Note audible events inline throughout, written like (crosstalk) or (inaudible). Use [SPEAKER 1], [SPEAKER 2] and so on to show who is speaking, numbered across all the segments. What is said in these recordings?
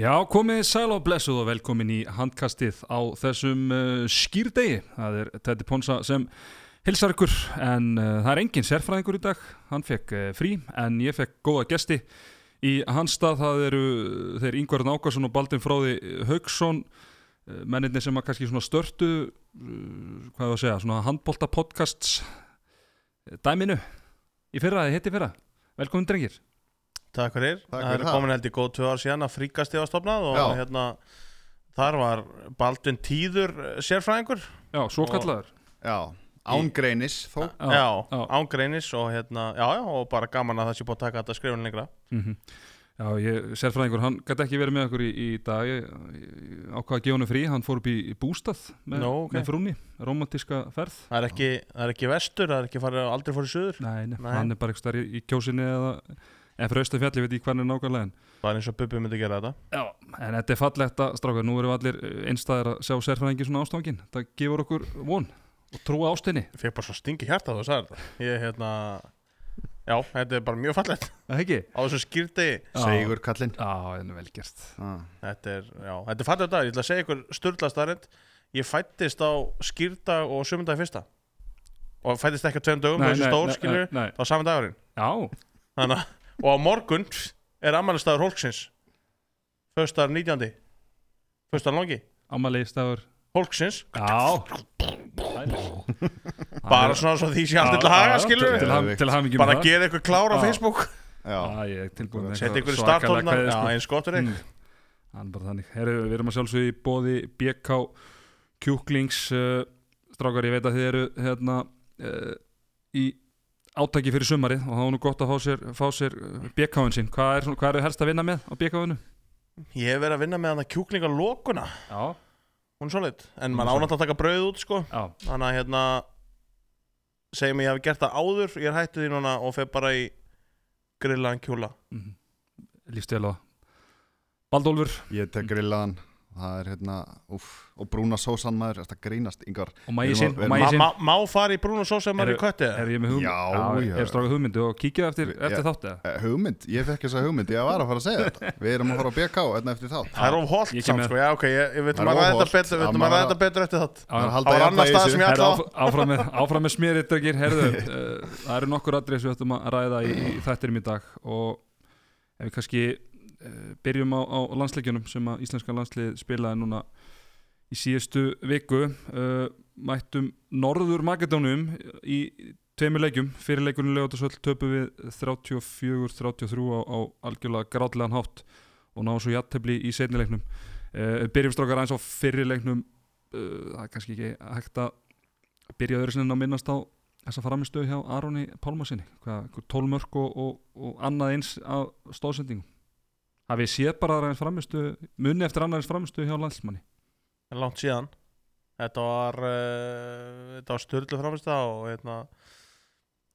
[SPEAKER 1] Já, komið sæl og blessuð og velkomin í handkastið á þessum uh, skýrdegi. Það er Teddy Ponsa sem hilsar ykkur en uh, það er engin sérfræðingur í dag. Hann fekk uh, frí en ég fekk góða gesti í hans stað. Það eru uh, þeir Ingvar Nákvæmson og Baldin Fróði Haugsson, uh, mennirni sem að kannski svona störtu, uh, hvað er að segja, svona handbolta podcasts eh, dæminu í fyrra, þið heiti fyrra. Velkomin drengir.
[SPEAKER 2] Takk fyrir,
[SPEAKER 3] Takk
[SPEAKER 2] það
[SPEAKER 3] fyrir
[SPEAKER 2] er
[SPEAKER 3] það.
[SPEAKER 2] komin held í góð tvö ár síðan að fríkastið var stopnað og
[SPEAKER 3] Já.
[SPEAKER 2] hérna þar var Baldvin Tíður eh, sérfræðingur
[SPEAKER 1] Já, svo kallaður.
[SPEAKER 3] Já, án greinis þó
[SPEAKER 2] já,
[SPEAKER 1] já.
[SPEAKER 2] án greinis og hérna, já já, og bara gaman að það sé búið að taka þetta skrifun lengra
[SPEAKER 1] Mhm. Já, ég, sérfræðingur, hann gæti ekki verið með okkur í, í dag ég, ég ákvað að gefa hann frí, hann fór upp í, í bústað með,
[SPEAKER 2] Nú, ok.
[SPEAKER 1] með frúni, romantíska ferð
[SPEAKER 2] Það er ekki, það er ekki vestur, það er ekki farið aldrei fórið suður
[SPEAKER 1] nei, nei,
[SPEAKER 2] Nei.
[SPEAKER 1] hann er bara ekki starf í, í kjósinni eða, eða fyrir austan fjalli, ég veit ég hvernig nákvæmlega en,
[SPEAKER 2] Bara eins og Bubbi myndi gera þetta
[SPEAKER 1] já, en þetta er fallegt að stráka, nú erum við allir eh, einstæðir að sjá sérfræðingi svona ástangin, það gefur okkur von og trúa ástinni,
[SPEAKER 2] Ég fekk bara svo stingi hjarta þú sagði þetta Ég hérna, já, þetta er bara mjög fallegt
[SPEAKER 1] það ekki?
[SPEAKER 2] á þessum skýrti
[SPEAKER 1] Já.
[SPEAKER 3] Segur kallinn
[SPEAKER 1] Já, en vel gert
[SPEAKER 3] ah.
[SPEAKER 2] Þetta er, já, þetta er fallegt dag, ég ætla að segja ykkur sturla starrend Ég fættist á skýrdag og sömundag fyrsta Og fættist ekki á tveim dögum, þessu stór skilur
[SPEAKER 1] nei, nei.
[SPEAKER 2] Það var saman dagurinn
[SPEAKER 1] Já,
[SPEAKER 2] Þannig, að- Og á morgun er ammælistagur Hólksins Föstar 19. Föstar langi
[SPEAKER 1] ammali stafur
[SPEAKER 2] Hólksins,
[SPEAKER 1] Já
[SPEAKER 2] bara svona svo því sé
[SPEAKER 1] Já,
[SPEAKER 2] allt til að
[SPEAKER 1] já,
[SPEAKER 2] haga
[SPEAKER 1] já,
[SPEAKER 2] skilur
[SPEAKER 1] Til,
[SPEAKER 2] við.
[SPEAKER 1] til, ham- til hamingi
[SPEAKER 2] Bara gera ykkur klár á
[SPEAKER 1] Já.
[SPEAKER 2] Facebook
[SPEAKER 3] Já,
[SPEAKER 1] Já, ég er tilbúin
[SPEAKER 2] Setja ykkur í startólna Já, eins gott er
[SPEAKER 1] Mm. Hann bara þannig Herru, við erum að sjálfsögja í bóði BK Kjúklings uh, Strákar, ég veit að þið eru hérna uh, í átaki fyrir sumarið og þá er nú gott að fá sér, fá sér eh, BK-un sín Hvað er, svona- hvað er helst að vinna með á BK-unu?
[SPEAKER 2] Ég hef verið að vinna með hann að kjúklinga lokuna
[SPEAKER 1] Já,
[SPEAKER 2] Hún er solid
[SPEAKER 1] Hún
[SPEAKER 2] En
[SPEAKER 1] er
[SPEAKER 2] maður
[SPEAKER 1] solid.
[SPEAKER 2] ánátt að taka brauð út sko
[SPEAKER 1] já,
[SPEAKER 2] Þannig að hérna segjum ég hafi gert það áður, ég er hættu því núna og fer bara í grillaðan kjúla
[SPEAKER 1] mm, lífstil og Baldólfur
[SPEAKER 3] ég tek grillaðan Það er hérna, úff Og brúna sósan maður, þetta grínast Yngvar
[SPEAKER 1] og mægi sín og
[SPEAKER 3] Við erum að-
[SPEAKER 1] mægi
[SPEAKER 2] Ma,
[SPEAKER 1] sín
[SPEAKER 2] ma, Má fara í brún og sós ef maður er
[SPEAKER 1] Eru-
[SPEAKER 2] í kötti eða?
[SPEAKER 1] Er ég með hugmynd?
[SPEAKER 3] Já, já.
[SPEAKER 1] Er strákar hugmyndu og kíkja eftir,
[SPEAKER 3] Já.
[SPEAKER 1] eftir þátt eða?
[SPEAKER 3] eh, Hugmynd, ég fekk þessa hugmynd, ég var að fara að segja
[SPEAKER 2] (laughs)
[SPEAKER 3] þetta Við erum að fara á BK hérna eftir þátt
[SPEAKER 2] Það er of
[SPEAKER 1] Ég
[SPEAKER 2] holt
[SPEAKER 1] kem
[SPEAKER 2] samt
[SPEAKER 1] með-
[SPEAKER 2] sko, já ok, ég, ég veitum
[SPEAKER 3] Það er
[SPEAKER 2] að ræða
[SPEAKER 3] óhollt.
[SPEAKER 2] þetta betur,
[SPEAKER 3] Það
[SPEAKER 2] veitum
[SPEAKER 3] má
[SPEAKER 2] að ræða
[SPEAKER 3] vera-
[SPEAKER 2] þetta betur eftir það
[SPEAKER 1] Já,
[SPEAKER 3] Það er
[SPEAKER 1] já.
[SPEAKER 3] að halda
[SPEAKER 2] Það var
[SPEAKER 3] jafnvægi
[SPEAKER 2] annar
[SPEAKER 3] í
[SPEAKER 2] stað
[SPEAKER 3] þessu.
[SPEAKER 2] sem ég
[SPEAKER 1] Herra,
[SPEAKER 2] ætla
[SPEAKER 1] áf, áfram, með, áfram með smerið drengir, herðu, uh, það eru nokkur atrið sem við ættum að ræða í, í þættirum í dag og ef við kannski uh, byrjum á, á landsleikjunum sem að íslenska landslið spilaði núna í síðustu viku uh, mættum Norður Makedónum í tveimur leikjum fyrir leikunum Leotasöll töpu við 34-33 á, á algjörlega grátlegan hátt og náðum svo jattefli í setni leiknum uh, byrjum strókar eins á fyrir leiknum uh, það er kannski ekki hægt að byrja öðru sinni en að minnast á þessa framistöðu hjá Aroni Pálmarsinni hvað, tólmörk og, og, og annað eins af stóðsendingum hafið þið séð bara aðra eins framistöðu munni eftir annað eins framistöðu hjá landsmanni
[SPEAKER 2] En langt síðan Þetta var uh, Þetta var styrlu framist það og hérna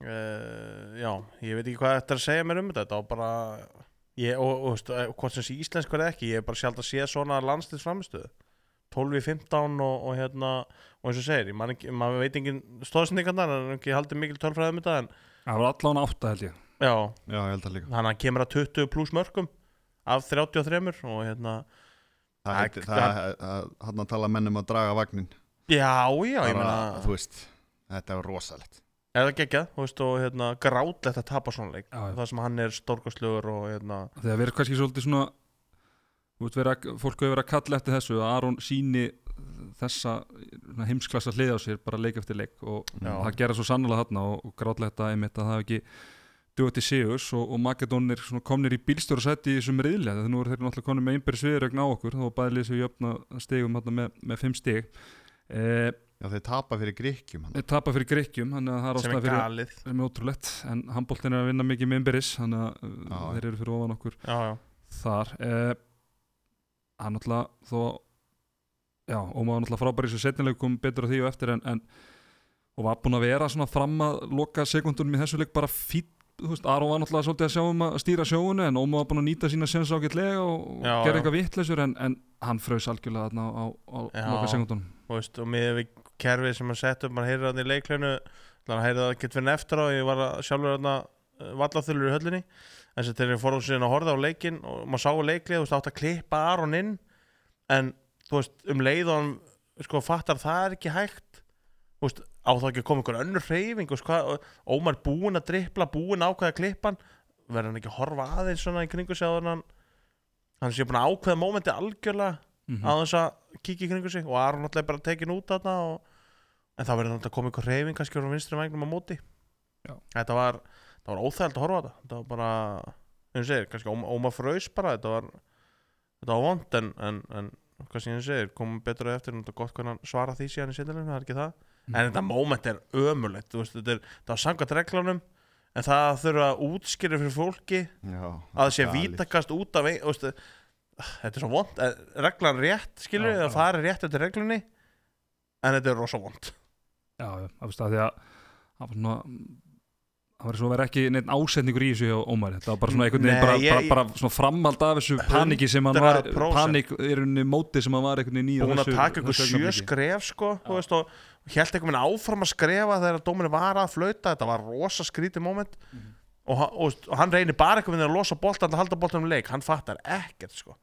[SPEAKER 2] uh, Já, ég veit ekki hvað þetta er að segja mér um þetta Þetta var bara ég, og, og, veist, eh, hvort sem sé íslensk er ekki Ég er bara sjálf að sé svona landslýs framistuð 12 í 15 og, og hérna og eins og segir, ég man ekki, maður veit engin stóðsendingarnar, hann er ekki haldið mikil tölfræði um þetta en
[SPEAKER 1] það var allan átta held ég
[SPEAKER 2] já,
[SPEAKER 3] Já, ég held að líka
[SPEAKER 2] hann kemur að 20 pluss mörgum af 33 og hérna
[SPEAKER 3] Það
[SPEAKER 2] Það-
[SPEAKER 3] heitir- það- það- Þarna tala menn um að draga vagnin
[SPEAKER 2] já, já, ég
[SPEAKER 3] Bara,
[SPEAKER 2] meina
[SPEAKER 3] Þú veist, þetta er rosalegt
[SPEAKER 2] Er það geggjað, þú veist, og hérna, grátlegt að tapa svona leik
[SPEAKER 1] Já, já.
[SPEAKER 2] Það sem hann er stórkastlugur og hérna
[SPEAKER 1] þegar verið kannski svolítið svona þú veist, vera, fólk hefur verið að kalla eftir þessu að Aron síni þessa svona heimsklassa hlið á sér bara leik eftir leik og
[SPEAKER 2] Já.
[SPEAKER 1] það gera svo sannlega þarna og, og grátlegt að einmitt að það hafi ekki duða til Sigurs og, og Makedónir svona komnir í bílstjóra sætti í þessum riðli þegar nú eru þeir náttúrulega konir með einbæri sviðurögn á okkur þá bæði lýsum við jöfna stigum þarna með, með fimm stig eh,
[SPEAKER 3] Já, þeir tapa fyrir gríkjum hann
[SPEAKER 1] þeir tapa fyrir Grekkjum þannig að það er
[SPEAKER 2] sem
[SPEAKER 1] ástæða
[SPEAKER 2] er
[SPEAKER 1] fyrir
[SPEAKER 2] galið
[SPEAKER 1] sem er ótrúlegt en handbóltin er að vinna mikið með einbæris þannig að
[SPEAKER 3] Já,
[SPEAKER 1] uh,
[SPEAKER 3] já.
[SPEAKER 1] þeir eru fyrir ofan okkur
[SPEAKER 2] Já, já,
[SPEAKER 1] þar eh, hann náttúrulega þó já, Óma var náttúrulega frábær í þessu setnileg kom betur á því og eftir en, en og var búinn að vera svona fram að loka sekundunum í þessu leik bara fýtt þú veist, Aron var náttúrulega svolítið að sjá um að stýra sjóunu en Óma var búinn að nýta sína sens ágætlega og, og
[SPEAKER 2] Já,
[SPEAKER 1] gera
[SPEAKER 2] já.
[SPEAKER 1] eitthvað vittlæsur en, en hann frös algjörlega þarna á, á, á
[SPEAKER 2] Já.
[SPEAKER 1] loka sekundunum
[SPEAKER 2] þú veist, og miðið við kerfið sem hann sett upp, maður heyrði hann í leikleinu þannig að heyrði það getur verið eftir á, ég var að- sjálfur hann að vallaþulur eh, í höllinni en þess að þegar ég fór síðan að horfa á leikin og maður sá leiklið, þú veist, átt að klippa Aron inn en, þú veist, um leið og hann, sko, fattar það er ekki hægt þú veist, á þá ekki að koma einhver önnur hreyfing, þú veist, hvað og Ómar búin að drippla, búin ákveða klippan verður hann ekki að horfa aðeins svona í kringu sig áður en hann hann sé búin að ákveða mómenti algjörlega
[SPEAKER 1] mm
[SPEAKER 2] á þess að kíkja í kringu sig og Aron alltaf bara tekin út þarna og, en þá verður náttúrulega komið ykkur reyfing kannski úr vinstri mægnum á móti
[SPEAKER 1] Já.
[SPEAKER 2] þetta var, það var óþægild að horfa á þetta þetta var bara, eins og segir, kannski Óma- óma fröys bara, þetta var þetta var vond en, en, en kannski eins og segir, komum betur á eftir, náttúrulega gott hvernig hann svara því síðan í sindalinu, það er ekki það
[SPEAKER 1] Mhm.
[SPEAKER 2] en þetta moment er ömulegt, þú veist, þetta er það var sangat reglunum en það að þurfa að útskýra fyrir fólki
[SPEAKER 3] Já,
[SPEAKER 2] að það sé
[SPEAKER 3] galið.
[SPEAKER 2] vítakast út af ein, þú veist, þetta er svo vond reglan rétt
[SPEAKER 1] Já,
[SPEAKER 2] skilur við
[SPEAKER 1] já.
[SPEAKER 2] það fari rétt eftir reglunni en þetta er rosa vond
[SPEAKER 1] Já, já, það veist að því að það var svona það var svo að vera ekki neitt ásetningur í þessu hjá Ómar þetta var bara svona einhvern veginn
[SPEAKER 2] Nei,
[SPEAKER 1] bara,
[SPEAKER 2] ég-
[SPEAKER 1] bara, bara svona framhald af þessu paniki sem hann var
[SPEAKER 2] 100%.
[SPEAKER 1] panik er unni móti sem hann var einhvern veginn í á
[SPEAKER 2] búin að
[SPEAKER 1] þessu-
[SPEAKER 2] taka ykkur
[SPEAKER 1] þessu
[SPEAKER 2] sjö
[SPEAKER 1] augnabliki.
[SPEAKER 2] skref sko, þú veist, og, og held einhvern veginn áfram að skrefa þegar dóminu var að flauta þetta var rosa skrítið moment
[SPEAKER 3] Mhm.
[SPEAKER 2] og, hann- og, veist, og hann reynir bara einhvern veginn að losa boltan að halda boltan um leik, hann fattar ekkert sko.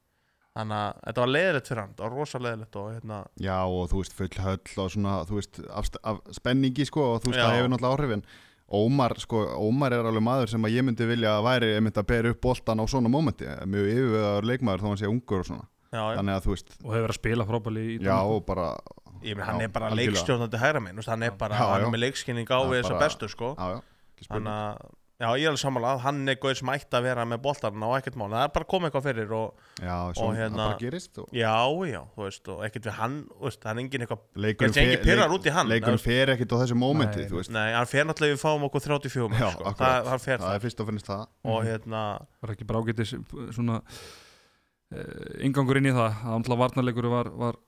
[SPEAKER 2] þannig að þetta var leiðilegt fyrir hann þetta var rosa leiðilegt og hérna
[SPEAKER 3] Já og þú veist full höll og svona þú veist af, st- af spenningi sko og þú veist
[SPEAKER 2] Já.
[SPEAKER 3] það hefur náttúrulega áhrifin Ómar sko, Ómar er alveg maður sem að ég myndi vilja að væri einmitt að bera upp boltan á svona mómenti, Eh, mjög yfirveðar leikmaður þó hann sé ungur og svona,
[SPEAKER 2] já, já.
[SPEAKER 3] þannig að þú veist
[SPEAKER 1] og hefur verið að spila frábæli í
[SPEAKER 3] já og bara,
[SPEAKER 2] Ég meina, hann
[SPEAKER 3] Já,
[SPEAKER 2] er bara
[SPEAKER 3] algjörlega.
[SPEAKER 2] leikstjórnandi hægra minn, þú veist, hann er bara,
[SPEAKER 3] Já,
[SPEAKER 2] hann
[SPEAKER 3] já.
[SPEAKER 2] er með leikskynning á
[SPEAKER 3] Já,
[SPEAKER 2] við þessar
[SPEAKER 3] bara-
[SPEAKER 2] bestu, sko.
[SPEAKER 3] já já ekki spurning.
[SPEAKER 2] Þannig að, já, ég er alveg samanlega að hann er góður sem ætti að vera með boltarna og ekkert mál. Það er bara að koma eitthvað fyrir og,
[SPEAKER 3] já, svona,
[SPEAKER 2] hérna-
[SPEAKER 3] það bara gerist og
[SPEAKER 2] já, já, þú veist, og ekkert við hann, þú veist, hann er engin eitthvað,
[SPEAKER 3] leikurinn
[SPEAKER 2] Ég sé ekki
[SPEAKER 3] fer-
[SPEAKER 2] pirrar
[SPEAKER 3] leik-
[SPEAKER 2] út í hann, það
[SPEAKER 3] leikurinn
[SPEAKER 2] veist.
[SPEAKER 3] fer ekkit á þessu mómenti
[SPEAKER 1] Nei.
[SPEAKER 3] þú veist,
[SPEAKER 2] nei, hann fer náttúrulega við fáum okkur 34 mörg,
[SPEAKER 3] Já,
[SPEAKER 2] sko.
[SPEAKER 3] akkurat.
[SPEAKER 2] Það, hann fer
[SPEAKER 3] það
[SPEAKER 2] það.
[SPEAKER 3] er fyrst og finnst það
[SPEAKER 2] Og hérna,
[SPEAKER 1] var ekki bara ágætis svona uh, ingangur inn í það að andla varnarleikur var, var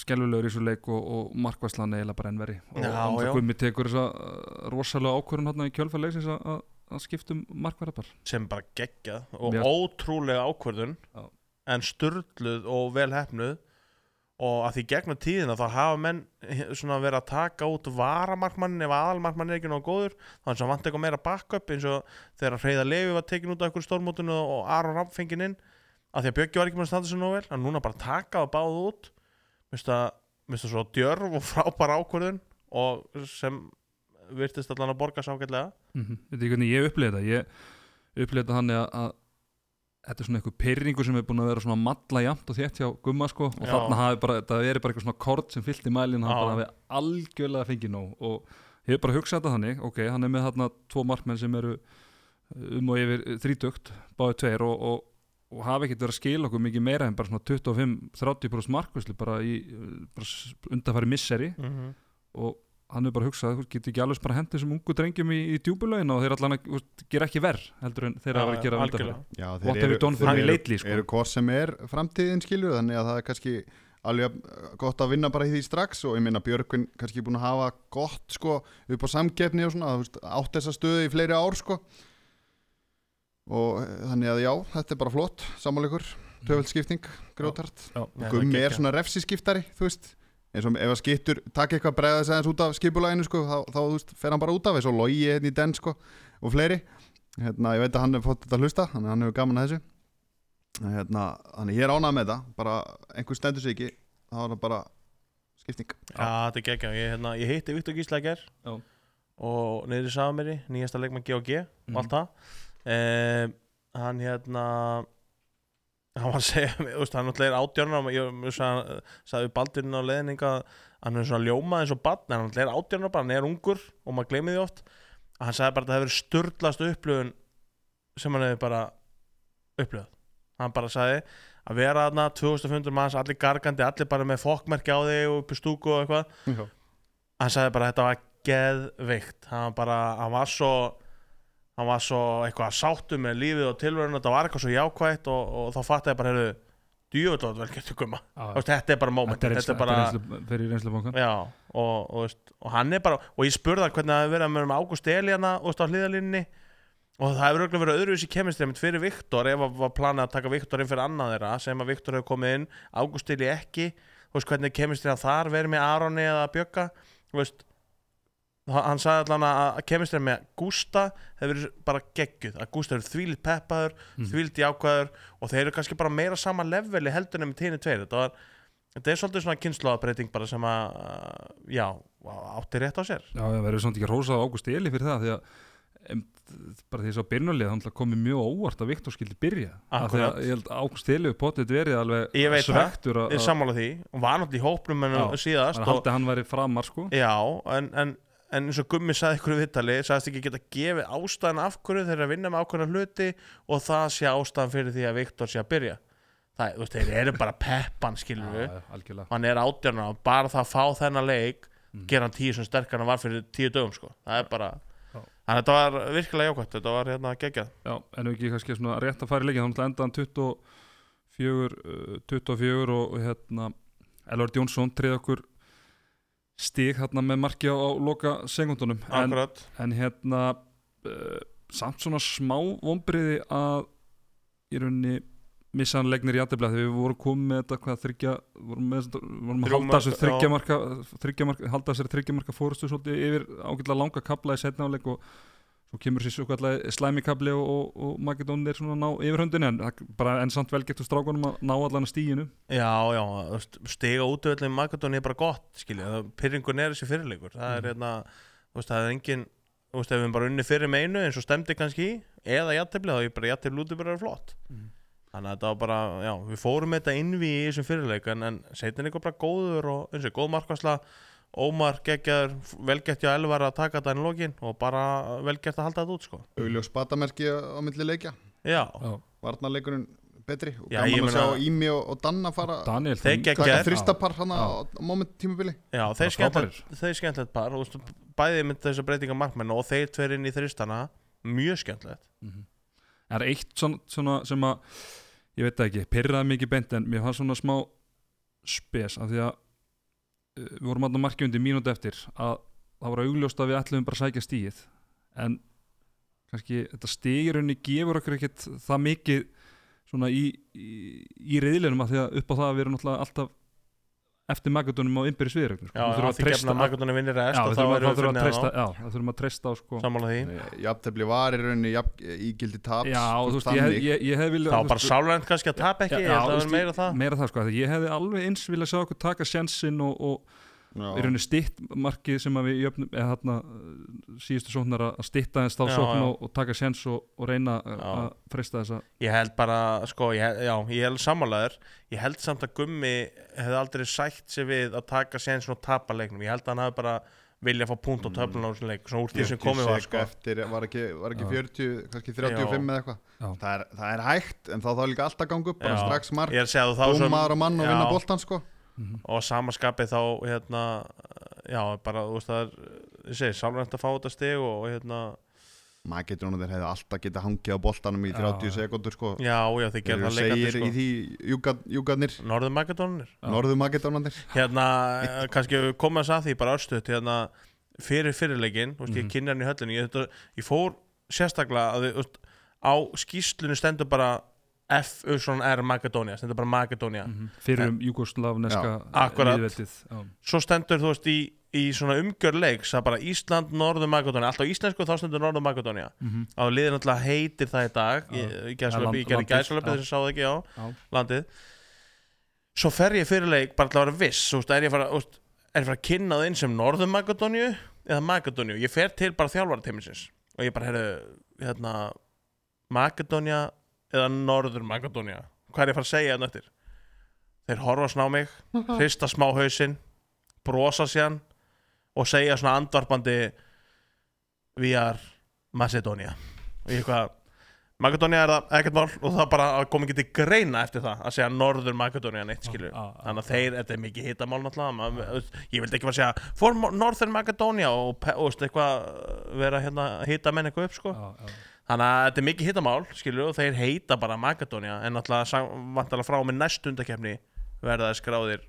[SPEAKER 1] skelvulegur í þessu leik og, og markvæslan eiginlega bara ennveri og
[SPEAKER 2] Já, já.
[SPEAKER 1] andla gummi tekur þessa eh, rosalega ákvörun hann í kjölfæleik að, að, að skiptum markverðar
[SPEAKER 2] sem bara geggjað og
[SPEAKER 1] Mér-
[SPEAKER 2] ótrúlega ákvörðun,
[SPEAKER 1] Já.
[SPEAKER 2] en sturluð og velhefnuð og að því gegnum tíðina þá hafa menn eh, svona verið að taka út varamarkmannin ef aðalmarkmannin er ekki nóg góður þannig sem vant eitthvað meira backup eins og þegar Hreyða Levi var tekin út af einhverjum stórmótinu og Aron Rapp fenginn inn að því að Bjöggi var ekki með að standa sér nóg vel en núna bara taka það báð út minnst að, minnst að svo djörf og (laughs) frábær ákvörðun og sem virtist allan að borga sákvæðlega
[SPEAKER 1] mm -hmm. veit ekki hvernig ég upplega þetta ég upplega þetta þannig að, að þetta er svona eitthvað pyrringu sem er búin að vera svona matla jafnt og þétt hjá gumma sko og
[SPEAKER 2] Já.
[SPEAKER 1] þarna hafi bara, þetta er bara eitthvað svona kort sem fyllt í mælinn, hann
[SPEAKER 2] Já.
[SPEAKER 1] bara hafi algjörlega fengið nóg og ég hef bara hugsað þetta þannig ok, hann er með þarna tvo markmenn sem eru um og yfir þrítugt báði tveir og, og, og hafi ekkert verið að skila okkur mikið meira en bara svona 25-30% markvæslu bara í uh, bara undanfæri misseri
[SPEAKER 2] mm -hmm.
[SPEAKER 1] og hann hefur bara hugsað, þú veist, getur ekki alveg bara hendur þessum ungu drengjum í, í djúbulögin og þeir allan að, þú veist, gera ekki verð heldur en þeir að vera að
[SPEAKER 2] Eh,
[SPEAKER 1] gera undanfæri
[SPEAKER 3] Já,
[SPEAKER 1] What have you done for me
[SPEAKER 3] eru,
[SPEAKER 1] lately, sko?
[SPEAKER 3] eru hvort sem er framtíðin skilur þannig að það er kannski alveg jafn- eh, gott að vinna bara í því strax og ég meina Björgvin kannski búin að hafa gott sko upp á samkeppni og svona þú veist, átt þessa stöðu í fleiri ár sko og eh, þannig að já, þetta er bara flott samanleikur, töfaldskipting grótart,
[SPEAKER 2] Já,
[SPEAKER 3] gummi
[SPEAKER 2] það
[SPEAKER 3] er
[SPEAKER 2] geggjað.
[SPEAKER 3] svona refsiskiptari, þú veist eins og ef að skiptur, takk eitthvað bregða þess aðeins út af skipulæginu sko, þá, þá þú veist, fer hann bara út af eins og logi hérna í den sko og fleiri, hérna, ég veit að hann hefur fótt þetta að hlusta, þannig að hann hefur gaman að þessu En hérna, þannig að ég er ánað með þetta bara einhver stendur sig ekki þá er það bara skipting
[SPEAKER 2] Já, þetta er geggjað. Ég, hérna, ég hitti Viktor Gísla í ger
[SPEAKER 1] Já.
[SPEAKER 2] og niður í Samiri, nýjasta leikmann G&G og Mm. allt það. Um, hann hérna, hann var að segja, mér, þú veist, hann náttúrulega er átjörnur, ég ég sagði, sagði Baldurinn á leðninga, hann er svona ljómað eins og barn, en hann náttúrulega er átjörnur bara, hann er ungur og maður gleymi því oft. Hann sagði bara að það hefur verið störtlast upplöfun sem hann hefur bara upplöfð. Hann bara sagði að vera þarna 2500 manns, allir gargandi, allir bara með fokkmerki á þig og upp í stúku og eitthvað
[SPEAKER 3] Já,
[SPEAKER 2] hann sagði bara að þetta var geðveikt hann var bara, hann var svo hann var svo eitthvað sáttu með lífið og tilverðinu, þetta var eitthvað svo jákvætt og, og þá fattaði ég bara, heyrðu djúvöld var þetta vel gert að koma þetta er bara moment,
[SPEAKER 1] Þetta er reynsla,
[SPEAKER 2] bara
[SPEAKER 1] þetta er reynsla fyrir reynslubankan
[SPEAKER 2] já, og, og, veist, og hann er bara og ég spurði hann hvernig það hefur verið með Ágúst Elíana og á hliðalínni og það hefur örugglega verið öðruvísi kemistri einmitt fyrir Viktor ef að var planið að taka Viktor inn fyrir annað þeirra sem að Viktor hefur komið inn Ágúst Elí ekki, þú veist hvernig kemistri hann þar verið með Aroni eða Bjögga þú veist Ha- hann sagði allan að, að kemistir með Gústa hefur verið bara geggjuð að Gústa hefur þvílit peppaður, mm. þvílit jákvæður og þeir eru kannski bara meira sama leveli heldur nefnum tíni tveir þetta, var, þetta er svolítið svona kynnslóðabreiting bara sem að uh, já, átti rétt á sér
[SPEAKER 1] Já, það verður samt ekki rósað Ágúst Eli fyrir það því að em, bara því að ég sá byrnulega hann komið mjög á óvart að Viktor skildi byrja Af því
[SPEAKER 2] Akkurat.
[SPEAKER 1] að ég held Ágúst Eli potið verið alveg
[SPEAKER 2] Ég veit það.
[SPEAKER 1] svektur að,
[SPEAKER 2] ég er
[SPEAKER 1] að,
[SPEAKER 2] sammála sko. því, hún var náttúrulega í hópnum en
[SPEAKER 1] Já,
[SPEAKER 2] síðast
[SPEAKER 1] að
[SPEAKER 2] og,
[SPEAKER 1] haldi að hann væri framar sko
[SPEAKER 2] já, en, en, en eins og Gummi sagði ykkur í viðtali, sagðist ekki geta gefið ástæðan af hverju þeir eru að vinna með ákveðna hluti og það sé ástæðan fyrir því að Viktor sé að byrja Það, þú veist, þeir eru bara peppan, skilur
[SPEAKER 1] Já, já, algjörlega
[SPEAKER 2] hann er átjörna og bara það að fá þennan leik
[SPEAKER 1] Mm.
[SPEAKER 2] gera hann tíu sem sterkar en hann var fyrir tíu dögum sko. það er bara
[SPEAKER 1] Já.
[SPEAKER 2] þannig að þetta var virkilega jákvæmt þetta var hérna geggjað
[SPEAKER 1] Já, en ef ekki kannski svona rétt að fara í leikin þannig að endaðan 24 uh, 24 og, og hérna Elvar Jónsson treði okkur stig hérna með marki á, á loka segundunum en,
[SPEAKER 2] akkurat
[SPEAKER 1] en hérna uh, samt svona smá vonbriði að í rauninni missa hann leiknir í aðdefla þegar við vorum komið með þetta hvað þryggja vorum, með, vorum að
[SPEAKER 2] Þrjú
[SPEAKER 1] halda þessu
[SPEAKER 2] mörk, já.
[SPEAKER 1] þryggja marka, þryggja marka halda þessu þryggja marka fórustu svolítið yfir ágætlega langa kabla í setna áleik og svo kemur sér svo kallega slæmi kabli og, og, og Makedónir er svona að ná yfirhundinu en, það- bara, en samt vel gert úr strákunum að ná allan að stíinu
[SPEAKER 2] já, já, þú veist, stiga útöðlega í Magadón er bara gott skilja, pyrringun er þessi fyrirleikur það er hérna, þú veist, það er engin þú veist, ef við höfum bara unni fyrir með einu eins og stemdi kannski í, eða jættibli þá er bara jættibli úti bara flott
[SPEAKER 1] Mhm.
[SPEAKER 2] þannig að þetta var bara, já, við fórum með þetta innví í þessum fyrirleik en, en setin ykkur bara góður og eins og góð markvarsla Ómar geggjaður, velgert hjá Elvar að taka þetta inn í lokin og bara velgert að halda þetta út sko.
[SPEAKER 3] augljós batamerki á milli leikja
[SPEAKER 2] Já,
[SPEAKER 3] varnarleikurinn betri og
[SPEAKER 2] Já, ég
[SPEAKER 3] gaman að
[SPEAKER 2] meina-
[SPEAKER 3] sjá Ími og, og Danna fara
[SPEAKER 1] Daniel
[SPEAKER 2] Þeir
[SPEAKER 1] þú-
[SPEAKER 2] gegn-
[SPEAKER 3] taka
[SPEAKER 2] Geggjað.
[SPEAKER 3] þristapar hann á,
[SPEAKER 1] Já.
[SPEAKER 3] á moment tímabili
[SPEAKER 2] já þeir
[SPEAKER 1] Bara frábærir.
[SPEAKER 2] skemmtilegt þeir skemmtilegt par, þú veist, bæði með þessar breytingar markmenn og þeir tveir inn í þristana mjög skemmtilegt.
[SPEAKER 1] Það Mhm. er eitt svona, svona sem að ég veit það ekki, pyrraði mikið beint en mér fannst svona smá spes af því að uh, við vorum alltaf markið undir mínúti eftir að það var augljóst að við ætlum bara að sækja stíið en kannski þetta stigirunni gefur okkur ekkert það mikið svona í, í, í reyðlinum að því að upp á það að við erum náttúrulega alltaf eftir magadunum á innbyrðis sko. viðrögnum
[SPEAKER 2] Já, að því gefna markmennin vinnir
[SPEAKER 1] Já,
[SPEAKER 2] rest og
[SPEAKER 1] við
[SPEAKER 2] þá
[SPEAKER 1] þurfum að- þá
[SPEAKER 2] erum við
[SPEAKER 1] þurfum að
[SPEAKER 2] finnir
[SPEAKER 1] treysta
[SPEAKER 2] það á.
[SPEAKER 1] Já, það þurfum að treysta á sko
[SPEAKER 2] Sammála því.
[SPEAKER 3] jafntefli var í rauninni jafn, ígildi tap
[SPEAKER 1] Já, og þú veist, ég
[SPEAKER 3] þannig.
[SPEAKER 1] hef, ég, ég hef viljað
[SPEAKER 2] Þá
[SPEAKER 1] þú
[SPEAKER 2] bara
[SPEAKER 1] veist,
[SPEAKER 2] sálrænt kannski að tapa ekki,
[SPEAKER 1] Já,
[SPEAKER 2] ég held að
[SPEAKER 1] þú
[SPEAKER 2] það
[SPEAKER 1] veist,
[SPEAKER 2] er meira það.
[SPEAKER 1] meira það sko, því ég hefði alveg eins vilja sjá okkur taka sjensinn og, og í
[SPEAKER 3] Já.
[SPEAKER 1] rauninni stitt markið sem að við jöfnum, eða þarna uh, síðustu sóknar að að stitta þess þá
[SPEAKER 2] Já,
[SPEAKER 1] sókn
[SPEAKER 2] já.
[SPEAKER 1] og, og taka sjens og, og reyna uh,
[SPEAKER 2] Já.
[SPEAKER 1] að freista þess að
[SPEAKER 2] Ég held bara, sko, ég, held- já, ég held sammálaður. Ég held samt að Gummi hefði aldrei sætt sér við að taka séns og tapa leiknum. Ég held að hann hafi bara viljað fá
[SPEAKER 1] Mm.
[SPEAKER 2] punkt á töflun á þessum leik, svona úr því sem komið var,
[SPEAKER 3] 46
[SPEAKER 2] sko.
[SPEAKER 3] eftir, var ekki, var ekki
[SPEAKER 1] Já.
[SPEAKER 3] 40, kannski 35 eða
[SPEAKER 1] Já.
[SPEAKER 3] eitthvað það, er- það er hægt, en þá þá er líka alltaf gangu upp bara
[SPEAKER 2] Já.
[SPEAKER 3] strax mark,
[SPEAKER 2] Ég er að segja þú þá
[SPEAKER 3] búm maður og mann og vinna
[SPEAKER 2] Já.
[SPEAKER 3] boltan sko.
[SPEAKER 2] og samaskapið þá hérna, já, bara, þú veist, það er ég segi, sálvænt að fá þetta stig og hérna,
[SPEAKER 3] maður getur núna þeir hefði alltaf getað hangið á boltanum í
[SPEAKER 1] Já,
[SPEAKER 3] 30
[SPEAKER 1] já.
[SPEAKER 3] sekundur sko.
[SPEAKER 2] já, já, þið
[SPEAKER 3] þeir
[SPEAKER 2] gerðu
[SPEAKER 3] eru
[SPEAKER 2] það sko.
[SPEAKER 3] segir
[SPEAKER 2] leikandi,
[SPEAKER 3] í því júgat- júgarnir,
[SPEAKER 2] sko Norður Magadónir,
[SPEAKER 1] Já.
[SPEAKER 3] norðu makedónandir
[SPEAKER 2] hérna, eh, kannski við komum þess að því bara örstuðt, hérna fyrir fyrirleikin, þú veist, ég
[SPEAKER 1] Mhm.
[SPEAKER 2] kynni hann í höllinu ég, þetta, ég fór sérstaklega að, þið, þú veist, á skýslunni stendur bara F, U, svona R, Magadónia stendur bara Magadónia
[SPEAKER 3] Mhm.
[SPEAKER 1] fyrir um júkoslavneska
[SPEAKER 2] Akkurat.
[SPEAKER 1] líðveldið já.
[SPEAKER 2] svo stendur þú veist í, í svona umgjörleiks að bara Ísland, Norður Magadónia alltaf íslensku þá stendur Norður Magadónia mm
[SPEAKER 1] Mhm.
[SPEAKER 2] og liðin alltaf heitir það í dag
[SPEAKER 1] Já.
[SPEAKER 2] ég, ég,
[SPEAKER 1] Ja, land-
[SPEAKER 2] gæsalöp, ég gerði
[SPEAKER 1] landið,
[SPEAKER 2] gæsalöpið
[SPEAKER 1] já.
[SPEAKER 2] þess að sá það ekki á
[SPEAKER 1] Já.
[SPEAKER 2] landið svo fer ég fyrir leik bara til að vera viss þú veist, er ég fara, þú veist, er ég fara að kynna það inn sem Norður Magadóniu eða Magadóniu ég fer til bara þjálfaratemisins og ég bara herðu hérna, Magadónia eða Norður Magadónia hvað er ég að fara að segja þetta eftir þeir horfa svona á mig hrista smá hausinn brosa síðan og segja svona andvarpandi við er Macedonia og ég eitthvað Macedonia er það ekkert mál og það bara kom ekki til greina eftir það að segja norður Macedonia neitt skilur
[SPEAKER 1] Já, já, já.
[SPEAKER 2] þannig að þeir, þetta er mikið hitamál náttúrulega maður- ég vildi ekki fara að segja for Mo- northern Macedonia og, pe- og veist, eitthvað vera hérna hita menn eitthvað upp sko
[SPEAKER 1] Já, já.
[SPEAKER 2] þannig að þetta er mikið hitamál skilur og þeir heita bara Magadónia en náttúrulega vantarlega frá og með næst undakefni verða þeir skráðir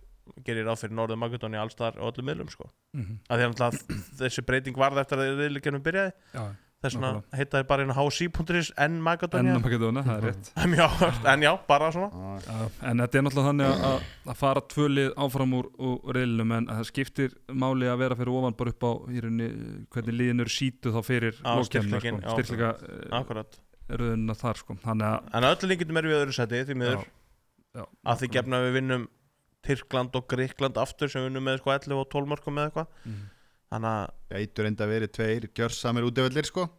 [SPEAKER 2] gerir ráð fyrir Norður Magadónia alls þar og öllum miðlum sko.
[SPEAKER 1] Mhm.
[SPEAKER 2] að því að náttúrulega þessi breyting varð eftir að riðlíkjörnum byrjaði
[SPEAKER 1] Já.
[SPEAKER 2] þess vegna
[SPEAKER 1] Nákvæmlega.
[SPEAKER 2] heita þið bara inn á hc.is en Magadónia
[SPEAKER 1] ennum að geta það er rétt
[SPEAKER 2] en, (laughs) já, en já, bara svona
[SPEAKER 3] Já,
[SPEAKER 1] Já, en þetta er náttúrulega þannig að- að, að fara tvölið áfram úr, úr reilunum en að það skiptir máli að vera fyrir ofan bara upp á í rauninni eh, hvernig liðinur sítu þá fyrir
[SPEAKER 2] Á,
[SPEAKER 1] lokkeppnina,
[SPEAKER 2] styrkleikinn,
[SPEAKER 1] sko,
[SPEAKER 2] já.
[SPEAKER 1] styrkleika
[SPEAKER 2] akkurat
[SPEAKER 1] röðunina þar sko. þannig að
[SPEAKER 2] en að öllu líkindum erum við í öðru seti því miður
[SPEAKER 1] já,
[SPEAKER 2] að því gefna við vinnum Tyrkland og Gríkland aftur sem við vinnum með sko 11 og 12 mörgum með eitthvað
[SPEAKER 1] Mhm.
[SPEAKER 2] þannig að
[SPEAKER 3] eitur enda verið tveir gjörsamir útivellir sko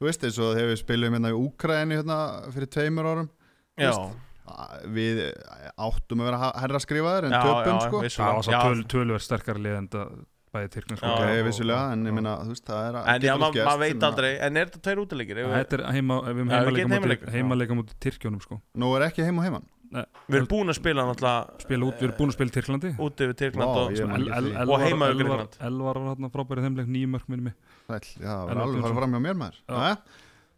[SPEAKER 3] þú veist eins og þegar við spilum hérna í Úkraínu hérna fyrir tveimur árum
[SPEAKER 2] já,
[SPEAKER 3] að við áttum að vera herra skrifaðir en
[SPEAKER 2] já,
[SPEAKER 3] töpum
[SPEAKER 2] já,
[SPEAKER 1] það
[SPEAKER 3] sko
[SPEAKER 1] var
[SPEAKER 2] vissulega.
[SPEAKER 1] svo
[SPEAKER 2] já,
[SPEAKER 1] töl, tölver sterkari lið en það bæði Tyrkland sko.
[SPEAKER 2] Já,
[SPEAKER 3] ok,
[SPEAKER 2] já,
[SPEAKER 3] vissulega, en ég minna þú veist, það er að
[SPEAKER 2] en já,
[SPEAKER 3] getur allt
[SPEAKER 2] maður
[SPEAKER 3] gerst, hérna.
[SPEAKER 2] ma
[SPEAKER 3] ég
[SPEAKER 2] veit
[SPEAKER 3] meina,
[SPEAKER 2] aldrei en er þetta tveir útileikir? Ef Við,
[SPEAKER 1] þetta er heima, ef við
[SPEAKER 2] Já, við
[SPEAKER 1] erum heimaleika
[SPEAKER 2] getum heimaleik, já.
[SPEAKER 1] móti- heimaleika mútið Tyrkjónum sko.
[SPEAKER 3] nú er ekki heim og heiman
[SPEAKER 2] við erum búin að spila náttúrulega
[SPEAKER 1] spila út, við erum búin að spila í Tyrklandi
[SPEAKER 2] úti við Tyrkland
[SPEAKER 3] Vá,
[SPEAKER 2] og
[SPEAKER 3] ég- man
[SPEAKER 1] El-
[SPEAKER 3] ekki
[SPEAKER 1] El-
[SPEAKER 3] því.
[SPEAKER 1] Elvar-
[SPEAKER 2] Og heima við
[SPEAKER 1] Elvar-
[SPEAKER 2] Grikkland.
[SPEAKER 1] Elvar var hérna frábæri þeimleik nýjum mörg minni mig
[SPEAKER 3] Sæll, já, það
[SPEAKER 1] Elvar
[SPEAKER 3] var alveg að fara
[SPEAKER 1] Björnsson.
[SPEAKER 3] fram hjá mér maður
[SPEAKER 1] Já.
[SPEAKER 3] Jæja,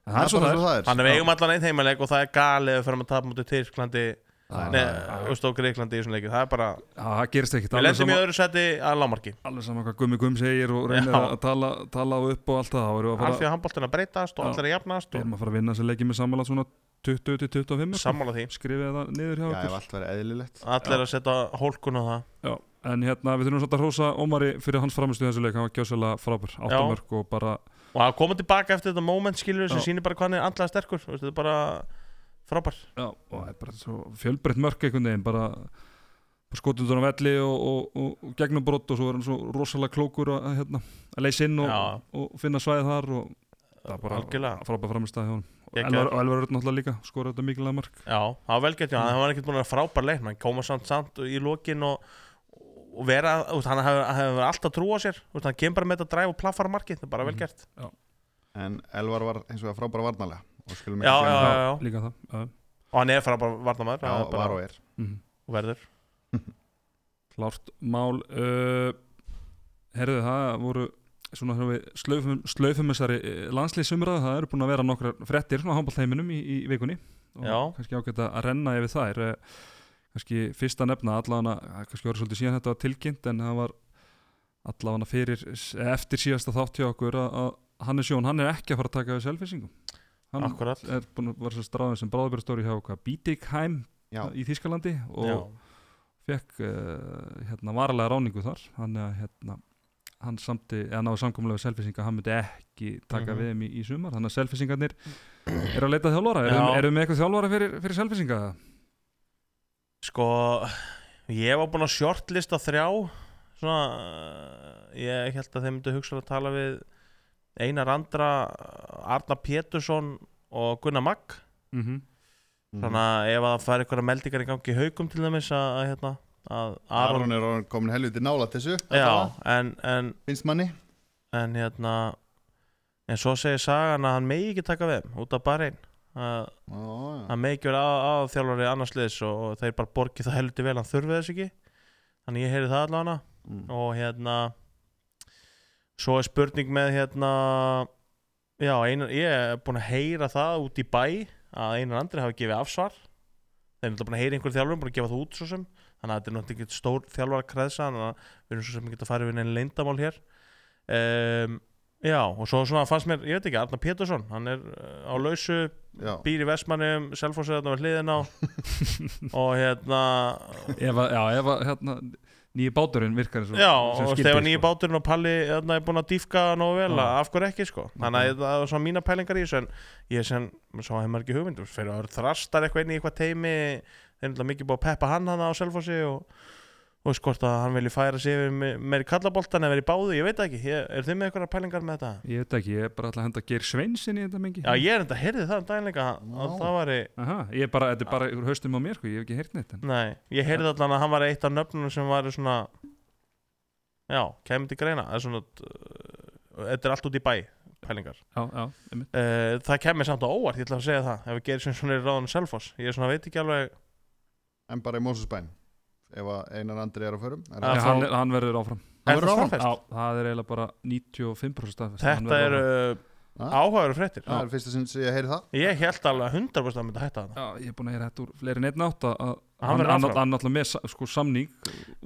[SPEAKER 1] það er svo
[SPEAKER 3] bara
[SPEAKER 1] það er
[SPEAKER 3] það er
[SPEAKER 2] þannig að við eigum allan einn heimaleik og það er galið að fyrir að tapa mútið Tyrklandi
[SPEAKER 3] Já,
[SPEAKER 2] Nei,
[SPEAKER 1] já, já.
[SPEAKER 2] þú veist, og Greiklandi í þessum leikið Það er bara,
[SPEAKER 1] Já, það gerist ekkit
[SPEAKER 2] við
[SPEAKER 1] alveg
[SPEAKER 2] lendum í
[SPEAKER 1] sama,
[SPEAKER 2] öðru seti að lámarki
[SPEAKER 1] alveg sama hvað Gummi Gum segir og reynir
[SPEAKER 2] Já.
[SPEAKER 1] að tala, tala á upp og allt það þá erum við að
[SPEAKER 2] Alfið
[SPEAKER 1] fara,
[SPEAKER 2] að handbóltina breytast og
[SPEAKER 1] Já.
[SPEAKER 2] allir að jafnast
[SPEAKER 1] við
[SPEAKER 2] og
[SPEAKER 1] erum að fara að vinna þessi leiki með samanlega svona 20-25 sko.
[SPEAKER 2] sammála því
[SPEAKER 1] skrifið það niður hjá
[SPEAKER 3] Já, ef
[SPEAKER 1] okkur
[SPEAKER 3] allt verið eðlilegt
[SPEAKER 2] Allir að setja hólkun á það
[SPEAKER 1] Já, en hérna við þurfum svolítið að hrósa Ómari fyrir hans framistu þessu leik, hann var gjósalega frábær
[SPEAKER 2] Já.
[SPEAKER 1] áttamörk og bara
[SPEAKER 2] Og að koma tilbaka eftir þetta moment skilur sem
[SPEAKER 1] Já.
[SPEAKER 2] sýnir bara hvað hann er andlega sterkur þú veist, Þetta er bara frábær
[SPEAKER 1] Já, og það er bara svo fjölbreytt mörk einhvern veginn, bara, bara skotum þannig velli og, og, og, og gegnum brott og svo er hann svo rosalega klókur að, að, hérna, að leysa inn og,
[SPEAKER 2] Já.
[SPEAKER 1] og finna svæðið þar og það er bara
[SPEAKER 2] Algjörlega.
[SPEAKER 1] frábæð framistæði hjá
[SPEAKER 2] Gekkjaður.
[SPEAKER 1] hann og Elvar Örn náttúrulega líka, skora þetta mikilvæg mark
[SPEAKER 2] Já, það var vel gett, já,
[SPEAKER 3] Mm.
[SPEAKER 2] það var ekkert búin að vera frábær leik Hann koma samt samt í lokin og, og vera, þú veist, hann hefur hef alltaf trú á sér þú veist, Hann kemur bara með þetta dræf og plaffar markið Það er bara vel
[SPEAKER 3] Mm.
[SPEAKER 1] Mhm.
[SPEAKER 2] gert
[SPEAKER 3] En Elvar var eins og að frábæra varnalega og skulum
[SPEAKER 2] Já,
[SPEAKER 3] ekki gleyma
[SPEAKER 2] já,
[SPEAKER 3] það.
[SPEAKER 2] já.
[SPEAKER 1] líka það já.
[SPEAKER 2] Og hann er frábær varnamaður það
[SPEAKER 3] já,
[SPEAKER 2] er bara-
[SPEAKER 3] var og er
[SPEAKER 1] Mm.
[SPEAKER 2] og verður
[SPEAKER 1] klárt mál uh, herðu það voru svona þegar við slaufum, slaufum þessari landslýsumræðu, það eru búin að vera nokkrar frettir svona handbóltheiminum í, í vikunni og
[SPEAKER 2] Já.
[SPEAKER 1] kannski ágætt að renna yfir þær Eh, kannski fyrsta nefna allavega, það er kannski voru svolítið síðan þetta var tilkynnt en það var allavega fyrir, eftir síðasta þátt hjá okkur að, að Hannes Jón, hann er ekki að fara að taka við selfisingum hann
[SPEAKER 2] Akkurat
[SPEAKER 1] er búin að vera svo stráðin sem bráðbjörnstóri hjá hvað, Bítikheim
[SPEAKER 3] Já,
[SPEAKER 1] í Þýskalandi og
[SPEAKER 2] Já.
[SPEAKER 1] fekk uh, hérna varlega ráningu þar hann, hérna, hann samti eða náðu samkomlega við selfisinga hann myndi ekki taka
[SPEAKER 2] Mhm.
[SPEAKER 1] við þeim í, í sumar þannig að selfisingarnir eru að leita að þjálfara
[SPEAKER 2] Já.
[SPEAKER 1] eru eru við með eitthvað þjálfara fyrir, fyrir selfisinga
[SPEAKER 2] Sko, ég var búinn að shortlista þrjá Svona, eh, ég held að þeir myndu hugsa að tala við Einar Andra, Arna Pétursson og Gunnar Magg
[SPEAKER 1] mm -hmm.
[SPEAKER 3] Mhm.
[SPEAKER 2] Þannig að ef að það fær eitthvað meldingar í gangi í haukum til dæmis að, að, hérna, að Aron
[SPEAKER 3] Aron er orðinn komin helviti nála þessu
[SPEAKER 2] Já, en, en,
[SPEAKER 3] Finnst manni
[SPEAKER 2] en hérna En svo segir sagan að hann megi ekki taka við þeim út af bara einn að
[SPEAKER 3] Já, já.
[SPEAKER 2] hann megi ekki vera að, að þjálfari annars liðs og, og þeir bara borgi það helviti vel hann þurfi þess ekki þannig ég heyri það allavega
[SPEAKER 3] Mm.
[SPEAKER 2] og hérna svo er spurning með hérna já, einar, ég er búin að heyra það út í bæ að einar andri hafi gefið afsvar þeir eru búin að heyra einhver þjálfur búin að gefa það út svo sem þannig að þetta er náttúrulega ekki stór þjálfar að kreðsa þannig að við erum svo sem ekki að fara yfir neinn leyndamál hér um, já, og svo svona fannst mér, ég veit ekki, Arnar Pétursson hann er uh, á lausu,
[SPEAKER 3] Já.
[SPEAKER 2] býr í Vestmannum Selfoss er þarna við hliðin á og hérna
[SPEAKER 1] ef að, já, ef að hérna, nýji báturinn virkar eins og
[SPEAKER 2] já,
[SPEAKER 1] sem
[SPEAKER 2] og
[SPEAKER 1] skyldi,
[SPEAKER 2] þegar
[SPEAKER 1] sko.
[SPEAKER 2] nýju báturinn og Palli þarna er búin að dýfka nógu vel
[SPEAKER 1] Já.
[SPEAKER 2] að af hverju ekki sko þannig að það er svona mína pælingar í þessu en ég sem, svo hefur maður ekki hugmynd þú veist, fyrir að vera þrastar eitthvað inn í eitthvað teimi þeir eru náttúrulega mikið búið að peppa hann hana á Selfossi og og veist hvort að hann vilji færa sig yfir me- meiri kallaboltan eða verið báðu, ég veit það ekki ég, er þið með eitthvað pælingar með þetta?
[SPEAKER 1] ég veit ekki, ég er bara alltaf að henda Geir Sveinsin í þetta mengi
[SPEAKER 2] Já, ég er enda, heyrði það um daginn líka að
[SPEAKER 3] Vá.
[SPEAKER 2] það væri,
[SPEAKER 1] Aha, ég er bara, þetta er bara ykkur haustum á mér sko, ég hef ekki heyrt neitt en
[SPEAKER 2] nei, ég heyrði allan að hann var eitt af nöfnunum sem var svona já, kemur til greina það er svona uh, þetta er allt út í bæ, pælingar
[SPEAKER 1] já, já, einmitt.
[SPEAKER 2] Uh, það kemur samt á óvart, ég ætla að segja það ef við gerir sem svona í ráðan Selfoss ég er svona veit ekki alveg
[SPEAKER 3] En bara í Mósusbæn Ef að einar andri er á förum er
[SPEAKER 2] Já,
[SPEAKER 1] Nei,
[SPEAKER 3] það-
[SPEAKER 2] þá-
[SPEAKER 1] hann, er- hann verður áfram
[SPEAKER 3] Hann
[SPEAKER 2] Er
[SPEAKER 3] verður
[SPEAKER 2] það
[SPEAKER 3] áfram.
[SPEAKER 2] staðfest?
[SPEAKER 1] já, það er eiginlega bara 95% staðfest. Hann
[SPEAKER 2] þetta
[SPEAKER 1] verður
[SPEAKER 2] eru
[SPEAKER 1] áfram.
[SPEAKER 3] Ha?
[SPEAKER 2] uh, áhugaveru fréttir
[SPEAKER 3] Það er fyrsta sinn sem ég heyri það
[SPEAKER 2] ég held alveg að 100% að mynda hætta þarna
[SPEAKER 1] Já, ég er búin að heyra þetta úr fleiri neitt nátt að, að hann,
[SPEAKER 2] verður
[SPEAKER 1] hann,
[SPEAKER 2] áfram.
[SPEAKER 1] hann náttúrulega með sa- sko, samning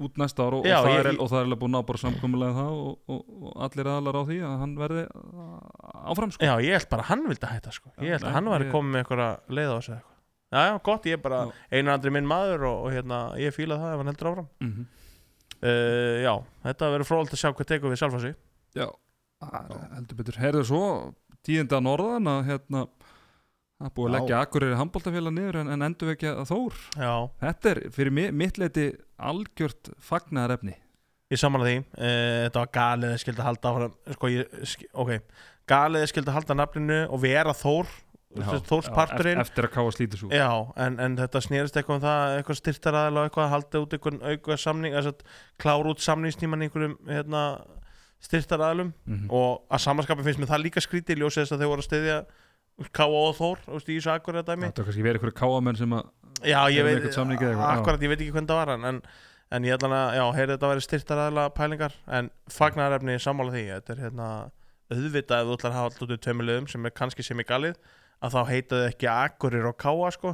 [SPEAKER 1] út næsta ára og,
[SPEAKER 2] Já,
[SPEAKER 1] og, það
[SPEAKER 2] ég-
[SPEAKER 1] er,
[SPEAKER 2] ég-
[SPEAKER 1] og það er alveg búin að ná bara samkomulega það og, og, og allir aðlar á því að hann verði uh, áfram sko.
[SPEAKER 2] Já, ég held bara að hann vildi hætta sko. Ég
[SPEAKER 1] Já,
[SPEAKER 2] held að
[SPEAKER 1] nei,
[SPEAKER 2] hann var
[SPEAKER 1] ég-
[SPEAKER 2] að koma með einhverja leið á þessu eða eitthvað Já, já, gott, ég er bara
[SPEAKER 1] Já.
[SPEAKER 2] einu andri minn maður og, og hérna, ég fíla það ef hann heldur áfram
[SPEAKER 1] mm
[SPEAKER 2] uh, Já, þetta verður fróðalt að sjá hvað tekur við Salfassi
[SPEAKER 1] Já, það er heldur betur Herðu svo, tíðindi að norðan að hérna að búið að
[SPEAKER 3] Já.
[SPEAKER 1] leggja Akureyri handbóltafélag niður en, en endur ekki að Þór
[SPEAKER 2] Já,
[SPEAKER 1] Þetta er fyrir mi- mitt leiti algjört fagnaðarefni
[SPEAKER 2] ég saman að því uh, Þetta var galið að skildi halda áfram sko, ég, sk- Ok, galið að skildi halda nafninu og vera Þór
[SPEAKER 3] Já,
[SPEAKER 2] Þórs parturinn
[SPEAKER 1] Eftir að káa slítið svo
[SPEAKER 2] Já, en, en þetta snerist eitthvað um það eitthvað styrtaraðal og eitthvað að halda út eitthvað auka samning, þess að klára út samningstíman í einhverjum hérna, styrtaraðalum
[SPEAKER 1] Mhm.
[SPEAKER 2] og að samanskapin finnst mér það líka skrítið í ljósið þess að þau voru að styðja K.O. og Þór þú veist, í þessu akkurat dæmi
[SPEAKER 1] Þetta er kannski verið einhverju káamenn sem að
[SPEAKER 2] já,
[SPEAKER 1] Eru
[SPEAKER 2] ég
[SPEAKER 1] með
[SPEAKER 2] veit,
[SPEAKER 1] einhvern samning eða eitthvað, já.
[SPEAKER 2] akkurat, ég veit ekki hvernig það var en, en, en ég ætla að, já, heyrði þetta væri styrtar aðla pælingar en fagnarefni er sammála því þetta er hérna auðvitað ef þú ætlar að hafa alltaf út í tveimilegum sem er kannski sem í galið að þá heita þau ekki akkurir og káa sko.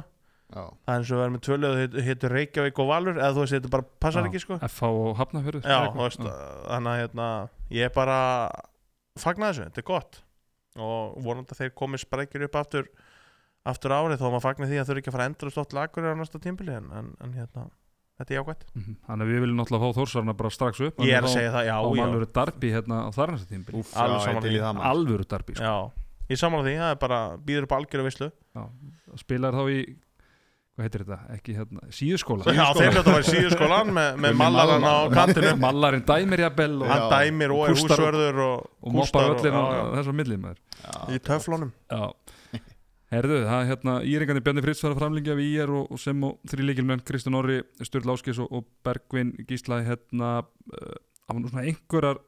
[SPEAKER 3] já,
[SPEAKER 2] það er eins og við erum með tvölu heitur Reykjavík og Valur eða þú veist, þetta bara passar
[SPEAKER 1] Já.
[SPEAKER 2] ekki sko.
[SPEAKER 1] FH og Hafnafjörður
[SPEAKER 2] Já, þú veist, þannig að hérna, ég er bara fagna þessu, þetta er gott og vonandi að þeir komið sprækir upp aftur aftur árið þó að maður fagna því að þau eru ekki að fara að endra slott lagur á næsta tímbili en, en, en hérna, þetta er jákvæmt
[SPEAKER 1] Mhm. Þannig að við viljum náttúrulega fá Þórsarna bara strax upp
[SPEAKER 2] Ég er að segja það,
[SPEAKER 1] á
[SPEAKER 2] já, já,
[SPEAKER 1] alvöru darbi hérna á þarnasta tímbil
[SPEAKER 3] úf,
[SPEAKER 2] alveg
[SPEAKER 3] já, ég
[SPEAKER 2] saman
[SPEAKER 3] til
[SPEAKER 2] því.
[SPEAKER 3] í það maður.
[SPEAKER 1] alvöru darbi sko.
[SPEAKER 2] já Ég samanlega því, það er bara, býður upp á algjöru veislu
[SPEAKER 1] spilar þá í hvað heitir þetta, ekki hérna, síðuskóla
[SPEAKER 2] Já, þeir hljóta var í síðuskólan með, með
[SPEAKER 3] Með
[SPEAKER 2] mallarann á
[SPEAKER 3] mallarann.
[SPEAKER 2] kantinu
[SPEAKER 1] mallarinn dæmir jafnvel og,
[SPEAKER 2] Hann
[SPEAKER 3] Já.
[SPEAKER 2] dæmir og er
[SPEAKER 1] Kústar og-
[SPEAKER 2] húsvörður og,
[SPEAKER 1] og mobbar
[SPEAKER 2] Kústar og-
[SPEAKER 1] öllin á
[SPEAKER 2] já, já.
[SPEAKER 1] þessum millið maður
[SPEAKER 3] já,
[SPEAKER 2] í töflunum
[SPEAKER 1] já. Herðu, það er hérna Íringandi Bjarni Fritz var að framlingja við IR og, og sem og þrýleikilmenn Kristján Orri, Sturl Áskis og, og Bergvin Gísla hérna, uh, það var nú svona einhverjar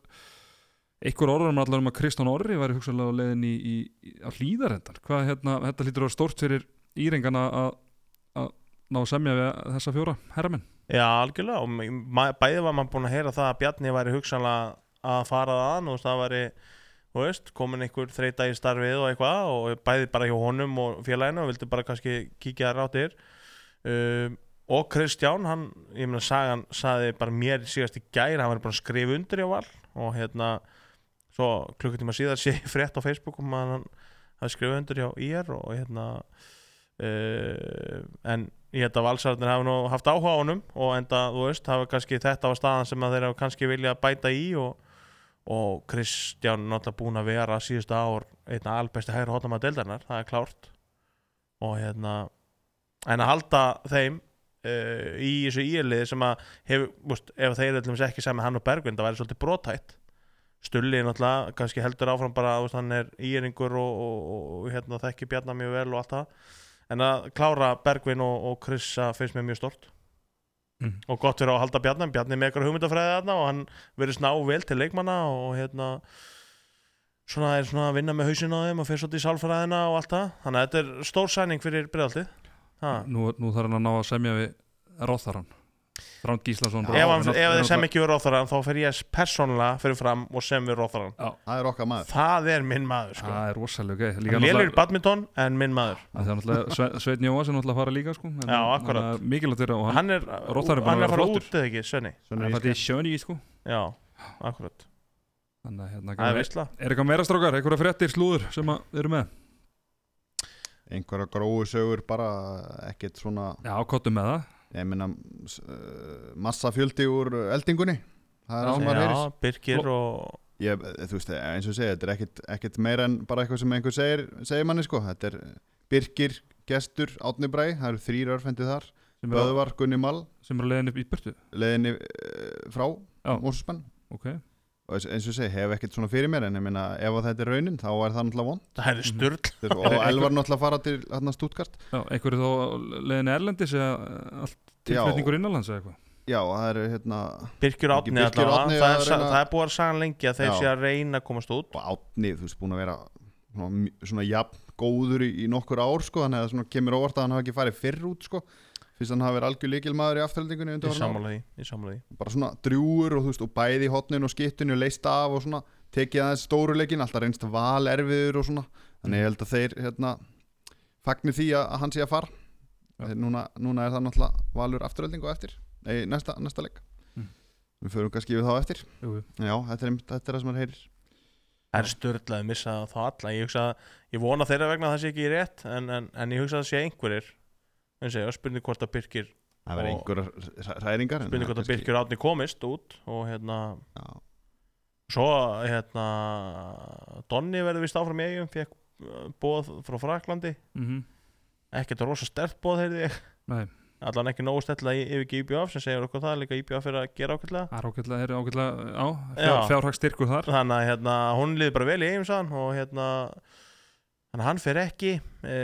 [SPEAKER 1] einhver orðum allar um að Kristján Orri væri hugsanlega á leiðin í, í, í á hlýðarendar, hvað hérna, þetta hlýtur að vera stórt fyrir Íringana að að ná að semja við þessa fjóra herramenn
[SPEAKER 2] Já, algjörlega og ma- bæði var maður búin að heyra það að Bjarni væri hugsanlega að fara það að og það væri, þú veist, komin einhver þreita í starfið og eitthvað og bæði bara hjá honum og félaginu og vildi bara kannski kíkja það ráttir um, og Kristján, hann, ég meina sagan saði bara mér síðast í gær hann var búin að skrifa undir hjá val og hérna, svo klukkutíma síðar sé ég frétt á Facebook um að hann hafi skrifað undir hjá IR og hérna uh, en ég held að valsarðin hafi nú haft áhuga á honum og enda, þú veist, hafi kannski þetta var staðan sem að þeir hafa kannski viljað bæta í og, og Kristján náttúrulega búin að vera síðustu ár einn af albesti hægri hóttum að deildarnar, það er klárt og hérna en að halda þeim uh, í þessu íliði sem að hef, veist, ef þeir ætlum ekki saman hann og Bergvind það væri svolítið brotætt Stulli náttúrulega, kannski heldur áfram bara þú veist, hann er íringur og, og, og hérna, þekki Bjarnar mjög vel og allt það En að klára Bergvin og, og Krissa finnst mér mjög stort
[SPEAKER 1] Mhm.
[SPEAKER 2] og gott fyrir á að halda Bjarnar Bjarni er með eitthvað hugmyndafræði þarna og hann verið sná vel til leikmanna og hérna svona er svona að vinna með hausinn á þeim og fyrir svolítið í sálfræðina og allt það þannig að þetta er stór sæning fyrir breyðaltið
[SPEAKER 1] nú, nú þarf hann að ná að semja við Róðarann, Þránd Gíslason
[SPEAKER 3] Já,
[SPEAKER 2] ef, hann, ef þeir sem ekki við Róþarann þá fer ég persónulega fyrir fram og sem við Róþarann
[SPEAKER 3] það er okkar maður
[SPEAKER 2] það er minn maður sko.
[SPEAKER 1] Ah, það er rosalega gæð
[SPEAKER 2] hann lélur badminton en minn maður
[SPEAKER 1] Af því að náttúrulega Sve- Sveinn Jóhansen náttúrulega að fara líka sko en-
[SPEAKER 2] Já,
[SPEAKER 1] en
[SPEAKER 2] akkurat.
[SPEAKER 1] það er Mikilvægt þeirra og hann,
[SPEAKER 2] hann er,
[SPEAKER 1] Róþarinn er búinn
[SPEAKER 2] hann
[SPEAKER 1] að vera
[SPEAKER 2] er að fara
[SPEAKER 1] flottur.
[SPEAKER 2] út eða ekki, Svenni
[SPEAKER 1] hann er fættið í sjöni sko
[SPEAKER 2] já, akkurat,
[SPEAKER 1] Þannig að hérna
[SPEAKER 2] það er
[SPEAKER 1] er,
[SPEAKER 2] veistla
[SPEAKER 1] er eitthvað meira strókar, einhverja fréttir slúður sem að eru með
[SPEAKER 3] einhverja gróu sögur bara ekkert svona
[SPEAKER 1] Já, kottum með það
[SPEAKER 3] ég meina s- uh, massa fjöldi úr eldingunni það er
[SPEAKER 1] Já.
[SPEAKER 3] það sem maður
[SPEAKER 2] Já,
[SPEAKER 3] heyrir
[SPEAKER 2] Birgir og
[SPEAKER 3] ég, þú veist, eins og ég segi, þetta er ekkit, ekkit meira en bara eitthvað sem einhver segir, segir manni sko. þetta er Birgir, Gestur Átni Bræ, það eru þrýr örfendi þar
[SPEAKER 1] sem eru
[SPEAKER 3] Böðvar, Gunni Mal,
[SPEAKER 1] sem er leiðin upp í burtu
[SPEAKER 3] leðinni uh, frá
[SPEAKER 1] Já.
[SPEAKER 3] Mósusmann
[SPEAKER 1] Ok,
[SPEAKER 3] og eins- eins og ég segi, hef ekkit svona fyrir mér en ég meina, ef að þetta er raunin, þá er það náttúrulega
[SPEAKER 1] (laughs)
[SPEAKER 3] vond
[SPEAKER 2] það er styrl
[SPEAKER 3] Þú veist, og Elvar náttúrulega að fara til hérna stútkart
[SPEAKER 1] já, einhverju þá leiðin erlendis eða eh, allt tilflutningur innanlands eða eitthvað
[SPEAKER 3] já, það eru hérna
[SPEAKER 2] Birgir og Átni
[SPEAKER 3] Birgir og
[SPEAKER 2] allavega.
[SPEAKER 3] Árni
[SPEAKER 2] það,
[SPEAKER 3] að
[SPEAKER 2] er, sa-
[SPEAKER 3] reyna-
[SPEAKER 2] það er búið að sagja lengi að þeir
[SPEAKER 3] Já.
[SPEAKER 2] sé að reyna að komast út
[SPEAKER 3] og Átni, þú veist, búin að vera svona, m- svona jafn góður í, í nokkur ár sko, þannig að það svona kemur óvart að hann hafi ekki farið fyrr út sko, fyrst hann hafi verið algjör líkilmaður í afturhaldingunni
[SPEAKER 2] í
[SPEAKER 3] undir hann,
[SPEAKER 2] sammálaði, í sammálaði.
[SPEAKER 3] bara svona drjúur og þú veist, og bæði í hotninu og skittinu og leist af og svona, tekið aðeins stóruleikin alltaf reynst val erfiður og svona þannig ég held að þeir, hérna fagnir því að, að hann sé að fara
[SPEAKER 1] Já.
[SPEAKER 3] Þeir- núna, núna er það náttúrulega valur afturölding og eftir Nei, næsta, næsta leik
[SPEAKER 1] Mm.
[SPEAKER 3] Við förum kannski við þá eftir
[SPEAKER 1] Jú, jú.
[SPEAKER 3] Já, þetta er, einmitt- þetta er það sem maður heyrir
[SPEAKER 2] Það er störðlega að missa þá alla Ég, hugsa, að- ég vona þeirra vegna að það sé ekki rétt en, en, en ég hugsa að það sé einhverjir En segja, spurning hvort að Birkir
[SPEAKER 3] Það verður
[SPEAKER 2] Og-
[SPEAKER 3] einhverjar ræringar en
[SPEAKER 2] Spurning hvort að
[SPEAKER 3] kannski-
[SPEAKER 2] Birkir átni komist út Og hérna
[SPEAKER 3] Já,
[SPEAKER 2] Svo hérna Donni verður vist áfram í eigum Fekk bóð frá Fraklandi
[SPEAKER 1] Mhm.
[SPEAKER 2] Ekkert rosa stert bóð heyrði ég
[SPEAKER 1] Nei.
[SPEAKER 2] Allan ekki nógu stella yfir ekki IBF sem segir okkur það líka IBF er að gera ákveðlega
[SPEAKER 1] Það er ágætlega, er ágætlega á,
[SPEAKER 2] Já.
[SPEAKER 1] fjárhagsstyrkur þar
[SPEAKER 2] þannig að hérna, hún liði bara vel í eigum sann og hérna þannig að hann fer ekki e,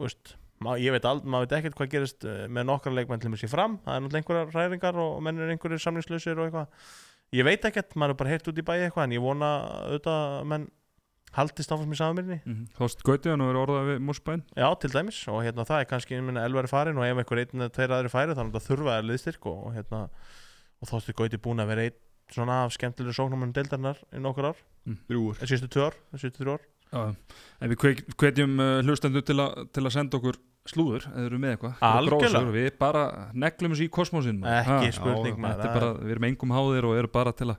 [SPEAKER 2] úst, ma, ég veit aldrei, maður veit ekkert hvað gerist eh, með nokkra leikmenn til mér sér fram það er náttúrulega einhverjar ræringar og menn er einhverjir samlingslausir og eitthvað ég veit ekkert, maður er bara heyrt út í bæi eitthvað en ég vona auðvitað að menn haldist áfram í samanbyrni,
[SPEAKER 1] Mhm. Þóst Gautið hann og verið orðað við Músbæn
[SPEAKER 2] já til dæmis og hérna það er kannski minna elveri farin og ef einhver einn eða tveir aðri færi þannig að þurfa er liðstyrk og, og hérna og þóttu gauti búin að vera einn svona af skemmtilegur sóknumunum deildarinnar í nokkur ár
[SPEAKER 3] Þrjú úr
[SPEAKER 2] síðustu tvö ár, síðustu þrjú ár
[SPEAKER 1] Já, en við kveik- hvetjum uh, hlustendur til, að- til að senda okkur slúður eða eru með eitthvað Eitthvað
[SPEAKER 2] Algjörlega.
[SPEAKER 1] grófsögur. Við bara neglum þessu í kosmósinn sko, maður.
[SPEAKER 2] ekki
[SPEAKER 1] Ha,
[SPEAKER 2] spurning
[SPEAKER 3] já,
[SPEAKER 2] maður
[SPEAKER 1] Ah, Þetta er bara, við erum engum háðir og eru bara til að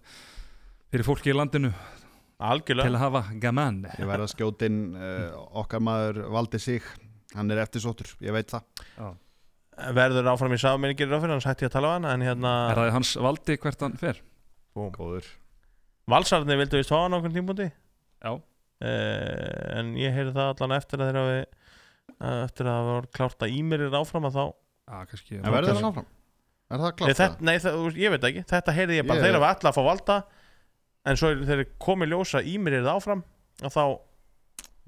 [SPEAKER 1] fyrir fólki í landinu til
[SPEAKER 2] algjörlega,
[SPEAKER 1] að hafa gaman
[SPEAKER 3] Ég verð að skjóta inn uh, okkar maður valdi sig Hann er eftirsóttur, ég veit það
[SPEAKER 2] verður áfram í saminni gerir áfyrir, hans hætti ég að tala á hann en hérna,
[SPEAKER 1] Er það hans valdi hvert hann fer?
[SPEAKER 3] Góður
[SPEAKER 2] valsarni vildu vist fá hann á okkur tímpúndi
[SPEAKER 1] Já,
[SPEAKER 2] eh, en ég heyrði það allan eftir að þeirra við eftir að það var klárt að Ímir er áfram að þá
[SPEAKER 1] ah, kannski
[SPEAKER 3] En verður hann áfram? Er það
[SPEAKER 2] nei,
[SPEAKER 3] klart?
[SPEAKER 2] þetta, nei það, þú- ég veit það ekki, þetta heyrði ég bara
[SPEAKER 3] Ég-
[SPEAKER 2] þeirra var allar að fá valda en svo er- þegar komið ljósa Ímir er áfram og þá,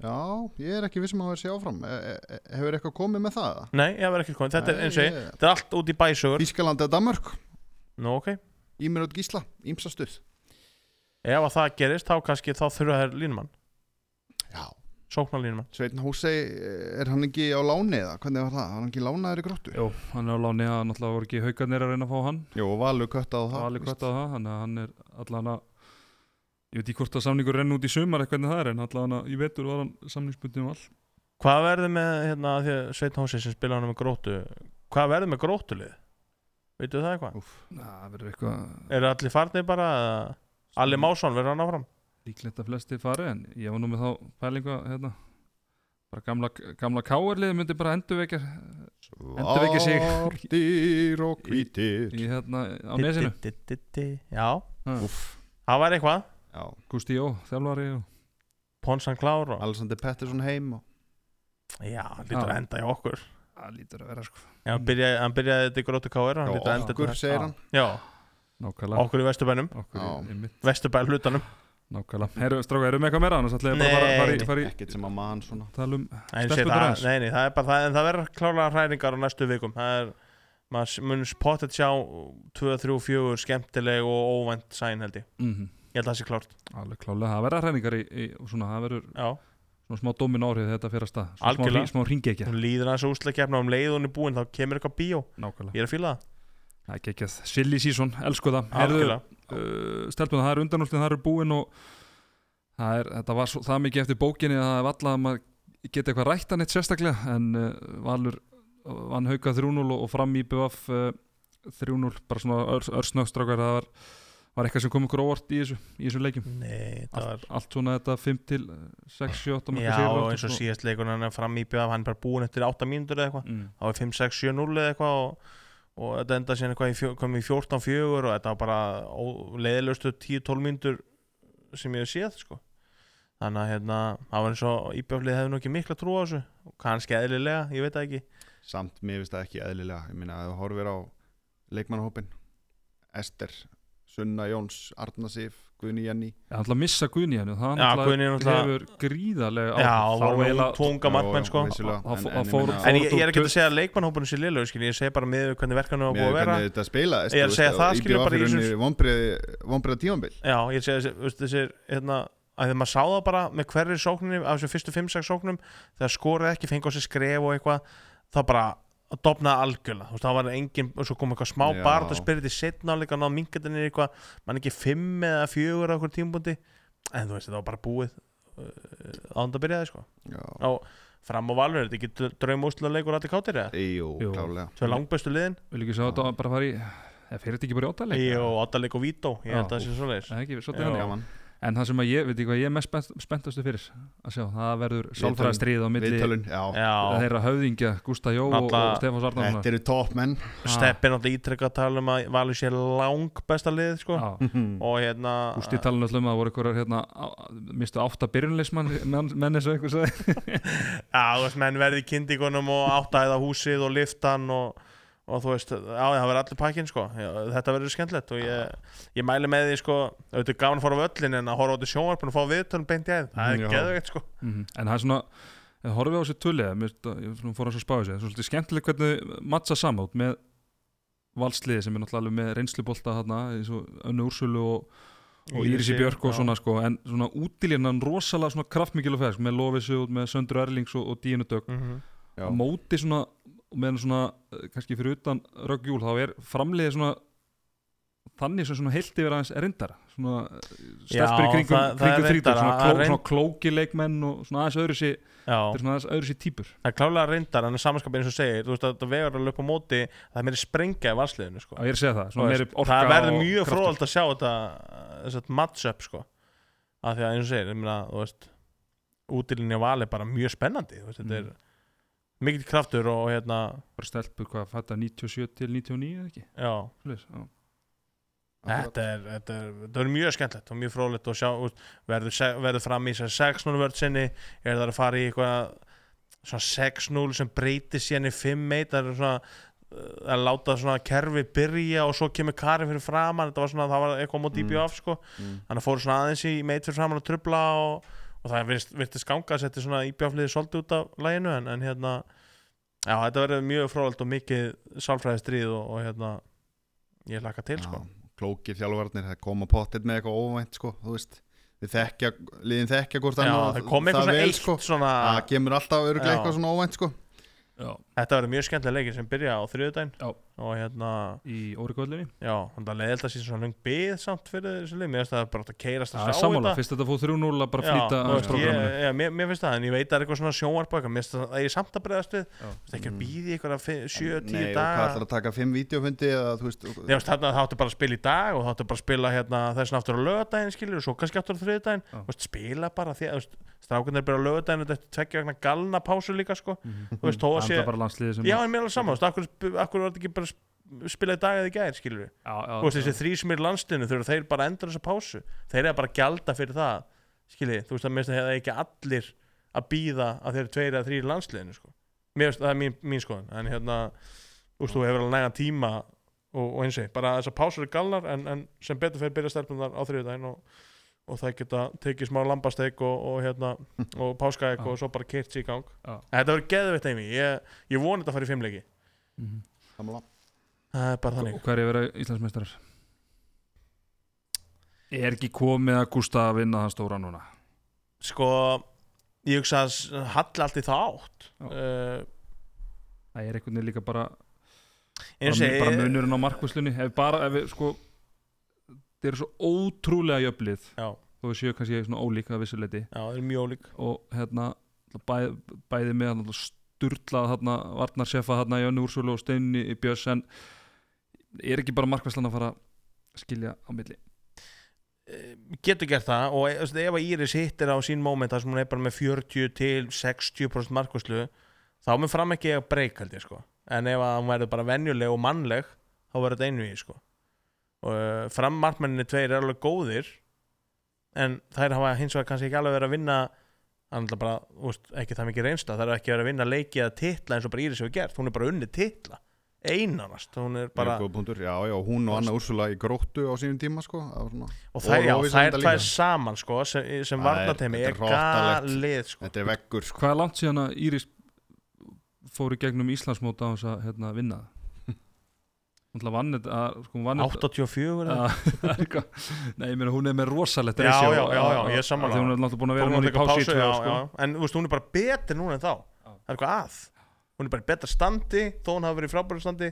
[SPEAKER 3] Já, ég er ekki vissum að það sé áfram e e Hefur eitthvað komið með það?
[SPEAKER 2] nei, ég var ekki komið þetta er
[SPEAKER 3] Nei,
[SPEAKER 2] eins og ég,
[SPEAKER 3] ég-
[SPEAKER 2] þetta er allt út í bæsögur
[SPEAKER 3] Þýskaland eða Danmörk
[SPEAKER 2] nú ok,
[SPEAKER 3] Ímir átt Gísla, ímsa stuð
[SPEAKER 2] ef að það gerist þá kannski þá þurfa þær línumann,
[SPEAKER 3] Já
[SPEAKER 2] sóknarlínumann
[SPEAKER 3] Sveitn Hósei, eh, er hann ekki á láni eða? Hvernig var það? Var hann ekki lánaður í gróttu?
[SPEAKER 1] Jó, hann er á láni að náttúrulega voru ekki haugarnir að reyna að fá hann
[SPEAKER 3] Jó, og Valur köttað á
[SPEAKER 1] Það
[SPEAKER 3] það
[SPEAKER 1] var alveg
[SPEAKER 3] víst.
[SPEAKER 1] kvart á það, þannig að hann er allan að ég veit ekki hvort að samningur renn út í sumar eitthvað en það er, en allan að ég vetur var hann samningsbundin um all
[SPEAKER 2] Hvað verður með hérna, af því að Sveitn Hósi sem spila hann með gróttu Hvað verður með gróttulið? Veitu það eitthvað?
[SPEAKER 3] Úff,
[SPEAKER 1] Það verður eitthvað
[SPEAKER 2] Eru allir farnir bara eða- Alli
[SPEAKER 1] Mm.
[SPEAKER 2] Másson verður hann áfram
[SPEAKER 1] líklegt að flesti fari en ég var nú með þá pælingu að hérna, bara gamla, gamla káerlið myndi bara endurvekja Endurvekja sig.
[SPEAKER 3] Svartir og
[SPEAKER 2] (laughs)
[SPEAKER 3] hvítir
[SPEAKER 1] í hérna á nesinu
[SPEAKER 2] Di, di, di, di. Já,
[SPEAKER 3] Úff,
[SPEAKER 2] það var eitthvað
[SPEAKER 3] já
[SPEAKER 1] Gústi Jó, þjálfari og
[SPEAKER 2] Ponsan Klár og...
[SPEAKER 3] Alexander Pettersson heim og...
[SPEAKER 2] Já, hann lítur
[SPEAKER 1] Já.
[SPEAKER 2] að enda í okkur
[SPEAKER 1] það lítur að vera sko
[SPEAKER 2] Já, hann byrjaði, hann byrjaði þetta í gróttu káir
[SPEAKER 3] Já,
[SPEAKER 2] Hann lítur að enda
[SPEAKER 3] okkur,
[SPEAKER 2] þetta-
[SPEAKER 3] segir hann
[SPEAKER 2] Já,
[SPEAKER 1] Nákvæmlega,
[SPEAKER 2] okkur í Vesturbænum
[SPEAKER 1] okkur
[SPEAKER 3] Já.
[SPEAKER 1] í mitt
[SPEAKER 2] Vesturbæn hlutanum
[SPEAKER 1] Nákvæmlega, herru stráka, erum við eitthvað meira annars ætlaði ég bara að fara, fara, í- fara í
[SPEAKER 3] Ekkert sem að maður svona
[SPEAKER 1] tala um
[SPEAKER 2] En
[SPEAKER 1] Stelpurnar
[SPEAKER 2] sé það,
[SPEAKER 1] aðeins.
[SPEAKER 2] nei, nei, það er bara það En það verður klálega hræringar á næstu vikum Það er, maður mun pottet sjá 2, 3, 4 skemmtileg og óvænt sæn held ég
[SPEAKER 1] mm
[SPEAKER 2] Ég held að það sé klárt
[SPEAKER 1] alveg klálega, það verða hræningar í, í og svona, það verður
[SPEAKER 2] Já
[SPEAKER 1] svona smá dómin árið þegar þetta fyrir að stað Svona smá,
[SPEAKER 2] Algjörlega.
[SPEAKER 1] hring- smá ringekja,
[SPEAKER 2] hún líður aðeins að úslakefna um leið og hún er búin þá kemur eitthvað bíó,
[SPEAKER 1] nákvæmlega
[SPEAKER 2] ég er að fýla það
[SPEAKER 1] það er gekkjað, silly season, elsku það
[SPEAKER 2] algjörlega,
[SPEAKER 1] uh, stelpun, það er undanúslið, það eru búin og það, er, þetta var svo, það mikið eftir bókinni að það er vallað að maður geti eitthvað rættan eitt sérstaklega en uh, Valur eh, vann hauka 3-0 og, og fram í BVF uh, 3-0, bara svona ör, örsnöggstrákar það var, var eitthvað sem kom ykkur óvart í þessu, í þessu leikjum
[SPEAKER 2] nei, það var
[SPEAKER 1] allt, allt svona þetta 5 til 6, 7, 8
[SPEAKER 2] já, og eins og síðast leikur hann er fram í bjöð hann er bara búin eftir 8 mínútur eða eitthvað
[SPEAKER 1] mm,
[SPEAKER 2] þá er 5, 6, 7, 0 eða eitthvað og, og þetta enda síðan eitthvað í fjó, kom í 14, 4 og þetta var bara leiðilegustu 10, 12 mínútur sem ég hef séð sko þannig að hérna, það var eins og íbjöflið hefði nú ekki mikla trú á þessu og kannski eðlilega, ég veit það ekki
[SPEAKER 3] Samt mér finnst það ekki eðlilega Ég minna að þú horfir á leikmannahópin Ester, Sunna Jóns, Arna Sif, Guðni Jenny
[SPEAKER 1] Það er alltaf að missa Guðni hennu, það
[SPEAKER 2] Já,
[SPEAKER 1] náttúrulega
[SPEAKER 2] Guðni er náttúrulega-
[SPEAKER 1] hefur gríðarlega
[SPEAKER 2] já,
[SPEAKER 1] áhrif.
[SPEAKER 2] það
[SPEAKER 1] þá
[SPEAKER 2] var
[SPEAKER 1] eiginlega-
[SPEAKER 2] tunga markmenn sko
[SPEAKER 3] vissulega.
[SPEAKER 1] Þá fó-
[SPEAKER 3] En-
[SPEAKER 1] þá
[SPEAKER 3] en ég
[SPEAKER 1] fór-
[SPEAKER 3] meina-
[SPEAKER 1] fór-
[SPEAKER 2] En ég, ég er ekki
[SPEAKER 1] Fóruð
[SPEAKER 2] að
[SPEAKER 1] þú-
[SPEAKER 2] segja að leikmannhópurinn sé liðlegur skilji, ég segi bara með hvernig verkefni var
[SPEAKER 3] Mér
[SPEAKER 2] búið að
[SPEAKER 3] er
[SPEAKER 2] vera
[SPEAKER 3] hvernig þetta spilaðist
[SPEAKER 2] Ég er að
[SPEAKER 3] þú
[SPEAKER 2] segja
[SPEAKER 3] veist,
[SPEAKER 2] það,
[SPEAKER 3] og
[SPEAKER 2] skilur,
[SPEAKER 3] IBF
[SPEAKER 2] bara í
[SPEAKER 3] er
[SPEAKER 2] þessu-
[SPEAKER 3] unni vonbreiði- vonbreiða tímambil
[SPEAKER 2] Já, ég segi þessi- veist, þessir hérna, að þegar maður sá það bara með hverri sókninni af þessum fyrstu 5-6 sóknum þegar skorið ekki, fengi á sig skref og eitthvað það bara að dopna algjörlega þú veist, það var engin, og svo kom eitthvað smá
[SPEAKER 3] Já.
[SPEAKER 2] barð og spyrði setna áleika, náðu mingatinni eitthvað mann ekki 5 eða 4 á okkur tímbundi en þú veist, það var bara búið uh, ánda byrjaði sko
[SPEAKER 3] Já,
[SPEAKER 2] og fram á valur, er þetta ekki draum úslega leikur allir káttir eða?
[SPEAKER 3] Jú,
[SPEAKER 1] Jú.
[SPEAKER 3] klálega
[SPEAKER 2] Svo langbestu liðin
[SPEAKER 1] Vil ekki sjá þetta bara fara í eða fyrir þetta ekki bara í óttaleg
[SPEAKER 2] Jú, Ottaleik og Vító, ég held
[SPEAKER 1] Já.
[SPEAKER 2] að það sé svoleiðis
[SPEAKER 1] ekki, svolítið
[SPEAKER 2] Já.
[SPEAKER 1] þannig.
[SPEAKER 3] Gaman.
[SPEAKER 1] En það sem að ég, veit ekki hvað ég er mest spennt- spenntastu fyrir að sjá, það verður sálfræða stríð á milli
[SPEAKER 3] Viðtölun, já
[SPEAKER 2] Já,
[SPEAKER 1] þeirra höfðingja, Gústa Jó og,
[SPEAKER 2] Náttúrulega-
[SPEAKER 1] og Stefán Sarnarsson
[SPEAKER 3] Þetta eru top
[SPEAKER 2] (laughs)
[SPEAKER 3] menn
[SPEAKER 2] Steppi er náttúrulega ítrekka að tala um að Valur sé langbesta lið, sko Og hérna
[SPEAKER 1] Gústi talin allum að það voru einhverjar hérna, á- mistu átta byrjunleismann menn eins og einhver sagði
[SPEAKER 2] Já, þú veist, menn verði í kyndingunum og áttæða húsið og liftan og, og þú veist, já, það verður allir pakkin sko, já, þetta verður skemmtilegt og ég, ég mæli með því sko, auðvitað er gaman að fara á völlin en að horfa á þetta sjónvarpun og fá viðtölum beint í æð, það
[SPEAKER 3] Já.
[SPEAKER 2] er geðveikt sko.
[SPEAKER 1] Mhm. En það er svona, ef horfið á þessi tulliða mér finnst að- ég svona fór að svo spá þessu, það er svolítið skemmtileg hvernig mattsa samát með valsliði sem er náttúrulega alveg með reynslubólta þarna, eins og Önnu Úrsulu og og Írisi Björk og
[SPEAKER 2] já.
[SPEAKER 1] svona sko en svona útilinnan rosalega svona kraftmikil og fersk með Lofisu út með Söndru Erlings og, og Dínu Dögg
[SPEAKER 2] Mhm.
[SPEAKER 1] á
[SPEAKER 3] Já.
[SPEAKER 1] móti svona meðan svona eh, kannski fyrir utan röggjúl þá er framliðið svona þannig sem svona heilt yfir aðeins reyndara svona eh, stelpur í
[SPEAKER 2] Já,
[SPEAKER 1] kringum,
[SPEAKER 2] það- það
[SPEAKER 1] kringum
[SPEAKER 2] er
[SPEAKER 1] þrítur
[SPEAKER 2] reyndara,
[SPEAKER 1] svona,
[SPEAKER 2] að
[SPEAKER 1] kló,
[SPEAKER 2] reynd-
[SPEAKER 1] svona klóki leikmenn og svona aðeins öðru sér
[SPEAKER 2] Já,
[SPEAKER 1] svona aðeins öðru sér típur
[SPEAKER 2] það er klálega reyndar en samanskapin eins og þú segir, þú veist að þetta vegar að löpa á móti, það er meiri sprengja í valsliðinu sko.
[SPEAKER 1] að ég er að segja það,
[SPEAKER 2] Þú
[SPEAKER 1] svona meiri
[SPEAKER 2] veist,
[SPEAKER 1] orka
[SPEAKER 2] það verður
[SPEAKER 1] og
[SPEAKER 2] mjög
[SPEAKER 1] kraftur.
[SPEAKER 2] fróðald að sjá þetta þessat matchup sko af því að eins og segir, ég meina, þú veist útilinni á val er bara mjög spennandi þú veist, þetta
[SPEAKER 1] Mm.
[SPEAKER 2] er mikill kraftur og hérna,
[SPEAKER 1] bara stelpur hvað fætta 97 til 99 eða ekki
[SPEAKER 2] já
[SPEAKER 1] Svoleiðis, já.
[SPEAKER 3] Akkurat.
[SPEAKER 2] þetta er, þetta er, þetta er mjög skemmtilegt og mjög fróðlegt og sjá, þú veist, verður, se- verður fram í þessar 6-0 vörð sinni er það að fara í eitthvað svona 6-0 sem breytir síðan í 5-1 það er svona uh, að láta svona kerfi byrja og svo kemur Karin fyrir framan þetta var svona, það var eitthvað á móti
[SPEAKER 3] Mm.
[SPEAKER 2] mm. IBF sko
[SPEAKER 3] Mm.
[SPEAKER 2] hann fór svona aðeins í meit fyrir framann að trubla og, og það virtist, virtist ganga að setja svona íbjáfliði svolítið út af læginu en, en hérna já, þetta verður mjög frólægt og mikið sálfræðistríð og, og hérna ég laka til sko
[SPEAKER 3] Já, klókir þjálfarnir, það koma pottet með eitthvað óvænt sko, þú veist við þekkja, liðin þekkja hvort
[SPEAKER 2] já,
[SPEAKER 3] annað
[SPEAKER 2] það kom eitthvað svona
[SPEAKER 3] vel,
[SPEAKER 2] eitt
[SPEAKER 3] sko.
[SPEAKER 2] svona,
[SPEAKER 3] það kemur alltaf örglega
[SPEAKER 2] Já.
[SPEAKER 3] eitthvað svona óvænt sko
[SPEAKER 1] Já,
[SPEAKER 2] þetta verður mjög skemmtilega leikir sem byrja á þriðudaginn
[SPEAKER 1] Já.
[SPEAKER 2] og hérna,
[SPEAKER 1] í órikvöldinni
[SPEAKER 2] já, þannig að leiðilegt að sé svona lung bið samt fyrir þessu lið, mér finnst það bara að
[SPEAKER 1] Það
[SPEAKER 2] keirast
[SPEAKER 1] er
[SPEAKER 2] að sjá
[SPEAKER 1] sammála,
[SPEAKER 2] þetta
[SPEAKER 1] fyrst þetta fóð 3-0 að bara flýta
[SPEAKER 2] Já, þú
[SPEAKER 1] aðeins
[SPEAKER 2] veist, ég,
[SPEAKER 1] programminu
[SPEAKER 2] já, mér, mér finnst það, en ég veit að það er eitthvað svona sjónvarp og eitthvað, mér finnst það að ég er samt að bregðast við
[SPEAKER 1] Já.
[SPEAKER 2] Þú veist, ekki að
[SPEAKER 3] Mm.
[SPEAKER 2] býði eitthvað 7-10
[SPEAKER 3] Nei, og hvað
[SPEAKER 2] daga
[SPEAKER 3] ætlar að taka fimm vídeofundi eða þú veist
[SPEAKER 2] Nei, þú veist, þarna þáttu bara að spila í dag og þáttu bara að spila hérna þessin aftur á lögadaginn skilur og svo kannski aftur á þriðdaginn
[SPEAKER 1] Já.
[SPEAKER 2] Þú veist, spila bara því að þú veist, strákunnir byrja á lögadaginn og þetta er tveggja vegna galna pásu líka sko. þú veist, þó að
[SPEAKER 1] Það
[SPEAKER 2] sé
[SPEAKER 1] er bara landsliði sem
[SPEAKER 2] Já, en mér er alveg saman, þú veist, akkur, akkur var þetta ekki bara að sp- spila í dag eða í gær skilur
[SPEAKER 1] já, já,
[SPEAKER 2] þú veist,
[SPEAKER 1] já.
[SPEAKER 2] þessi þrý sem er í landstinu þurfa þeir bara að endur þessa pásu þeir eru bara að gjalda fyrir það skiljið, þú veist að mér finnst að það er ekki allir að býða að þeir eru tveir eða þrýr í landsliðinu sko. mér finnst, það er mín, mín skoðan en hérna, þú veist, þú hefur alveg nægan tíma og, og eins og ég, bara þessar pásur er galnar en, en sem betur fyrir byrja stelpunar á þriðudaginn og, og það geta tekið smá lambasteg og, og (laughs) hérna og páskaeg
[SPEAKER 1] Já.
[SPEAKER 2] og svo bara keirt sér í gang
[SPEAKER 1] Já.
[SPEAKER 2] En þetta verður geðveitt einmi, ég, ég vona þetta fara í fimmleiki
[SPEAKER 1] Mhm.
[SPEAKER 3] samla
[SPEAKER 2] það er bara þannig
[SPEAKER 1] Og hverju vera Íslandsmeistarar? Er ekki komið að Gústa að vinna hann stóra núna?
[SPEAKER 2] sko ég hugsa að s- halla allt í það átt
[SPEAKER 1] Já.
[SPEAKER 2] uh,
[SPEAKER 1] Það er einhvern veginn líka bara
[SPEAKER 2] eins
[SPEAKER 1] bara,
[SPEAKER 2] og
[SPEAKER 1] bara
[SPEAKER 2] ég-
[SPEAKER 1] munurinn á markvæslunni ef bara, ef við sko þeir eru svo ótrúlega jöflið
[SPEAKER 2] já,
[SPEAKER 1] þó við séu kannski svona ólíka að vissuleiti
[SPEAKER 2] já, það er mjög ólík
[SPEAKER 1] og hérna bæ, bæði með hann sturlað hérna varnarsefa hérna í önnu úrsölu og steinni í Björns en er ekki bara markvæslan að fara að skilja á milli
[SPEAKER 2] Eh, getur gert það og e- þú veist, ef að Íris hittir á sín moment þar sem hún er bara með 40 til 60% markvæslu þá mun fram ekki að breyk held ég sko en ef að hún verður bara venjuleg og mannleg þá verður þetta einu í sko og eh, fram markmenninni tveir er alveg góðir en þær hafa hins vegar kannski ekki alveg verið að vinna annars bara, úst, ekki það mikið reynsla þær hafa ekki verið að vinna leiki eða titla eins og bara Íris hefur gert, hún er bara unni titla einanast, hún er bara
[SPEAKER 3] bara, punktur, já, já, hún og Anna Úrsula í gróttu á sínum tíma sko það var svona,
[SPEAKER 2] og þær,
[SPEAKER 3] Og
[SPEAKER 2] já,
[SPEAKER 3] Lovísa
[SPEAKER 2] þær
[SPEAKER 3] reyndar
[SPEAKER 2] tvær
[SPEAKER 3] líka.
[SPEAKER 2] saman sko, sem, sem
[SPEAKER 3] Það er-
[SPEAKER 2] varnatemi
[SPEAKER 3] þetta er
[SPEAKER 2] er
[SPEAKER 3] hróttalegt.
[SPEAKER 2] galið sko.
[SPEAKER 3] þetta er veggur sko
[SPEAKER 1] Hvað er langt síðan að Íris fóru gegnum Íslandsmóta á þess að hérna, vinna það? Hún ætla að vann þetta að- sko, hún vann þetta-
[SPEAKER 2] 84
[SPEAKER 1] (laughs)
[SPEAKER 2] eða?
[SPEAKER 1] að- það er eitthvað Nei, ég meina hún er með rosalegt
[SPEAKER 2] Já,
[SPEAKER 1] ratio
[SPEAKER 2] já, já, já,
[SPEAKER 1] að-
[SPEAKER 2] ég er sammála.
[SPEAKER 1] af því Hún er náttúrulega búin að vera
[SPEAKER 2] Tók
[SPEAKER 1] núna í sko.
[SPEAKER 2] náttúrulega
[SPEAKER 1] pási
[SPEAKER 2] pásu, já, já. en þú veist, hún er bara betri núna en þá
[SPEAKER 1] Já.
[SPEAKER 2] það er eitthvað að hún er bara í betra standi þó hún hafi verið í frábæru standi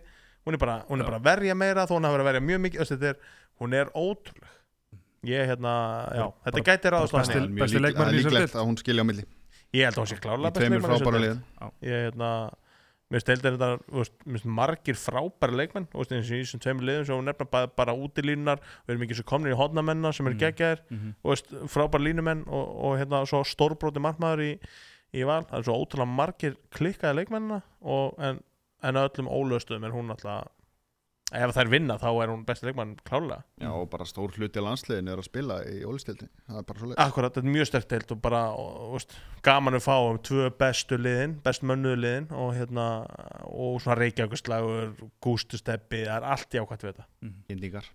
[SPEAKER 2] hún er bara, hún
[SPEAKER 1] Já.
[SPEAKER 2] er bara að verja meira þó hún hafi verið að verja mjög mikið Þessi, þetta er, hún er ótrúleg ég hérna, já,
[SPEAKER 1] Bara-
[SPEAKER 2] þetta gæti ráðast á
[SPEAKER 1] besti-
[SPEAKER 2] henni
[SPEAKER 3] Það er mjög
[SPEAKER 1] besti
[SPEAKER 3] lík-
[SPEAKER 1] leikmaðurinn í
[SPEAKER 3] það er
[SPEAKER 1] þessari
[SPEAKER 3] líklegt að hún skilja á milli
[SPEAKER 2] Ég held að hún sé
[SPEAKER 3] í
[SPEAKER 2] klálega
[SPEAKER 3] tveimur frábæra liðin
[SPEAKER 2] Ég hérna Mér veist deildar þetta, þú veist, mér finnst margir frábæri leikmenn, þú veist, eins og í þessum tveimur liðum sem hún nefna bara, bara útilínunar, við erum ekki svo komnir í hodnamennina sem eru
[SPEAKER 1] Mm.
[SPEAKER 2] geggjaðir,
[SPEAKER 1] Mhm.
[SPEAKER 2] þú veist, frábæri línumenn og, og hérna svo stórbróti markmaður í, í val, það er svo ótrúlega margir klikkaði leikmennina og en, en að öllum ólöstuðum er hún alltaf, ef þær vinna þá er hún besti leikmann klálega.
[SPEAKER 3] Já, og bara stór hluti landsliðinu er að spila í ólistildin Það er bara svo leið
[SPEAKER 2] Akkurat, þetta er mjög sterkt deild og bara og, og, veist, gaman að fá um tvö bestu liðin, best mönnuðu liðin og hérna og svona reykjaugustlagur, gústusteppi, það er allt jákvæmt við þetta.
[SPEAKER 1] mhm.
[SPEAKER 3] Indíkar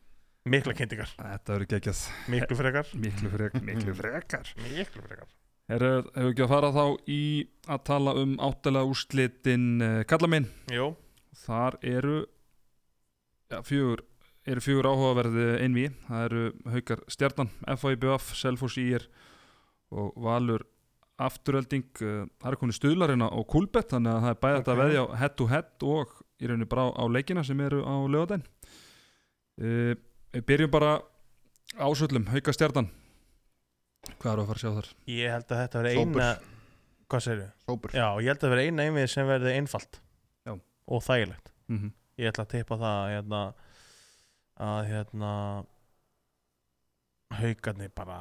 [SPEAKER 2] Mikla kynntingar,
[SPEAKER 1] Þetta verður geggjað
[SPEAKER 2] miklu frekar,
[SPEAKER 1] Miklu, frek, miklu frekar
[SPEAKER 2] miklu frekar.
[SPEAKER 1] Herru, hefur ekki að fara þá í að tala um áttalega úrslitin uh, kalla minn
[SPEAKER 2] Jú,
[SPEAKER 1] Þar eru ja, fjögur, eru fjögur áhugaverði einví Það eru Haukar Stjarnan, FAIBF, Selfoss IR og Valur Afturölding uh, Það er komin stuðlarina á Kulbett hérna þannig að það er bæðið okay. að
[SPEAKER 2] Ok.
[SPEAKER 1] veðja á head to head og í rauninni bara á leikina sem eru á lögadaginn uh, Við byrjum bara ásöllum, Haukar Stjarnan Hvað eru að fara að sjá þar?
[SPEAKER 2] ég held að þetta verði
[SPEAKER 3] Sópur.
[SPEAKER 2] eina, hvað segirðu?
[SPEAKER 3] Sópur
[SPEAKER 2] Já, ég held að verði eina einvið sem verði einfalt
[SPEAKER 1] Já.
[SPEAKER 2] og þægilegt.
[SPEAKER 1] Mm
[SPEAKER 2] Ég ætla að tippa það hérna, að hérna haugarnir bara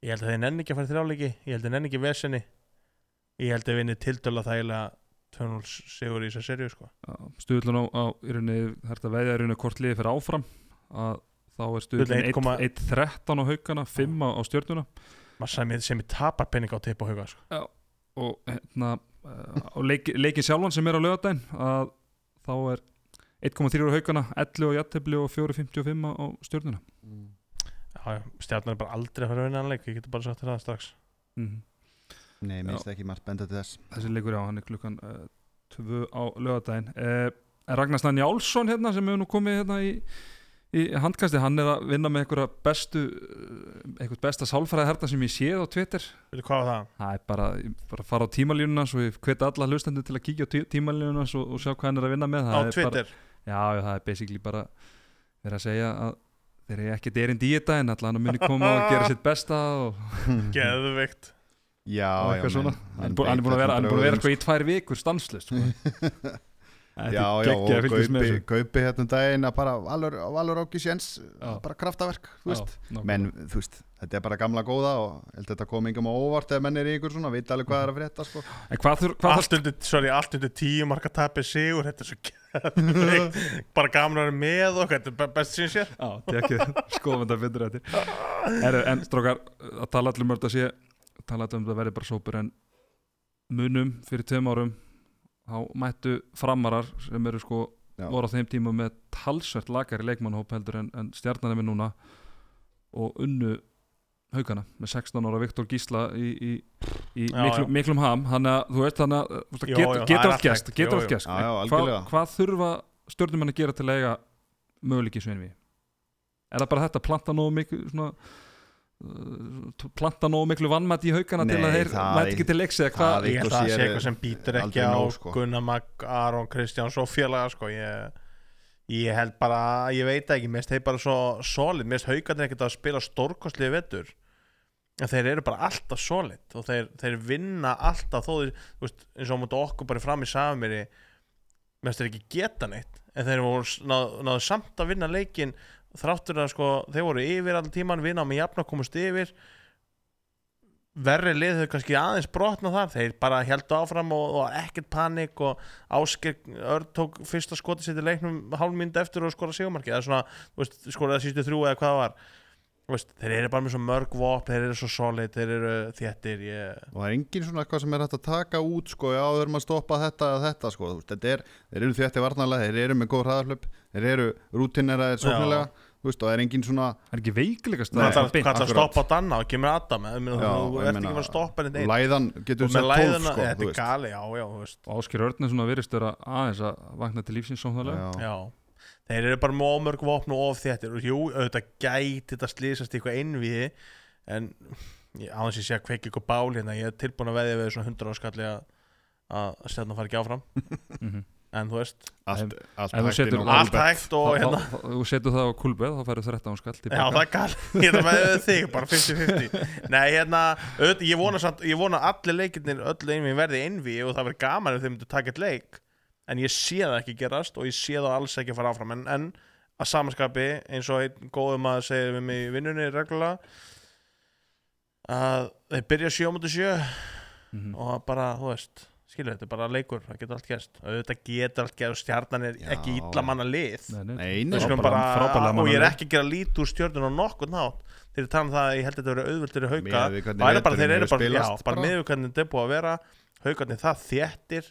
[SPEAKER 2] ég held að þeir nenni ekki að fara þrjáleiki ég held að þeir nenni ekki vesenni ég held að þeir vinni tildöla þægilega 2-0 sigur í þessar serju sko.
[SPEAKER 1] stuðlun á, á í rauninni, það er að veðja í rauninni hvort liðið fyrir áfram að þá er
[SPEAKER 2] Stuðlun
[SPEAKER 1] stuðlun
[SPEAKER 2] 1,1
[SPEAKER 1] 1.13 á haugana 5 á, á stjörnuna
[SPEAKER 2] maður sem, sem ég tapar pening á að tippa hauga sko.
[SPEAKER 1] og hérna eh, á leik, leikin sjálfan sem er á lögadaginn að þá er 1.3 á haugana 11 á jættefli og 4.55 á- á stjörnuna
[SPEAKER 2] Já, já, stjarnar er bara aldrei að fara að vinna hann leik ég getur bara sagt þér það strax
[SPEAKER 1] Mhm.
[SPEAKER 3] Nei,
[SPEAKER 1] Já.
[SPEAKER 3] minnst ekki margt benda til þess
[SPEAKER 1] þessi leikur á hann er klukkan 2 á lögadaginn uh, Ragnar Snæn Jálsson hérna sem hefur nú komið hérna í í handkasti, hann er að vinna með einhverja bestu eh, eitthvað besta sálfræði sem ég séð á Twitter
[SPEAKER 2] Veitu hvað var það?
[SPEAKER 1] Það er bara, bara að fara á tímalínuna svo ég hveti alla hlustendur til að kíkja á tí- tímalínuna svo, og sjá hvað hann er að vinna með
[SPEAKER 2] á
[SPEAKER 1] það er bara,
[SPEAKER 2] Twitter
[SPEAKER 1] Já, já, það er basically bara verið að segja að þeir eru ekkert erindi í þetta en allan að muni koma og gera sitt besta og,
[SPEAKER 2] geðveikt
[SPEAKER 3] Já,
[SPEAKER 1] og
[SPEAKER 3] já
[SPEAKER 1] eitthvað svona
[SPEAKER 3] menn,
[SPEAKER 1] Hann er bú- hann er búin að vera, hann er búin að vera sko í tvær vikur stanslust sko. Þetta er
[SPEAKER 3] Já, já,
[SPEAKER 1] geggjað að
[SPEAKER 3] og
[SPEAKER 1] fylgjast með
[SPEAKER 3] kaupi,
[SPEAKER 1] þessu.
[SPEAKER 3] kaupi hérna um daginn að bara Valur, Valur Áki Sjens
[SPEAKER 1] Já.
[SPEAKER 3] bara kraftaverk, þú veist
[SPEAKER 1] Já, nákvæmlega.
[SPEAKER 3] menn, þú veist, þetta er bara gamla góða og ég held þetta kom engum á óvart eða menn er í ykkur svona, vita alveg hvað er að frétta sko.
[SPEAKER 1] En hvað þurr, hvað þarf
[SPEAKER 2] allt undir, sorry, allt undir tíu marka tapir sigur þetta er svo (laughs) geðveikt bara gaman að vera með okkur þetta er bara best sem sé
[SPEAKER 1] Já, þetta er ekki skoðum þetta betur eftir Heru, En strókar, að tala allir mörg að sé tala allir um að verði bara sópur en munum fyrir tveim árum þá mættu framarar sem eru sko,
[SPEAKER 3] Já.
[SPEAKER 1] voru á þeim tíma með talsvert lakari leikmannhóp heldur en, en stjarnan er með núna og unnu haugana með 16 ára Viktor Gísla í, í, í
[SPEAKER 2] Já,
[SPEAKER 1] miklu,
[SPEAKER 2] já.
[SPEAKER 1] miklum ham þannig að þú veist þannig að þú veist,
[SPEAKER 2] Jú,
[SPEAKER 1] get,
[SPEAKER 2] jú, það er
[SPEAKER 1] getur
[SPEAKER 2] allt
[SPEAKER 1] allt gæst
[SPEAKER 2] hægt.
[SPEAKER 1] getur
[SPEAKER 2] Jú,
[SPEAKER 1] allt
[SPEAKER 2] jú.
[SPEAKER 1] gæst
[SPEAKER 3] Já, já,
[SPEAKER 1] hvað,
[SPEAKER 3] algjörlega.
[SPEAKER 1] hvað þurfa stjórnumenn að gera til að eiga möguleiki svein við er það bara þetta að planta nógu miklu svona, uh, planta nógu miklu vannmætt í haugana til
[SPEAKER 3] Nei,
[SPEAKER 1] að þeir
[SPEAKER 3] það
[SPEAKER 1] mæti
[SPEAKER 3] er-
[SPEAKER 1] ekki til leiks eða
[SPEAKER 3] það
[SPEAKER 1] hvað
[SPEAKER 3] er-
[SPEAKER 2] ég held að
[SPEAKER 3] Vikur
[SPEAKER 2] það
[SPEAKER 3] sér
[SPEAKER 2] sé
[SPEAKER 3] er
[SPEAKER 2] eitthvað sem býtur ekki á
[SPEAKER 3] aldrei nóg, sko.
[SPEAKER 2] Gunnar Mag, Aron Kristjáns og félaga sko. ég, ég held bara ég veit það ekki, mér finnst þeir bara svo solid, mér finnst haugarnir ekkert að spila stórkostlið vettur en þeir eru bara alltaf solid og þeir, þeir vinna alltaf þó þeir, þú veist, eins og mútu okkur bara fram í samiri mér finnst þeir ekki geta neitt en þeir voru náð, náðu samt að vinna leikin þráttur að sko, þeir voru yfir allan tíman, vinna með jafn að komast yfir verri lið þau kannski aðeins brotna þar þeir bara heldu áfram og, og ekkert panik og Ásker Örn tók fyrsta skoti sitt í leiknum hálfmynd eftir og skora sigumarki eða svona, þú veist, skora það sístu þrjú eða hvað það var Þú veist, þeir eru bara með svo mörg vopn þeir eru svo solid, þeir eru þéttir ég...
[SPEAKER 3] og það er engin svona eitthvað sem er hægt að taka út sko, já, þau erum að stoppa þetta eða þetta sko, þú veist, þetta er, þeir eru þétti varnalega þeir eru með góð hraðarhlaup, þeir eru rútinera þeir sóknilega, þú veist, og það er engin svona
[SPEAKER 1] það er ekki veiklegast
[SPEAKER 2] hvað
[SPEAKER 1] það
[SPEAKER 2] það
[SPEAKER 1] er beint.
[SPEAKER 2] að
[SPEAKER 3] akkurat.
[SPEAKER 2] stoppa á Danna og kemur Adam ég meina,
[SPEAKER 3] Já,
[SPEAKER 2] þú ert
[SPEAKER 3] ég
[SPEAKER 2] ekki
[SPEAKER 3] meina,
[SPEAKER 2] með að stoppa neitt einn
[SPEAKER 3] læðan getur
[SPEAKER 2] og með
[SPEAKER 3] sett 12
[SPEAKER 2] læðina,
[SPEAKER 3] sko,
[SPEAKER 2] þetta
[SPEAKER 3] þú
[SPEAKER 2] er gali, já, já, þú veist
[SPEAKER 1] og Ásker Örn er svona virðist vera aðeins að vakna til lífsins sóknarlega
[SPEAKER 3] veist já,
[SPEAKER 2] Já, þeir eru bara með ómörg vopn og of þéttir og jú, auðvitað gæti þetta slýsast í eitthvað einviði en ég, á þess að ég sé að kveiki eitthvað bál hérna, ég er tilbúin að veðja við svona 100 áskalli að að stjarnan fari ekki áfram
[SPEAKER 1] Mhm.
[SPEAKER 2] en þú veist,
[SPEAKER 3] allt, allt
[SPEAKER 1] ef þú
[SPEAKER 3] hægt
[SPEAKER 1] setur
[SPEAKER 3] inn á
[SPEAKER 2] allt
[SPEAKER 3] Kolbeinn.
[SPEAKER 2] hægt og
[SPEAKER 1] Þá-
[SPEAKER 2] hérna
[SPEAKER 1] þá- þá- Þú setur það á kulböð, þá færðu 13 skall
[SPEAKER 2] Já,
[SPEAKER 1] tilbaka.
[SPEAKER 2] það er galt, (laughs) ég er með þig, bara 50-50 Nei, hérna, auðvitað, ég vona samt, ég vona að allir leikirnir, öll einvíð verði einví og það verði gaman ef þeim myndu taka eitt leik en ég sé það ekki gerast og ég sé það alls ekki að fara áfram en, en að samanskapi, eins og einn góðum að segja við mig í vinnunni reglulega að þeir byrja 7.7
[SPEAKER 1] Mhm.
[SPEAKER 2] og það bara, þú veist skilur þetta, er bara leikur, það getur allt gerst auðvitað getur allt gerst, stjarnan er
[SPEAKER 3] Já.
[SPEAKER 2] ekki illa manna lið
[SPEAKER 1] Nei, nei.
[SPEAKER 3] Nei, nei,
[SPEAKER 2] Við skulum
[SPEAKER 1] Frábæra-
[SPEAKER 2] bara,
[SPEAKER 1] frábærlega
[SPEAKER 2] og ég er
[SPEAKER 1] mannalegt.
[SPEAKER 2] ekki að gera lít úr stjörnun á nokkur nátt þeir eru talað um það að ég held að þetta verið auðvöldur í hauka
[SPEAKER 3] Miðað við hvernig
[SPEAKER 2] og það er bara,
[SPEAKER 3] veturinn
[SPEAKER 2] þeir eru
[SPEAKER 3] hefur
[SPEAKER 2] bara, já,
[SPEAKER 3] spilast bara.
[SPEAKER 2] bara miður hvernig þetta er búið að vera haukarnir það þéttir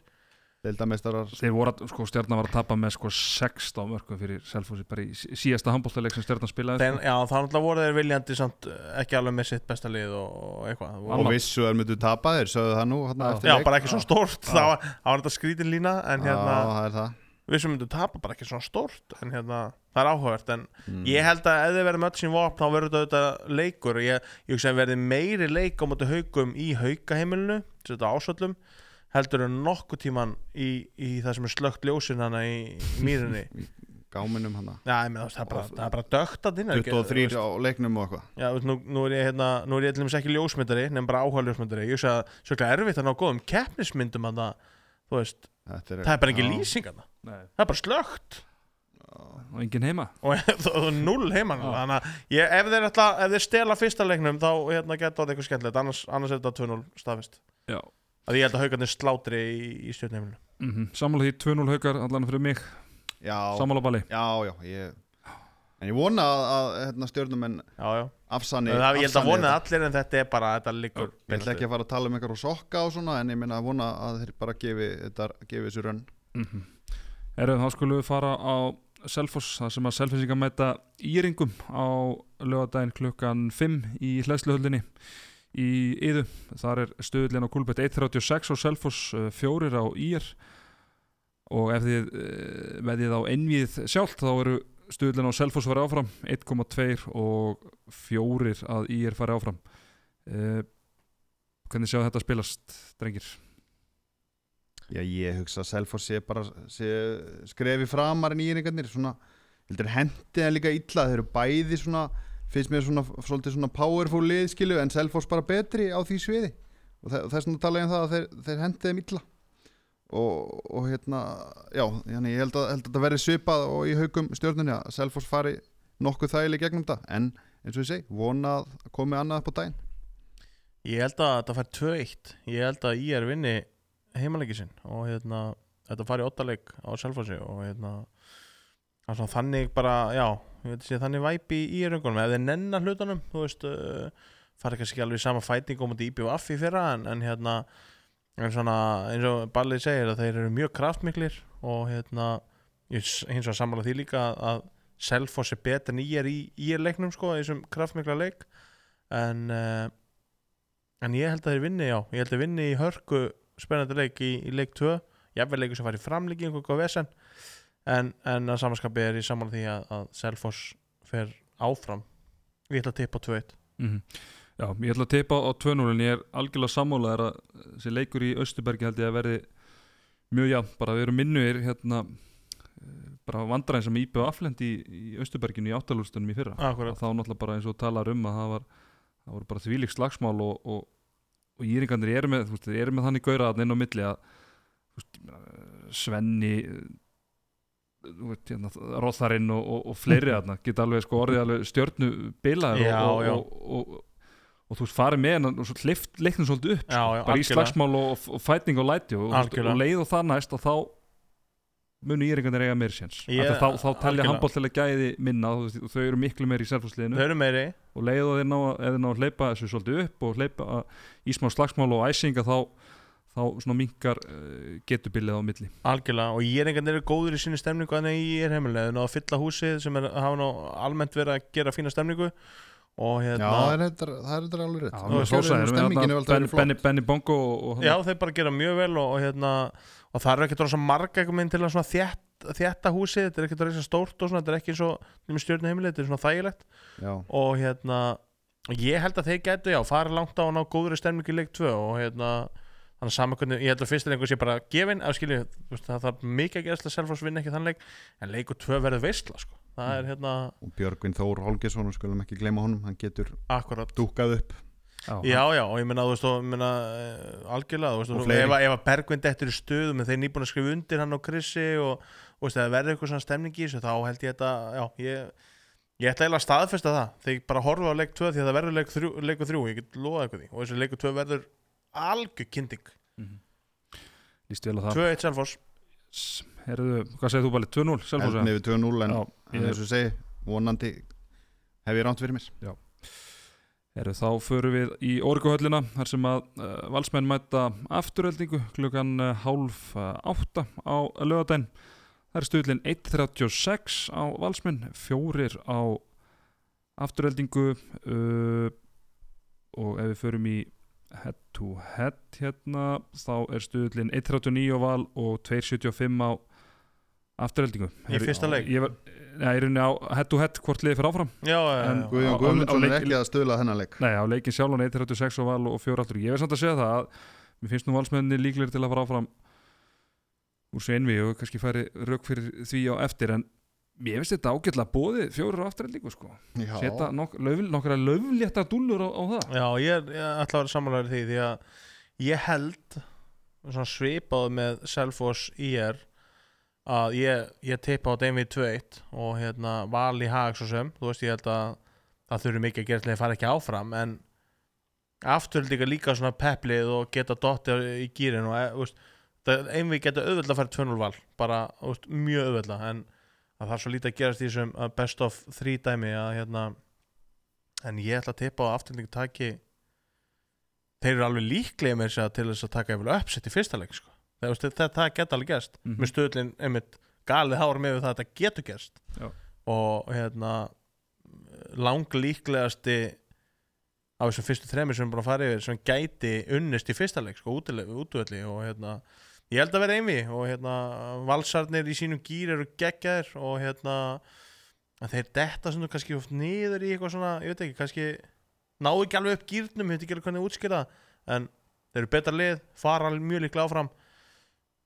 [SPEAKER 3] deildameistarar
[SPEAKER 1] Þeir voru að, sko, stjarnan var að tapa með sko 16 mörgum fyrir Selfossi bara í sí- síðasta handbóltaleik sem stjarnan spilaði.
[SPEAKER 2] Þeir,
[SPEAKER 1] sko.
[SPEAKER 2] já, þá náttúrulega voru þeir viljandi samt eh, ekki alveg með sitt besta lið og, og eitthvað Það
[SPEAKER 3] og
[SPEAKER 2] voru,
[SPEAKER 3] vissu að þeir myndu tapa þeir sögðu það nú þarna
[SPEAKER 1] Já.
[SPEAKER 3] eftir
[SPEAKER 2] já,
[SPEAKER 3] leik.
[SPEAKER 2] bara ekki svona stórt þá var þá var þetta skrítin lína en hérna,
[SPEAKER 3] Já, það er það
[SPEAKER 2] við sem myndum tapa bara ekki svona stórt en hérna, það er áhugavert en
[SPEAKER 3] Mm.
[SPEAKER 2] Ég held að ef þið verðum öll sín vopn þá verður þetta auðvitað leikur ég, ég hugsa að verði meiri leik á móti haukum í haukaheimilinu þetta ásöllum heldur en nokkuð tíman í, í það sem er slögt ljósin hana í, í mýrinni
[SPEAKER 3] (laughs) gáminum hérna. hana
[SPEAKER 2] Já, ég með það, það er bara, það er bara dögt að þín
[SPEAKER 3] 23 á leiknum og eitthvað
[SPEAKER 2] Já, þú veist, nú, nú er ég hérna, nú er ég til dæmis ekki ljósmyndari nefn bara áhuga ljósmyndari ég hugsa að sjöklega erfitt að ná góðum keppnismyndum hana, þú veist,
[SPEAKER 3] Þetta
[SPEAKER 2] það er bara ekki
[SPEAKER 3] Já.
[SPEAKER 2] lýsing hana
[SPEAKER 1] Nei,
[SPEAKER 2] það er bara slögt
[SPEAKER 1] og enginn heima.
[SPEAKER 2] og (laughs) þú þú null heima núna.
[SPEAKER 1] Já.
[SPEAKER 2] þannig að ég, ef, þeir ætla, ef þeir stela fyrsta leiknum þá hérna, geta það eitthvað skemmtilegt annars, annars er þetta 2-0 staðfist
[SPEAKER 1] Já.
[SPEAKER 2] að ég held að haugarnir slátri í, í stjórnheimilinu
[SPEAKER 1] Mm Sammála því 2-0 haukar allan fyrir mig.
[SPEAKER 3] Já,
[SPEAKER 1] Sammála bali.
[SPEAKER 3] já, já ég... En ég vona að, að hérna, stjórnumenn
[SPEAKER 2] já, já.
[SPEAKER 3] afsanni
[SPEAKER 2] það, ég held
[SPEAKER 3] afsanni
[SPEAKER 2] að vonið
[SPEAKER 3] þetta.
[SPEAKER 2] allir en þetta er bara þetta liggur
[SPEAKER 3] Ég ætla ekki að fara að tala um einhverju sokka og svona en ég minna að vona að þeir bara gefi, þetta, gefi þessu rönn
[SPEAKER 1] Mm -hmm. Erum þá skulum við fara á Selfoss, það sem að Selfossingar mæta Íringum á lögadaginn klukkan 5 í hlæsluhöllinni í Íðu. Þar er stöðullin á Kulbett 1.36 á Selfoss, 4 á Ír og ef þið eh, veðið á ennvið sjálft þá eru stöðullin á Selfoss farið áfram 1.2 og 4 að Ír farið áfram. Eh, Hvernig sjá þetta spilast, drengir?
[SPEAKER 3] Já, ég hugsa að Selfoss sé bara sé skrefi framar en íringarnir svona, heldur hendi en líka illa þeir eru bæði svona, finnst mér svona svolítið svona powerful liðskilu en Selfoss bara betri á því sviði og þe- þess vegna tala ég um það að þeir, þeir hendi þeim illa og, og hérna já, hérna, ég held að, held að þetta verði svipað og í haugum stjórnunni að Selfoss fari nokkuð þægileg gegnum þetta en eins og ég segi, vona að komi annað upp á daginn
[SPEAKER 2] ég held að þetta fær 2-1 ég held að ég er vinni heimaleiki sinn og hérna, þetta fari 8 leik á Selfossi og hérna það er svona þannig bara, já ég veit að sé þannig væpi í röngunum ef þeir nennar hlutunum, þú veist uh, fari kannski ekki alveg í sama fæting og múti IBF í fyrra en, en hérna en svona, eins og Ballið segir að þeir eru mjög kraftmiklir og hérna ég s- hins vegar sammála því líka að- að Selfoss er betur en ég er í, í leiknum sko, í þessum kraftmikla leik en uh, En ég held að þeir vinni, já. Ég held að þeir vinni í hörku spennandi leik í, í leik 2. Jafnvel leikur sem farið framleiki einhver góð vesen. En, en að samanskapi er ég saman því að, að Selfoss fer áfram. Ég ætla að tippa 2-1.
[SPEAKER 1] Mhm. Já, ég ætla að teipa á 2-0 en ég er algjörlega sammálaðar að þessi leikur í Östubergi held ég að verði mjög jafn, bara við erum minnugir hérna eh, bara vandræðin sem IBF aflendi í, í Östuberginu í áttalúrstunum í fyrra
[SPEAKER 2] Akkurat.
[SPEAKER 1] þá náttúrulega bara eins og talar um að það var það voru bara þvílík slagsmál og, og, og íringarnir eru með, þú veist, eru með þannig gaura að inn á milli að þú veist, ég meina, Svenni þú veist, hérna, Róðarinn og, og, og fleiri
[SPEAKER 2] (laughs)
[SPEAKER 1] þarna geta alveg sko orðið alveg stjörnu bilaðir
[SPEAKER 2] Já,
[SPEAKER 1] og,
[SPEAKER 2] já.
[SPEAKER 1] og, og, og, og þú veist farið með hennan og svo hlift leiknum svolítið upp sko,
[SPEAKER 2] Já, já,
[SPEAKER 1] bara í
[SPEAKER 2] algjörlega.
[SPEAKER 1] slagsmál og, og fætning og læti og, og,
[SPEAKER 2] Algjörlega.
[SPEAKER 1] og leið og það næst að þá munu íringarnir eiga meir séns
[SPEAKER 2] Ég-
[SPEAKER 1] yeah, þá, þá
[SPEAKER 2] algjörlega.
[SPEAKER 1] telja handbóltilega gæði minna þú veist, og þau eru miklu meir í
[SPEAKER 2] Þau
[SPEAKER 1] selfhúsliðinu
[SPEAKER 2] eru meiri.
[SPEAKER 1] og leið og þeir ná, að- ef þeir ná að hleypa þessu svolítið upp og hleypa að- í smá slagsmál og æsinga þá þá svona minkar uh, getubilið á milli
[SPEAKER 2] Algjörlega. Og ég er einhvern veginn góður í sinni stemningu en ég er heimilega. Þau náðu að fylla húsið sem er, hafa nú almennt verið að gera fína stemningu. Og
[SPEAKER 3] Já,
[SPEAKER 2] hérna...
[SPEAKER 3] það er reyndar- það er þetta alveg rétt
[SPEAKER 1] Já,
[SPEAKER 3] Og
[SPEAKER 1] með
[SPEAKER 3] kjörið
[SPEAKER 1] hrósaðir,
[SPEAKER 3] og
[SPEAKER 1] með
[SPEAKER 3] stemmingin
[SPEAKER 1] þarna
[SPEAKER 3] hefur alltaf
[SPEAKER 1] hérna Benny-
[SPEAKER 3] verið flott.
[SPEAKER 1] Benny, Benny Bongo og, og
[SPEAKER 2] Já, þeir bara gera mjög vel og, og, hérna, og það eru ekkert rosa marga einhvern veginn til að svona þétt, þétta húsið, þetta er ekkert rosa stórt og svona, þetta er ekki eins og stjórnum heimilið, þetta er svona þægilegt
[SPEAKER 3] Já.
[SPEAKER 2] og hérna, og ég held að þeir gætu, já, fara langt á að ná góðri stemningu í leik 2 og hérna, þannig að saman hvernig, ég held að fyrst er einhver sé bara gefin að skilju, þú veist, það þarf mikið að gerast til að Selfoss vinna ekki þann leik, en leiku tvö verður veistla, sko, það er hérna
[SPEAKER 3] og Björgvin Þór Holgesson, skulum ekki gleyma honum hann getur
[SPEAKER 2] akkurat,
[SPEAKER 3] dúkað upp
[SPEAKER 2] já, já, og ég meina, þú veist, og ég meina eh, algjörlega, þú veist,
[SPEAKER 3] Og
[SPEAKER 2] og
[SPEAKER 3] fleiri.
[SPEAKER 2] ef, að- ef að Bergvind eftir í stöðu með þeir nýbúin að skrifa undir hann og Krissi og, og veist, það verður eitthvað svona stemning í þessu, þá held ég þetta, já, ég Ég ætla eiginlega að staðfesta það, þegar ég bara horfa á leik 2 því að það verður leik 3, leiku 3 ég get loðað eitthvað því og þessi leiku 2 verður algjör kynding
[SPEAKER 1] Lýst vel á það
[SPEAKER 2] 2-1 Selfoss
[SPEAKER 1] S- Herðu, hvað segir þú Bali? 2-0 Selfoss eða?
[SPEAKER 3] eldni við 2-0 en
[SPEAKER 1] Já,
[SPEAKER 3] en
[SPEAKER 1] ég-
[SPEAKER 3] eins og ég segi, vonandi hef ég ránt fyrir mér
[SPEAKER 1] Herðu, þá förum við í Orguhöllina þar sem að uh, valsmenn mæta afturöldingu klukkan uh, hálf uh, átta á lögadaginn Það er stuðlinn 1.36 á valsmenn, fjórir á afturöldingu uh, og ef við förum í head to head hérna þá er stuðlinn 1.39 á val og 2.75 á afturöldingu
[SPEAKER 2] Í fyrsta leik?
[SPEAKER 1] Ég var, ja, ég er unni á head to head hvort liðið fyrir áfram
[SPEAKER 2] Já, já,
[SPEAKER 1] En- Á-
[SPEAKER 2] já.
[SPEAKER 1] á-
[SPEAKER 3] Guðjón
[SPEAKER 1] á
[SPEAKER 3] Guðmundsson er
[SPEAKER 1] leik-
[SPEAKER 3] ekki að stöðla þennan leik
[SPEAKER 1] Nei, á leikin sjálfan 1.36 og val og 4 aftur. Ég verð samt að segja það að mér finnst nú valsmenni líklegir til að fara áfram úr seinvi og kannski færi rauk fyrir því á eftir en mér finnst þetta ágætlega bóðið fjórir á afturhendingu sko.
[SPEAKER 3] Já.
[SPEAKER 1] Seta nok löf, nokkra löflétta dúllur á, á það.
[SPEAKER 2] Já, ég, er- ég ætla að vera samanlega því því að ég held svona svipað með Selfoss IR að ég, ég teipa á Demi 2-1 og hérna val í hag svo sem þú veist ég held að það þurfi mikið að gera til að ég fara ekki áfram en afturöldingar líka svona peplið og geta dottið í gýrin og eh, þú veist, það- einvið geta auðvöld að fara 2-0 val bara þú veist, mjög auðvöld en það þarf svo lítið að gerast í þessum eh, best of 3 dæmi að hérna en ég ætla að tippa á afturöldingar taki þeir eru alveg líklega með þess að segja til þess að taka yfir uppsett í fyrsta leik sko. það, það, það, það geta alveg gerst
[SPEAKER 1] Mhm.
[SPEAKER 2] með stöðlinn einmitt galið hárum yfir það að þetta getur gerst
[SPEAKER 1] Já.
[SPEAKER 2] og hérna langlíklegasti af þessum fyrstu þremur sem við erum búin að fara yfir sem gæti unnist í fyrsta leik sko, útileg- útvölli og hérna ég held að vera einvi og hérna valsarnir í sínum gýr eru geggjaðir og hérna að þeir detta svona kannski oft niður í eitthvað svona ég veit ekki, kannski náðu ekki alveg upp gýrnum, ég veit ekki alveg hvernig útskýra það en þeir eru betra lið, fara alveg mjög líklega áfram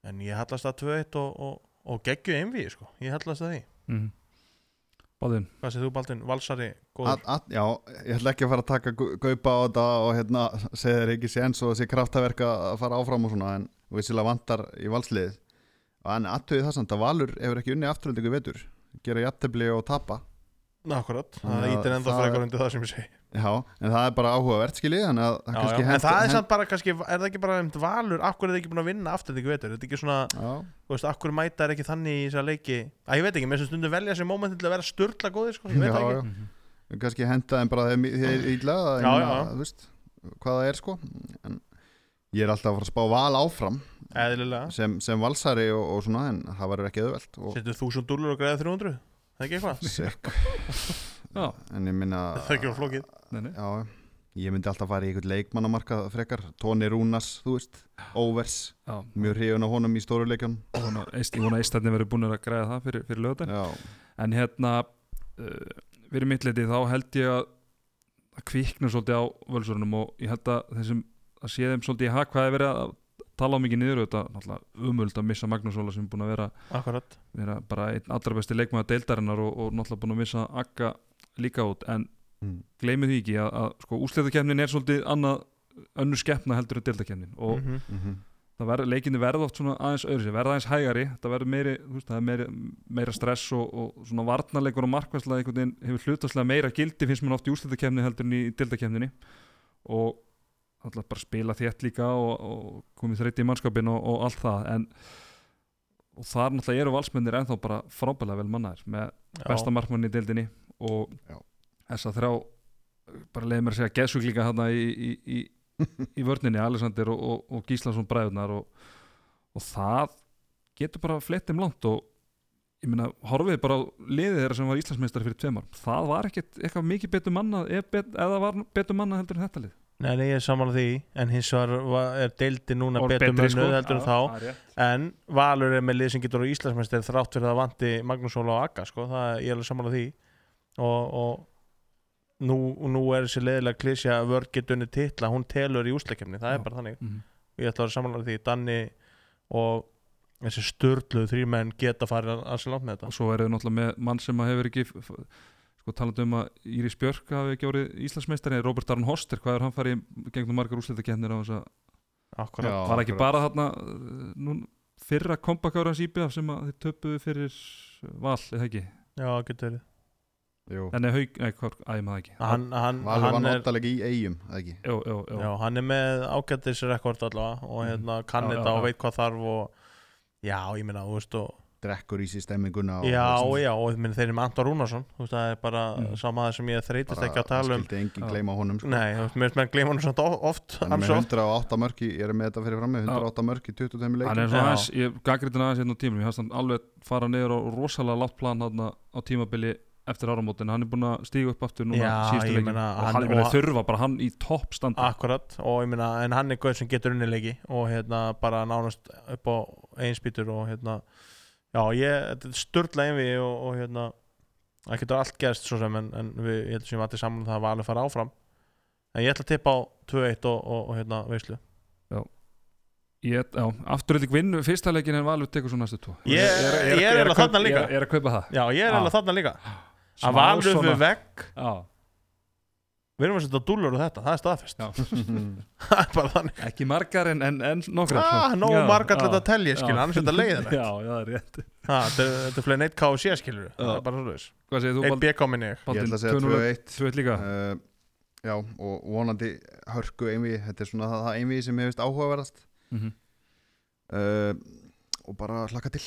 [SPEAKER 2] en ég hallast að 2-1 og, og, og geggju einvið sko. ég hallast að því,
[SPEAKER 1] Mm -hmm. Báðin.
[SPEAKER 2] hvað segir þú Baldin Valsari,
[SPEAKER 3] Að,
[SPEAKER 2] góður,
[SPEAKER 3] að, já, ég ætla ekki að fara að taka gu- gaupa á þetta og hérna segja þeir ekki séns og þessi kraftaverk að að fara áfram og svona en vissilega vantar í valslið en aðtöðu það samt að Valur hefur ekki unni afturöldingu í vetur, gera jafntefli og tapa
[SPEAKER 2] akkurat það
[SPEAKER 3] Þannig að
[SPEAKER 2] ítir ennþá
[SPEAKER 3] það-
[SPEAKER 2] frekar undir það sem ég segi
[SPEAKER 3] já, en það er bara áhugavert skilið þannig að
[SPEAKER 2] já,
[SPEAKER 3] það
[SPEAKER 2] já.
[SPEAKER 3] kannski
[SPEAKER 2] en
[SPEAKER 3] hent-
[SPEAKER 2] það er
[SPEAKER 3] hent-
[SPEAKER 2] samt bara kannski, er það ekki bara um valur, af hverju er það ekki búin að vinna aftur þetta ekki vetur, þetta er ekki svona
[SPEAKER 3] já,
[SPEAKER 2] þú veist, akkur mæta er ekki þannig í þessa leiki að ég veit ekki, með þessum stundum velja sér mómentin til að vera störla góðir, sko, ég veit
[SPEAKER 3] já,
[SPEAKER 2] það
[SPEAKER 3] já. kannski henda þeim bara þeim í-
[SPEAKER 2] (clears throat)
[SPEAKER 3] þeir ídla
[SPEAKER 2] Já, já.
[SPEAKER 3] þú veist hvað það er sko en ég er alltaf að fara að spá val áfram
[SPEAKER 2] ekki eðlilega,
[SPEAKER 3] sem, sem valsari og, og svona en það verður ekki auðvelt og
[SPEAKER 2] setur 1000 dúllur og greiða 300 það er ekki eitthvað,
[SPEAKER 3] Sekk
[SPEAKER 1] Já.
[SPEAKER 3] En ég minna
[SPEAKER 2] (laughs) það er ekki of flókið
[SPEAKER 1] Nei, nei.
[SPEAKER 3] Já, ég myndi alltaf fara í einhvern leikmannamarka frekar Tony Rúnas, þú veist, Overs
[SPEAKER 1] Já.
[SPEAKER 3] Mjög hrifun á honum í stóru leikjan
[SPEAKER 1] Ég vona að- Ég vona að Íslandin verður búin að græða það fyrir, fyrir lögðin.
[SPEAKER 3] Já,
[SPEAKER 1] En hérna, uh, fyrir mittleiti þá held ég að að kvikna svolítið á völsörunum og ég held að þessum að sé þeim svolítið í hag hvað er verið að tala mikið niður þetta náttúrulega umöld að missa Magnús Óla sem er búin að vera,
[SPEAKER 2] akkurat,
[SPEAKER 1] vera bara einn allra besti leikmaða deildarinnar og, og náttúrulega búin að missa Akka líka út en
[SPEAKER 3] Mm.
[SPEAKER 1] gleymið því ekki að, að sko, úsleitakefnin er svolítið annað önnur skeppna heldur en deildarkefnin og
[SPEAKER 2] Mhm.
[SPEAKER 3] mm
[SPEAKER 1] það verð, leikinni verða oft svona aðeins öðru sér, verða aðeins hægari það verður meiri, þú veist, það er meiri, meira stress og, og svona varnarleikur og markværslega einhvern veginn hefur hlutaslega meira gildi finnst mér oft í úrslitakefni heldur en í dildakefninni og alltaf bara spila þétt líka og, og komið þreyti í mannskapin og, og allt það en og þar náttúrulega eru valsmennir ennþá bara frábælega vel mannaðir með
[SPEAKER 2] Já.
[SPEAKER 1] besta markmann í deildinni og
[SPEAKER 3] Já.
[SPEAKER 1] þess að þrjá bara leiði mér að segja geðsuglinga hann í, í, í, í vörninni Alexander og, og, og Gíslason bræðunar og, og það getur bara flett þeim langt og ég meina, horfið bara á liðið þeirra sem var Íslandsmeistar fyrir tveimar, það var ekkit eitthvað mikið betur mannað, ef, bet, eða var betur mannað heldur en þetta lið
[SPEAKER 2] Nei, nei, ég er samanlega því en hins vegar var- er deildi núna
[SPEAKER 1] Og
[SPEAKER 2] betur
[SPEAKER 1] betri,
[SPEAKER 2] mönnuð
[SPEAKER 1] sko.
[SPEAKER 2] heldur en
[SPEAKER 1] Já,
[SPEAKER 2] þá
[SPEAKER 1] það er rétt.
[SPEAKER 2] en Valur er með lið sem getur á Íslandsmestari þrátt fyrir að það vanti Magnús Óla og Akka sko, það er ég er alveg samanlega því og, og nú, nú er þessi leiðilega klísja að vörð getur unni titla, hún telur í úsleikemni það
[SPEAKER 1] Já.
[SPEAKER 2] er bara þannig,
[SPEAKER 1] Mhm.
[SPEAKER 2] ég ætla að vera samanlega því Danni og þessi störluðu þrý menn geta farið að sér langt með
[SPEAKER 1] og
[SPEAKER 2] þetta
[SPEAKER 1] svo er þau náttúrulega með mann sem að hefur ekki f- f- sko talandi um að Íris Björk hafi ekki orðið Íslandsmeistari, Robert Aron Hoster hvað er hann farið í gegnum margar úrslitakeppnir á þess að
[SPEAKER 2] Akkurat,
[SPEAKER 1] var ekki bara þarna uh, nú, fyrra kompakára hans IBF sem að þeir töpuðu fyrir val eða ekki,
[SPEAKER 2] já, getur verið
[SPEAKER 3] Jú,
[SPEAKER 1] en nei, haug, nei, hvað, æ, maður það ekki
[SPEAKER 2] Hann, hann,
[SPEAKER 3] Valur var
[SPEAKER 2] hann, er,
[SPEAKER 3] náttalega í eigum, eða ekki
[SPEAKER 1] Jú, jú, jú.
[SPEAKER 2] já, hann er með ágættis rekord allavega og
[SPEAKER 1] Mhm.
[SPEAKER 2] hérna kann
[SPEAKER 1] Já, já,
[SPEAKER 2] þetta og
[SPEAKER 1] já.
[SPEAKER 2] veit hvað þarf og já, ég meina, þú veist og
[SPEAKER 3] Drekkur í sér stemminguna og-
[SPEAKER 2] Já,
[SPEAKER 3] og-
[SPEAKER 2] já, og ég meina, þeir eru með Anton Rúnarsson þú veist, það er bara
[SPEAKER 1] Mm.
[SPEAKER 2] mm. sá maður sem ég þreytist
[SPEAKER 3] bara
[SPEAKER 2] ekki að tala um
[SPEAKER 3] skildi enginn
[SPEAKER 1] Já.
[SPEAKER 3] gleyma honum sko.
[SPEAKER 2] Nei, þú veist, mér finnst maður gleyma hann svona oft
[SPEAKER 3] Hann er
[SPEAKER 2] hann
[SPEAKER 3] með
[SPEAKER 2] svo oft
[SPEAKER 3] 108 mörk í, ég er með þetta fyrir frammi 108 mörk í 22
[SPEAKER 1] hann
[SPEAKER 3] (laughs) leikum
[SPEAKER 1] er svona
[SPEAKER 2] Já.
[SPEAKER 1] aðeins, ég gaggritin aðeins hérna á tímum, ég hans hann alveg fara niður á rosalega látt plan hann á tímabili eftir áramótin, hann er búin að stíga upp aftur núna
[SPEAKER 2] Já,
[SPEAKER 1] síðustu
[SPEAKER 2] ég
[SPEAKER 1] leikin
[SPEAKER 2] meina,
[SPEAKER 1] og
[SPEAKER 2] hann-
[SPEAKER 1] hann er búin
[SPEAKER 2] og-
[SPEAKER 1] að þurfa bara hann í topp standa
[SPEAKER 2] Akkurat, og ég meina, en hann er gauð sem getur unnileiki og hérna bara nánast upp á einspýtur og hérna já, ég, þetta er störla einvið og, og hérna, það getur allt gerst svo sem, en, en við, ég heldur sem allir saman um það að valið fara áfram, en ég ætla að tippa á 2-1 og, og, og hérna, veislu
[SPEAKER 1] ég, já, afturölding vinn fyrsta leikin en Valur tekur svo næstu tvo
[SPEAKER 2] Ég- ég er eiginlega
[SPEAKER 1] að kaup-
[SPEAKER 2] þarna líka.
[SPEAKER 1] ég er- ég er að kaupa það
[SPEAKER 2] Já, ég er
[SPEAKER 1] Já.
[SPEAKER 2] alveg þarna líka,
[SPEAKER 1] Ah. Smá
[SPEAKER 2] að valið
[SPEAKER 1] svona-
[SPEAKER 2] við vegg
[SPEAKER 1] Já,
[SPEAKER 2] við erum að setja dúllur á þetta, það er staðfest
[SPEAKER 1] Já.
[SPEAKER 2] (laughs) það er bara þannig,
[SPEAKER 1] ekki margar en, en, en nokkrar
[SPEAKER 2] ah,
[SPEAKER 1] svona.
[SPEAKER 2] nóg
[SPEAKER 1] Já,
[SPEAKER 2] marg
[SPEAKER 1] já,
[SPEAKER 2] allir að telja, skilur,
[SPEAKER 1] já.
[SPEAKER 2] annars er þetta leiðilegt
[SPEAKER 1] (laughs) Já, já, það er rétt
[SPEAKER 2] Ha, þetta er- þetta er flein 1K og sér, skilur, það er bara svo leiðis
[SPEAKER 1] Hvað segir þú,
[SPEAKER 2] Eitt
[SPEAKER 1] Bald-
[SPEAKER 2] BK minni ég
[SPEAKER 3] Ég ætla að
[SPEAKER 1] Baldvin? 2-0
[SPEAKER 3] segja 2-1
[SPEAKER 1] 2-1 líka
[SPEAKER 3] uh, Já, og vonandi hörku einvið, þetta er svona það, það einvið sem hefist áhugaverðast
[SPEAKER 1] Mhm.
[SPEAKER 3] uh, og bara hlakka til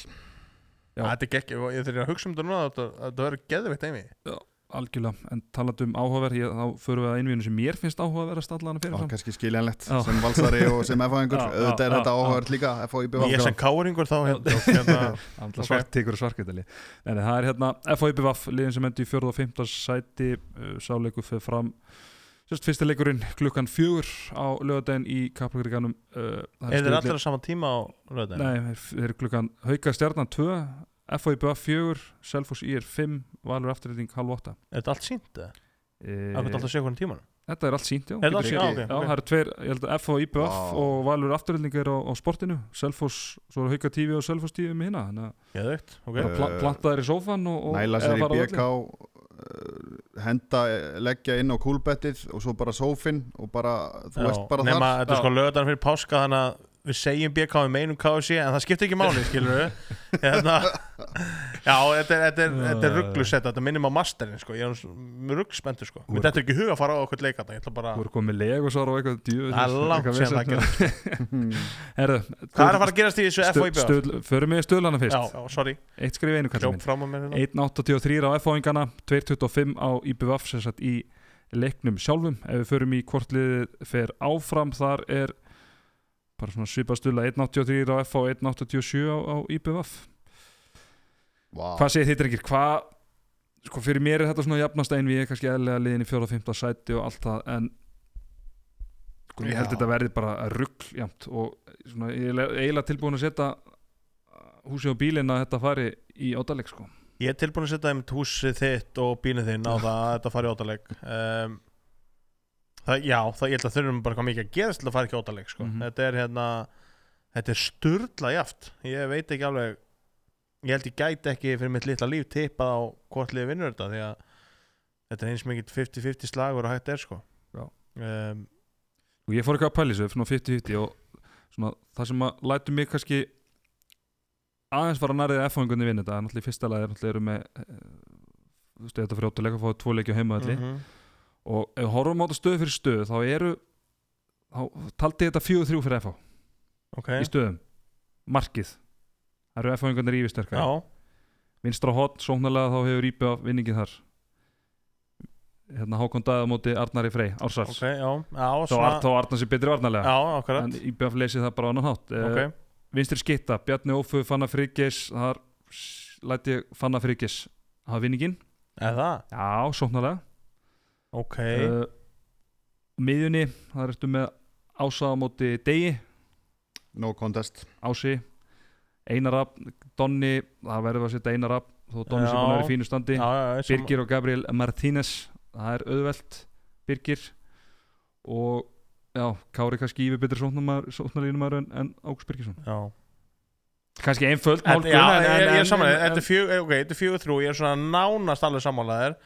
[SPEAKER 1] Já.
[SPEAKER 2] Þetta er gekk, ég þurfi að hugsa um þetta núna að þetta- að þetta verður geðveitt einvi
[SPEAKER 1] Algjörlega, en talandi um áhugaverð ég- Þá förum við að einvíðinu sem mér finnst áhugaverðast allan að
[SPEAKER 3] og
[SPEAKER 1] fyrirfram
[SPEAKER 3] kannski skiljanlegt
[SPEAKER 1] Já.
[SPEAKER 3] sem valsari og sem FH-ingur
[SPEAKER 1] Já, já,
[SPEAKER 3] auðvitað er
[SPEAKER 1] já,
[SPEAKER 3] þetta
[SPEAKER 1] já.
[SPEAKER 3] áhugaverð líka FH-IBV
[SPEAKER 2] Ég sem káringur þá hérna, (laughs) hérna,
[SPEAKER 1] Andla
[SPEAKER 2] Ok.
[SPEAKER 1] okay. svart tekur svarkvitali En það er hérna FHIBVF liðin sem endi í 4. og 5. sæti uh, Sáleiku fyrir fram Sérst fyrsti leikurinn klukkan fjögur á lögadaginn í Kaplagrikanum uh, það
[SPEAKER 2] Er þeir
[SPEAKER 1] stuðli-
[SPEAKER 2] allir á sama tíma á röðin?
[SPEAKER 1] Nei, þeir- þeir eru klukkan Hauka stjarnan 2 FHIBVF 4, Selfoss IR 5 Valur afturreiting halv 8
[SPEAKER 2] Er þetta allt sínt? eða?
[SPEAKER 1] e,
[SPEAKER 2] Af hverju Þetta er alltaf sé hvernig tímanum
[SPEAKER 1] Þetta er allt sínt, já
[SPEAKER 2] Er þetta allt
[SPEAKER 3] getur
[SPEAKER 2] sínt? Já,
[SPEAKER 3] ekki-
[SPEAKER 1] Já, það
[SPEAKER 2] ok, ok.
[SPEAKER 1] eru tveir, ég held að FH og IBF
[SPEAKER 3] Vá.
[SPEAKER 1] og Valur afturölding er á, á sportinu Selfoss, svo er Hauka TV og Selfoss TV með hérna þannig að
[SPEAKER 2] Geðveikt, ok
[SPEAKER 1] bara pla
[SPEAKER 3] Eh,
[SPEAKER 1] planta þær í sófan og, og
[SPEAKER 3] næla
[SPEAKER 1] eða
[SPEAKER 3] sér í
[SPEAKER 1] fara á
[SPEAKER 3] BK
[SPEAKER 1] völlinn.
[SPEAKER 3] uh, henda, leggja inn á kúlbettið og svo bara sófinn og bara, þú
[SPEAKER 2] Já,
[SPEAKER 3] ert bara
[SPEAKER 2] Nema,
[SPEAKER 3] þar
[SPEAKER 2] þetta er sko löðan fyrir páska þannig að við segjum BK við meinum KFC en það skiptir ekki máli, skilur
[SPEAKER 3] (laughs)
[SPEAKER 2] við hérna, Já, þetta er, þetta er, þetta er rugglusett þetta minnum á masterinn, sko Ég er ruggspenntur, sko Mér þetta er ekki hug að fara á okkur leikata Ég ætla bara
[SPEAKER 1] Þú eru komið leg og svar og eitthvað djú
[SPEAKER 2] Það er langt sem það gerist
[SPEAKER 1] Herðu,
[SPEAKER 2] Hvað er að fara að gerast í þessu FOIB?
[SPEAKER 1] stöðl, Förum við stöðlana
[SPEAKER 2] Já,
[SPEAKER 1] fyrst
[SPEAKER 2] já, sorry,
[SPEAKER 1] Eitt skrif í einu kallum
[SPEAKER 2] hljóp fram á mér hérna.
[SPEAKER 1] 1.83 á F-áingana 2.25 á IBVF sem sagt í leiknum sjálfum ef við förum í hvort liðið fer áfram þar er bara svona svipað stuðla 1.83 á F og 1.87 á, á IBVF
[SPEAKER 3] Vá,
[SPEAKER 1] hvað segir þið drengir, hvað sko fyrir mér er þetta svona jafnast einn við kannski eðlega liðin í 4. og 5. sæti og allt það en sko ég held
[SPEAKER 3] Já.
[SPEAKER 1] þetta verði bara ruggjamt og svona ég er eiginlega tilbúin að setja húsi og bílinn að þetta fari í átaleg sko
[SPEAKER 2] Ég er tilbúin að setja einmitt húsið þitt og bílinn þinn á það að þetta fari í ótaleg um, það, Já, það, ég held að þurfum bara hvað mikið að gerast til að fara ekki í ótaleg sko.
[SPEAKER 1] Mhm.
[SPEAKER 2] Þetta er hérna Þetta er sturla jaft Ég veit ekki alveg Ég held ég gæti ekki fyrir mitt litla líf tippað á hvort liði vinnur þetta því að þetta er eins mikið 50-50 slagur og hægt er sko
[SPEAKER 1] Já.
[SPEAKER 2] um,
[SPEAKER 1] og ég fór eitthvað að pæla í þessu svona 50-50 og svona, það sem að lætu mig kannski aðeins fara nærið að F-fangunni vinna þetta en náttúrulega í fyrsta lagi er náttúrulega eru með eh, þú veist, þetta fyrir áttalega að fá tvo leiki á heimaðalli
[SPEAKER 2] mhm.
[SPEAKER 1] og ef við horfum á þetta stöðu fyrir stöðu þá eru þá taldi ég þetta 4-3 fyrir F
[SPEAKER 2] Ok,
[SPEAKER 1] í stöðum, markið það eru F-fangunni rífisterkar
[SPEAKER 2] já
[SPEAKER 1] vinstra hot, sóknarlega þá hefur íbjöð af vinningið þar hérna Hákon Dæða móti Arnari Frey, Ársars
[SPEAKER 2] Ok, já, já,
[SPEAKER 1] þá,
[SPEAKER 2] svona,
[SPEAKER 1] Ar- þá Arnar sér betri varnarlega
[SPEAKER 2] já, akkurat
[SPEAKER 1] en eh, IBF lesið það bara á annan hátt okay.
[SPEAKER 2] Ok,
[SPEAKER 1] vinstri skitta, Bjarni Ófu, Fanna Frigis þar s- læt ég Fanna Frigis hafa vinningin,
[SPEAKER 2] eða,
[SPEAKER 1] já, sóknarlega
[SPEAKER 2] ok
[SPEAKER 1] uh, miðjunni, það ertu með Ása á móti Degi
[SPEAKER 3] no contest
[SPEAKER 1] Ási, Einarab Donni, það verður að setja Einarab þó Donni sem
[SPEAKER 2] Já.
[SPEAKER 1] búin að vera í fínu standi
[SPEAKER 2] Já, já, já, sem-
[SPEAKER 1] Birgir og Gabriel Martínez það er auðvelt Birgir og já, Kári kannski yfir betri sóknarlínumar en, en Ágúst Birgisson
[SPEAKER 2] Já
[SPEAKER 1] kannski einföld
[SPEAKER 2] Þetta, já, en, en, ég er samanlega,
[SPEAKER 1] en-
[SPEAKER 2] þetta er fjög, ok, þetta er fjögur þrjú, ég er svona nánast alveg samanlegaðir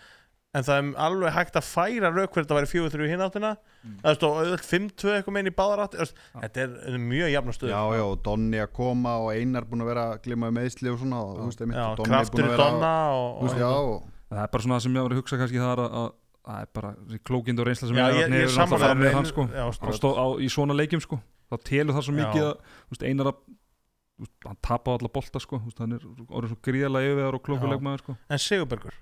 [SPEAKER 2] En það er alveg hægt að færa rauk fyrir þetta væri fjögur þrjú í hinn áttina
[SPEAKER 1] Mm.
[SPEAKER 2] Það er stóð auðvöld 5-2 eitthvað meinn í báðar átt Þetta er þetta er mjög jafn
[SPEAKER 3] Já,
[SPEAKER 2] stöð
[SPEAKER 3] já, og Donni að koma og Einar búin að vera að glima meðsli og svona og þú veist, einmitt, og Donni
[SPEAKER 2] kraftur í Donna og,
[SPEAKER 3] Þú veist, já, og
[SPEAKER 1] það er bara svona það sem ég var að hugsa kannski það er að, að það er bara þessi klókind og reynsla sem
[SPEAKER 2] Já,
[SPEAKER 1] Einar
[SPEAKER 2] ég,
[SPEAKER 1] Arney
[SPEAKER 2] ég er
[SPEAKER 1] hefur náttúrulega fram
[SPEAKER 2] samanlega
[SPEAKER 1] með hann sko
[SPEAKER 2] já,
[SPEAKER 1] á, stó, á, í svona leikjum sko þá telur það svo mikið
[SPEAKER 2] Já.
[SPEAKER 1] að þú veist, einar að þú veist, hann tapa á alla bolta sko þú veist, hann er orðin svo gríðarlega yfirvegar og klókuleg
[SPEAKER 2] Já.
[SPEAKER 1] maður sko
[SPEAKER 2] En Sigurbergur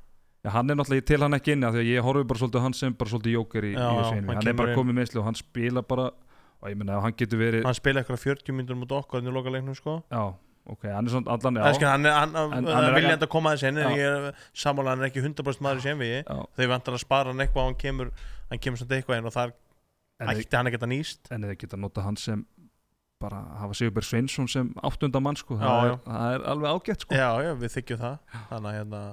[SPEAKER 1] Já, hann er náttúrulega, ég tel hann ekki inn af því að ég horfi bara svolítið á hann sem bara svolítið jóker í, í
[SPEAKER 2] Já,
[SPEAKER 1] þessu einu,
[SPEAKER 2] hann
[SPEAKER 1] hann er
[SPEAKER 2] kemur
[SPEAKER 1] bara
[SPEAKER 2] inn.
[SPEAKER 1] komið meðsli og hann spila bara, og ég meina ef hann getur verið,
[SPEAKER 2] Hann spila eitthvað 40 myndur mútið okkur Þannig loka leiknum sko
[SPEAKER 1] já, ok, hann er svona allan, já,
[SPEAKER 2] Æskil, Hann er, hann,
[SPEAKER 1] En-
[SPEAKER 2] hann
[SPEAKER 1] hann er-
[SPEAKER 2] er viljandi að koma þessi inn En
[SPEAKER 1] Já.
[SPEAKER 2] ég er samanlega, hann er ekki 100% maður sem við
[SPEAKER 1] já,
[SPEAKER 2] Þau vantar að spara hann eitthvað og Hann kemur, hann kemur samt eitthvað inn og þar
[SPEAKER 1] en, þeir-
[SPEAKER 2] ætti hann ekkert að nýst
[SPEAKER 1] en þeir geta nota hann sem bara hafa Sigurberg Sveinsson sem áttunda mann sko,
[SPEAKER 2] Já,
[SPEAKER 1] það,
[SPEAKER 2] já.
[SPEAKER 1] er, það er alveg ágætt sko,
[SPEAKER 2] Já, já, við þykjum það Þannig að hérna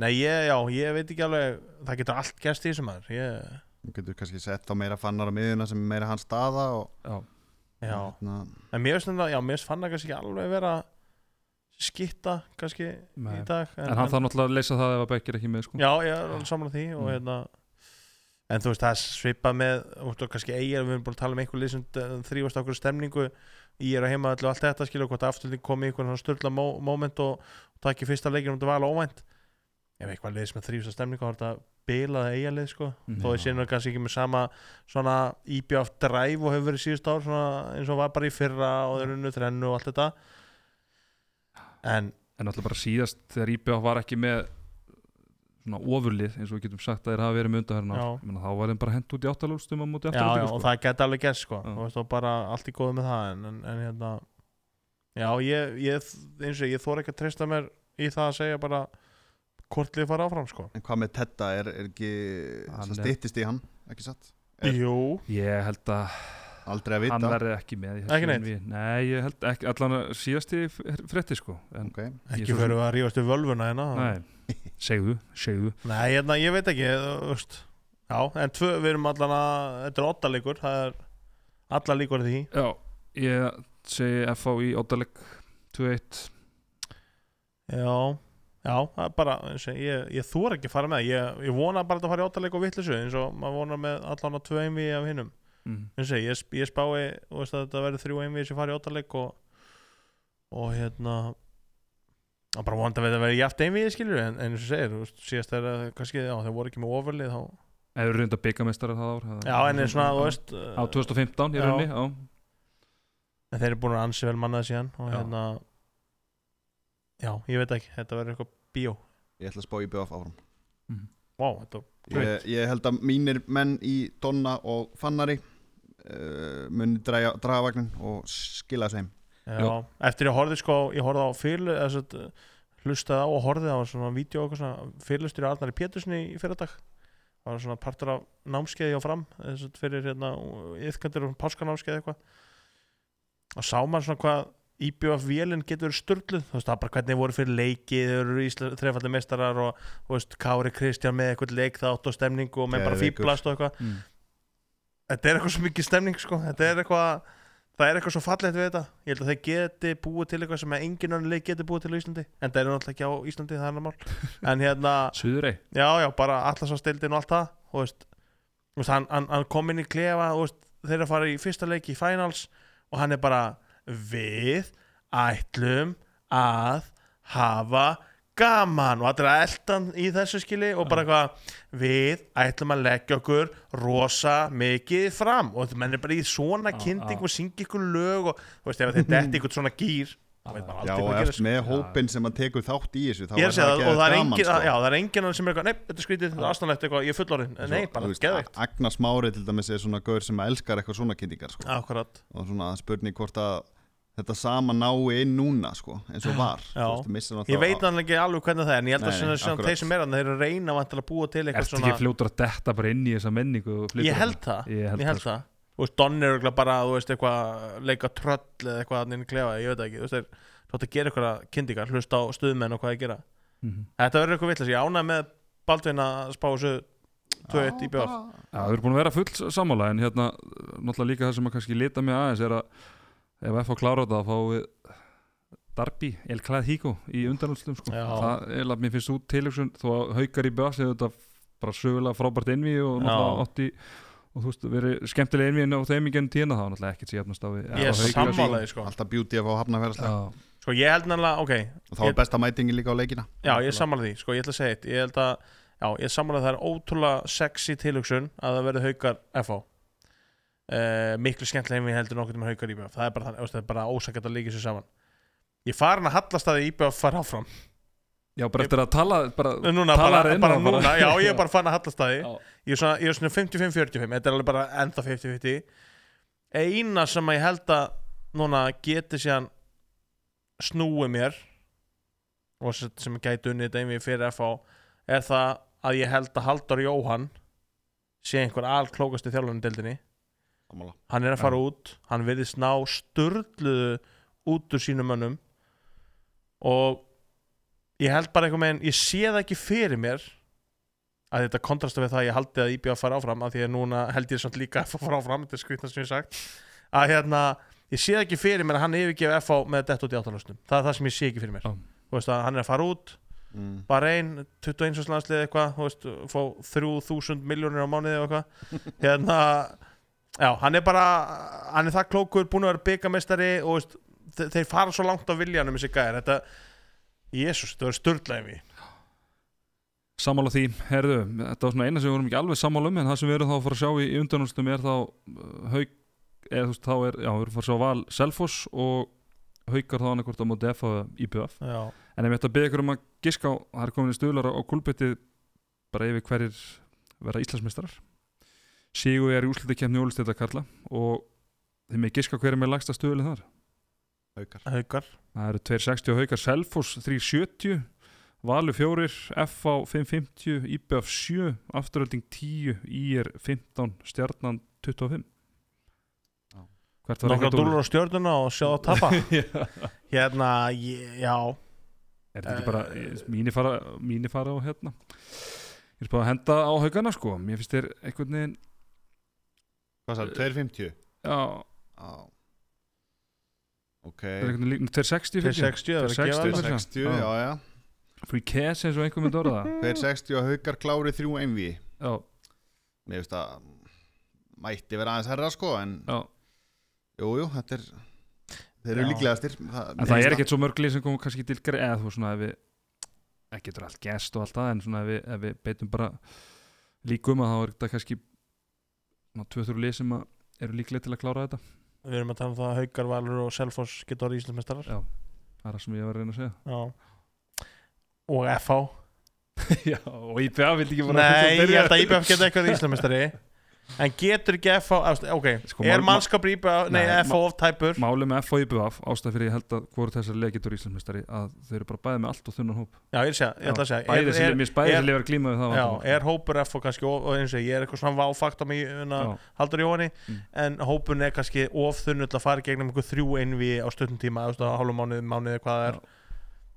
[SPEAKER 2] Nei, ég, já, ég veit ekki alveg Það getur allt gerst í þessum maður ég,
[SPEAKER 3] þú getur kannski sett þá meira fannar á miðuna sem er meira hans staða og
[SPEAKER 1] já,
[SPEAKER 2] Já,
[SPEAKER 3] Na,
[SPEAKER 2] en mér finnst þetta Já, mér finnst fann það kannski ekki alveg vera Skitta kannski
[SPEAKER 1] Nei.
[SPEAKER 2] í dag
[SPEAKER 1] en hann þarf náttúrulega að leysa það ef að Beck er ekki með sko,
[SPEAKER 2] Já, ég er alveg saman á því og
[SPEAKER 1] Mm.
[SPEAKER 2] hérna En þú veist, það er svipað með Þú veist, og kannski eigir, við erum búin að tala um einhver lið sem eh, þrífast á okkur stemningu Ég er að heima allu allt þetta skilja og hvort afturlík komi í einhvern svona störla moment og, og takk í fyrsta leikir um þetta var alveg óvænt Ef eitthvað lið sem þrífast á stemningu þá er þetta bilað eiga lið sko
[SPEAKER 1] Mhm.
[SPEAKER 2] þó ég sé nú kannski ekki með sama svona IBF drive og hefur verið síðust ár svona eins og var bara í fyrra og þeir unnu þrennu og allt þetta en
[SPEAKER 1] en náttúrulega bara síðast þegar IBF var ekki með svona ofurlið, eins og við getum sagt að þeir hafa verið með undaherna,
[SPEAKER 2] Já.
[SPEAKER 1] þá var þeim bara hent út í áttalóðstum á móti
[SPEAKER 2] já, já,
[SPEAKER 1] afturlöku
[SPEAKER 2] og
[SPEAKER 1] sko,
[SPEAKER 2] það geti alveg gert sko
[SPEAKER 1] Já.
[SPEAKER 2] þú veist, og bara allt í góðu með það en, en, en hérna já, ég, ég eins og ég, ég þóra ekki að treysta mér í það að segja bara hvort lið fara áfram sko
[SPEAKER 3] en hvað með Tedda er, er ekki
[SPEAKER 1] Hann
[SPEAKER 3] það
[SPEAKER 1] er-
[SPEAKER 3] styttist í hann, ekki satt Er-
[SPEAKER 2] Jú,
[SPEAKER 1] ég held að
[SPEAKER 3] aldrei að
[SPEAKER 1] hann
[SPEAKER 3] vita
[SPEAKER 1] verði ekki með í þessu
[SPEAKER 2] Ekki neitt?
[SPEAKER 1] NV. nei, ég held ekki, allan að síðasti frétti sko en,
[SPEAKER 3] okay.
[SPEAKER 1] Ég
[SPEAKER 2] ekki
[SPEAKER 1] svo sem-
[SPEAKER 2] fyrir að rífast við völvuna hérna
[SPEAKER 1] nei, segðu, segðu
[SPEAKER 2] Nei, hérna, ég veit ekki þú veist. Já, en tvö, við erum allan að þetta er otta líkur, það er alla líkur því
[SPEAKER 1] já, ég segi FH í Óttaleg 2-1
[SPEAKER 2] Já, já, það er bara eins og ég, ég þúr ekki að fara með það. ég, ég vona bara að þetta fara í áttaleg og vittlisu eins og maður vonar með allan að tvö einvið af hinnum
[SPEAKER 1] mm.
[SPEAKER 2] eins og ég, sp- ég spái þú veist, að þetta verður þrjú einvið sem fara í áttaleg og, og hérna og bara vonandi að þetta verður játt einvið skilur en, en eins og segir, þú veist, síðast er að kannski, já, þeir voru ekki með ofurlið þá
[SPEAKER 1] eða eru reynda byggamestari það ár það-
[SPEAKER 2] Já, en eins og svona, þú veist
[SPEAKER 1] á 2015 í
[SPEAKER 2] Já.
[SPEAKER 1] rauninni, já
[SPEAKER 2] En þeir eru búin að ansi vel mannað síðan og
[SPEAKER 1] Já.
[SPEAKER 2] hérna Já, ég veit ekki, þetta verður eitthvað bíó
[SPEAKER 3] ég ætla að spá í BF áfram
[SPEAKER 2] Vá, þetta
[SPEAKER 3] ég, ég held að mínir menn í Donna og Fannari uh, muni draga, draga vagnin og skila þessu heim
[SPEAKER 2] Já, eftir ég horfði sko, ég horfði á fyrir, þess að hlustaði eh, á og horfði á svona vídeo og eitthvað svona fyrirlustur í Arnari Pétursinni í fyrirdag það var svona partur af námskeiði á fram þess að fyrir hérna yðkandir og páskanámskeið eitthvað og sá maður svona hvað IBF vélinn getur verið sturluð þú veist það er bara hvernig þeir voru fyrir leiki þeir eru Ísla- þrefaldir meistarar og þú veist Kári Kristján með eitthvað leik þátt og stemningu og menn bara
[SPEAKER 3] Geðveikur.
[SPEAKER 2] fýblast og eitthvað
[SPEAKER 1] Mm.
[SPEAKER 2] þetta er eitthvað svo mikið stemning sko. þetta er eitthvað það er eitthvað svo fallegt við þetta ég held að þeir geti búið til eitthvað sem að engin annan leik geti búið til á Íslandi en það er náttúrulega ekki á Íslandi það er annar mál en hérna,
[SPEAKER 1] Suðurey
[SPEAKER 2] já já, bara allarsastildin og allt það þú veist, þú veist hann, hann, hann kom inn í klefa þú veist, þeir eru að fara í fyrsta leik í finals og hann er bara við ætlum að hafa gaman og allir að elta hann í þessu skili og bara eitthvað við ætlum að leggja okkur rosa mikið fram og þetta mennir bara í svona
[SPEAKER 1] Já,
[SPEAKER 2] kynning
[SPEAKER 1] já.
[SPEAKER 2] og syngja ykkur lög og þú veist ef þetta er eitthvað svona gýr þá veit maður aldrei
[SPEAKER 3] já og
[SPEAKER 2] hvað
[SPEAKER 3] eft
[SPEAKER 2] gerir
[SPEAKER 3] með
[SPEAKER 1] sko.
[SPEAKER 3] hópin sem að tekur þátt í þessu þá
[SPEAKER 2] Ég er að segja það og það er
[SPEAKER 3] geðveikt
[SPEAKER 2] engin,
[SPEAKER 3] gaman, sko.
[SPEAKER 2] já, það er engin annar sem er eitthvað, nei, þetta er skrítið, þetta er astanlegt eitthvað, ég er fullorinn,
[SPEAKER 3] Svo,
[SPEAKER 2] nei, bara
[SPEAKER 3] þú veist,
[SPEAKER 2] geðveikt.
[SPEAKER 3] Agnar Smári til dæmis er svona gaur sem elskar eitthvað svona kynningar sko.
[SPEAKER 2] Akkurat.
[SPEAKER 3] og svona spurning hvort að þetta sama nái inn núna sko, eins og var
[SPEAKER 2] Já.
[SPEAKER 3] Þú veist, missir
[SPEAKER 2] Ég
[SPEAKER 3] náttúrulega-
[SPEAKER 2] veit hann ekki alveg hvernig það er, en ég held
[SPEAKER 3] Nei,
[SPEAKER 2] að svona,
[SPEAKER 3] nei,
[SPEAKER 2] svona
[SPEAKER 3] akkurat.
[SPEAKER 2] þeir sem er hann, þeir eru að reyna vantilega að búa til eitthvað
[SPEAKER 1] Ertu ekki fljótur að detta bara inn í þessa menningu og flytur
[SPEAKER 2] Ég held
[SPEAKER 1] þarna?
[SPEAKER 2] það,
[SPEAKER 1] Ég held
[SPEAKER 2] ég held
[SPEAKER 1] það, sko.
[SPEAKER 2] það Þú veist, Don er örugglega bara, þú veist, eitthvað leika tröll eða eitthvað hann inn í klefa, ég veit það ekki Þú veist, þeir, þú átt að gera eitthvað kynntíkar, hlusta á stuðmenn og hvað þeir gera
[SPEAKER 1] Mhm.
[SPEAKER 2] Þetta verður eitthvað vitlega, ég ánæg með Baldvin að spá þessu 2-1 í bjór
[SPEAKER 1] Já, við erum búin að vera full sammála en hérna, náttúrulega líka það sem að kannski lita mig aðeins er að ef F á klára þetta þá fáum við Darby, El Clasico í undanúrslitum sko.
[SPEAKER 2] Já.
[SPEAKER 1] það er að mér finnst út tilöksun þó að haukar í bjöf sem þetta bara sögulega frábært innví og
[SPEAKER 2] Já.
[SPEAKER 1] náttúrulega átti og þú veist, verið skemmtilega innví en á þeim í gennum tíðina það var náttúrulega ekkert sér á við
[SPEAKER 2] Ég er
[SPEAKER 1] Haukar.
[SPEAKER 2] sammálaði sko
[SPEAKER 3] Alltaf beauty að fá hafnafæðarslega
[SPEAKER 1] Já,
[SPEAKER 2] Sko ég held nærlega, ok
[SPEAKER 3] Og þá
[SPEAKER 2] Ég-
[SPEAKER 3] er besta mætingin líka á leikina
[SPEAKER 2] Já, ég er sammála því, sko, ég ætla að segja eitt Ég held að, já, ég er sammála að það er ótrúlega sexy tilhugsun að það verði haukar FH uh, Miklu skemmtilega heim við heldur nokkuð með haukar IBF Það er bara, þannig, þú veist, það er bara ósækjart að líka sér saman Ég er farin að hallast að IBF fara áfram
[SPEAKER 1] Já, bara eftir að tala bara,
[SPEAKER 2] Núna,
[SPEAKER 1] Talar
[SPEAKER 2] bara,
[SPEAKER 1] inn á
[SPEAKER 2] bara
[SPEAKER 1] það bara.
[SPEAKER 2] núna, já, ég er bara farin að hallast að því
[SPEAKER 1] Já.
[SPEAKER 2] Ég er svona, ég er svona 55-45 Þetta er alveg bara ennþá 50-50 Eina sem að ég held að núna geti síðan snúi mér og sem sem gæti unnið þetta einvið fyrir FH er það að ég held að Halldór Jóhann sé einhver alklókasti þjálfurinn deildinni
[SPEAKER 3] Sammála.
[SPEAKER 2] hann er að fara út hann virðist ná sturdluðu út úr sínum mönnum og ég held bara einhver meginn, ég sé það ekki fyrir mér að þetta kontrasta við það að ég haldi að IBF fara áfram af því að núna held ég samt líka að fara áfram þetta er skvitna sem ég hef sagt að hérna, ég sé það ekki fyrir mér að hann yfirgefi FH með dett út í áttalöstum það er það sem ég sé ekki fyrir mér
[SPEAKER 1] Já.
[SPEAKER 2] Þú veist að hann er að fara út
[SPEAKER 3] mm.
[SPEAKER 2] Bahrein, 21 árs landslið eitthvað þú veist, fá 3000 miljónir á mánuði og eitthvað hérna, já, hann er bara hann er það klókur, búin að vera byggamestari og veist, þe- þeir fara svo langt á viljanum þessi gæðir, þetta Jésús, þetta verður störtlega í
[SPEAKER 1] Sammála því, herðu, þetta var svona eina sem við vorum ekki alveg sammála um en það sem við erum þá að fara að sjá í, í undanúrstum er þá uh, haug, eða þú veist þá er, já, við erum að fara að sjá val Selfoss og haukar þá annarkvort á móti F eða IPF
[SPEAKER 2] Já,
[SPEAKER 1] en ef ég ætta að beða ykkur um að giska á, það er komin í stuðlar á kulbettið bara yfir hverjir vera Íslandsmeistarar Sigur er í úslutakefni Ólisteyta Karla og þeim er giska hverjum er lagsta stuðlið þar
[SPEAKER 3] Haukar
[SPEAKER 2] haukar
[SPEAKER 1] Það eru 260 haukar Selfoss 370 Valur 4, FA 550 IBF 7, afturölding 10 IR 15, stjarnan 25
[SPEAKER 3] Já.
[SPEAKER 1] Hvert var
[SPEAKER 2] nokkra
[SPEAKER 1] eitthvað dúllur?
[SPEAKER 2] dúlur á stjörnuna og sjá það að (laughs) tapa
[SPEAKER 1] Já.
[SPEAKER 2] hérna, ég- já
[SPEAKER 1] (laughs) Er þetta ekki bara eh, mínir fara, mínir fara á hérna Ég er bara að henda á haugana sko Mér finnst þér einhvern veginn
[SPEAKER 3] Hvað sagði, 250?
[SPEAKER 1] Já,
[SPEAKER 3] Á Ok
[SPEAKER 1] er einhvern veginn líka 260 fyrir
[SPEAKER 2] 260, það verður að
[SPEAKER 1] 260.
[SPEAKER 2] gefa þér.
[SPEAKER 3] 60,
[SPEAKER 1] Já.
[SPEAKER 3] já, já
[SPEAKER 1] ekki? Free cash eins og einhver mynd orða það
[SPEAKER 3] 260 og haukar klári 3 einví
[SPEAKER 1] Já,
[SPEAKER 3] Mér finnst að mætti vera aðeins herra sko en
[SPEAKER 1] já
[SPEAKER 3] Jú, jú, þetta er Þeir eru
[SPEAKER 2] Já.
[SPEAKER 3] líklegastir það,
[SPEAKER 1] En það er ekkert svo mörglið sem kom kannski til greið eða þú veist, svona ef við ekki getur allt gest og allt það en svona ef við, ef við beitum bara líkum að þá er þetta kannski tvö-þrjú lið sem að eru líklega til að klára þetta
[SPEAKER 2] Við erum að tala um það að haukar, valur og selfoss geta orðið íslensmestarar
[SPEAKER 1] Já, það er það sem ég var að reyna að segja
[SPEAKER 2] Já. og FH
[SPEAKER 1] Já, og IPA vildi ekki
[SPEAKER 2] Nei, ég held að IBF geta eitthvað Íslamistari En getur ekki FH ást- Ok,
[SPEAKER 1] Sko,
[SPEAKER 2] er
[SPEAKER 1] mál-
[SPEAKER 2] mannskapur IBF Nei,
[SPEAKER 1] Nei,
[SPEAKER 2] FH of tæpur
[SPEAKER 1] Máli með F og IPVF ástæð fyrir ég held að hvort þessar leið getur Íslandsmeistari að þau eru bara bæði með allt og þunnan hóp
[SPEAKER 2] Já, ég sé, ég ætla að segja
[SPEAKER 1] Bæði
[SPEAKER 2] er,
[SPEAKER 1] sem
[SPEAKER 2] er,
[SPEAKER 1] mér bæði
[SPEAKER 2] er-
[SPEAKER 1] sem leið var glímaði það
[SPEAKER 2] Já,
[SPEAKER 1] vandamál.
[SPEAKER 2] er hópur FH kannski of, og eins og ég, ég er eitthvað svona váfakt á mig unna,
[SPEAKER 1] Já.
[SPEAKER 2] Haldur Jóhanni
[SPEAKER 1] Mm.
[SPEAKER 2] en hópurinn er kannski of þunnull að fara í gegnum einhver þrjú einvi á stundum tíma ástu, hálfum mánuði, mánuði, hvað það er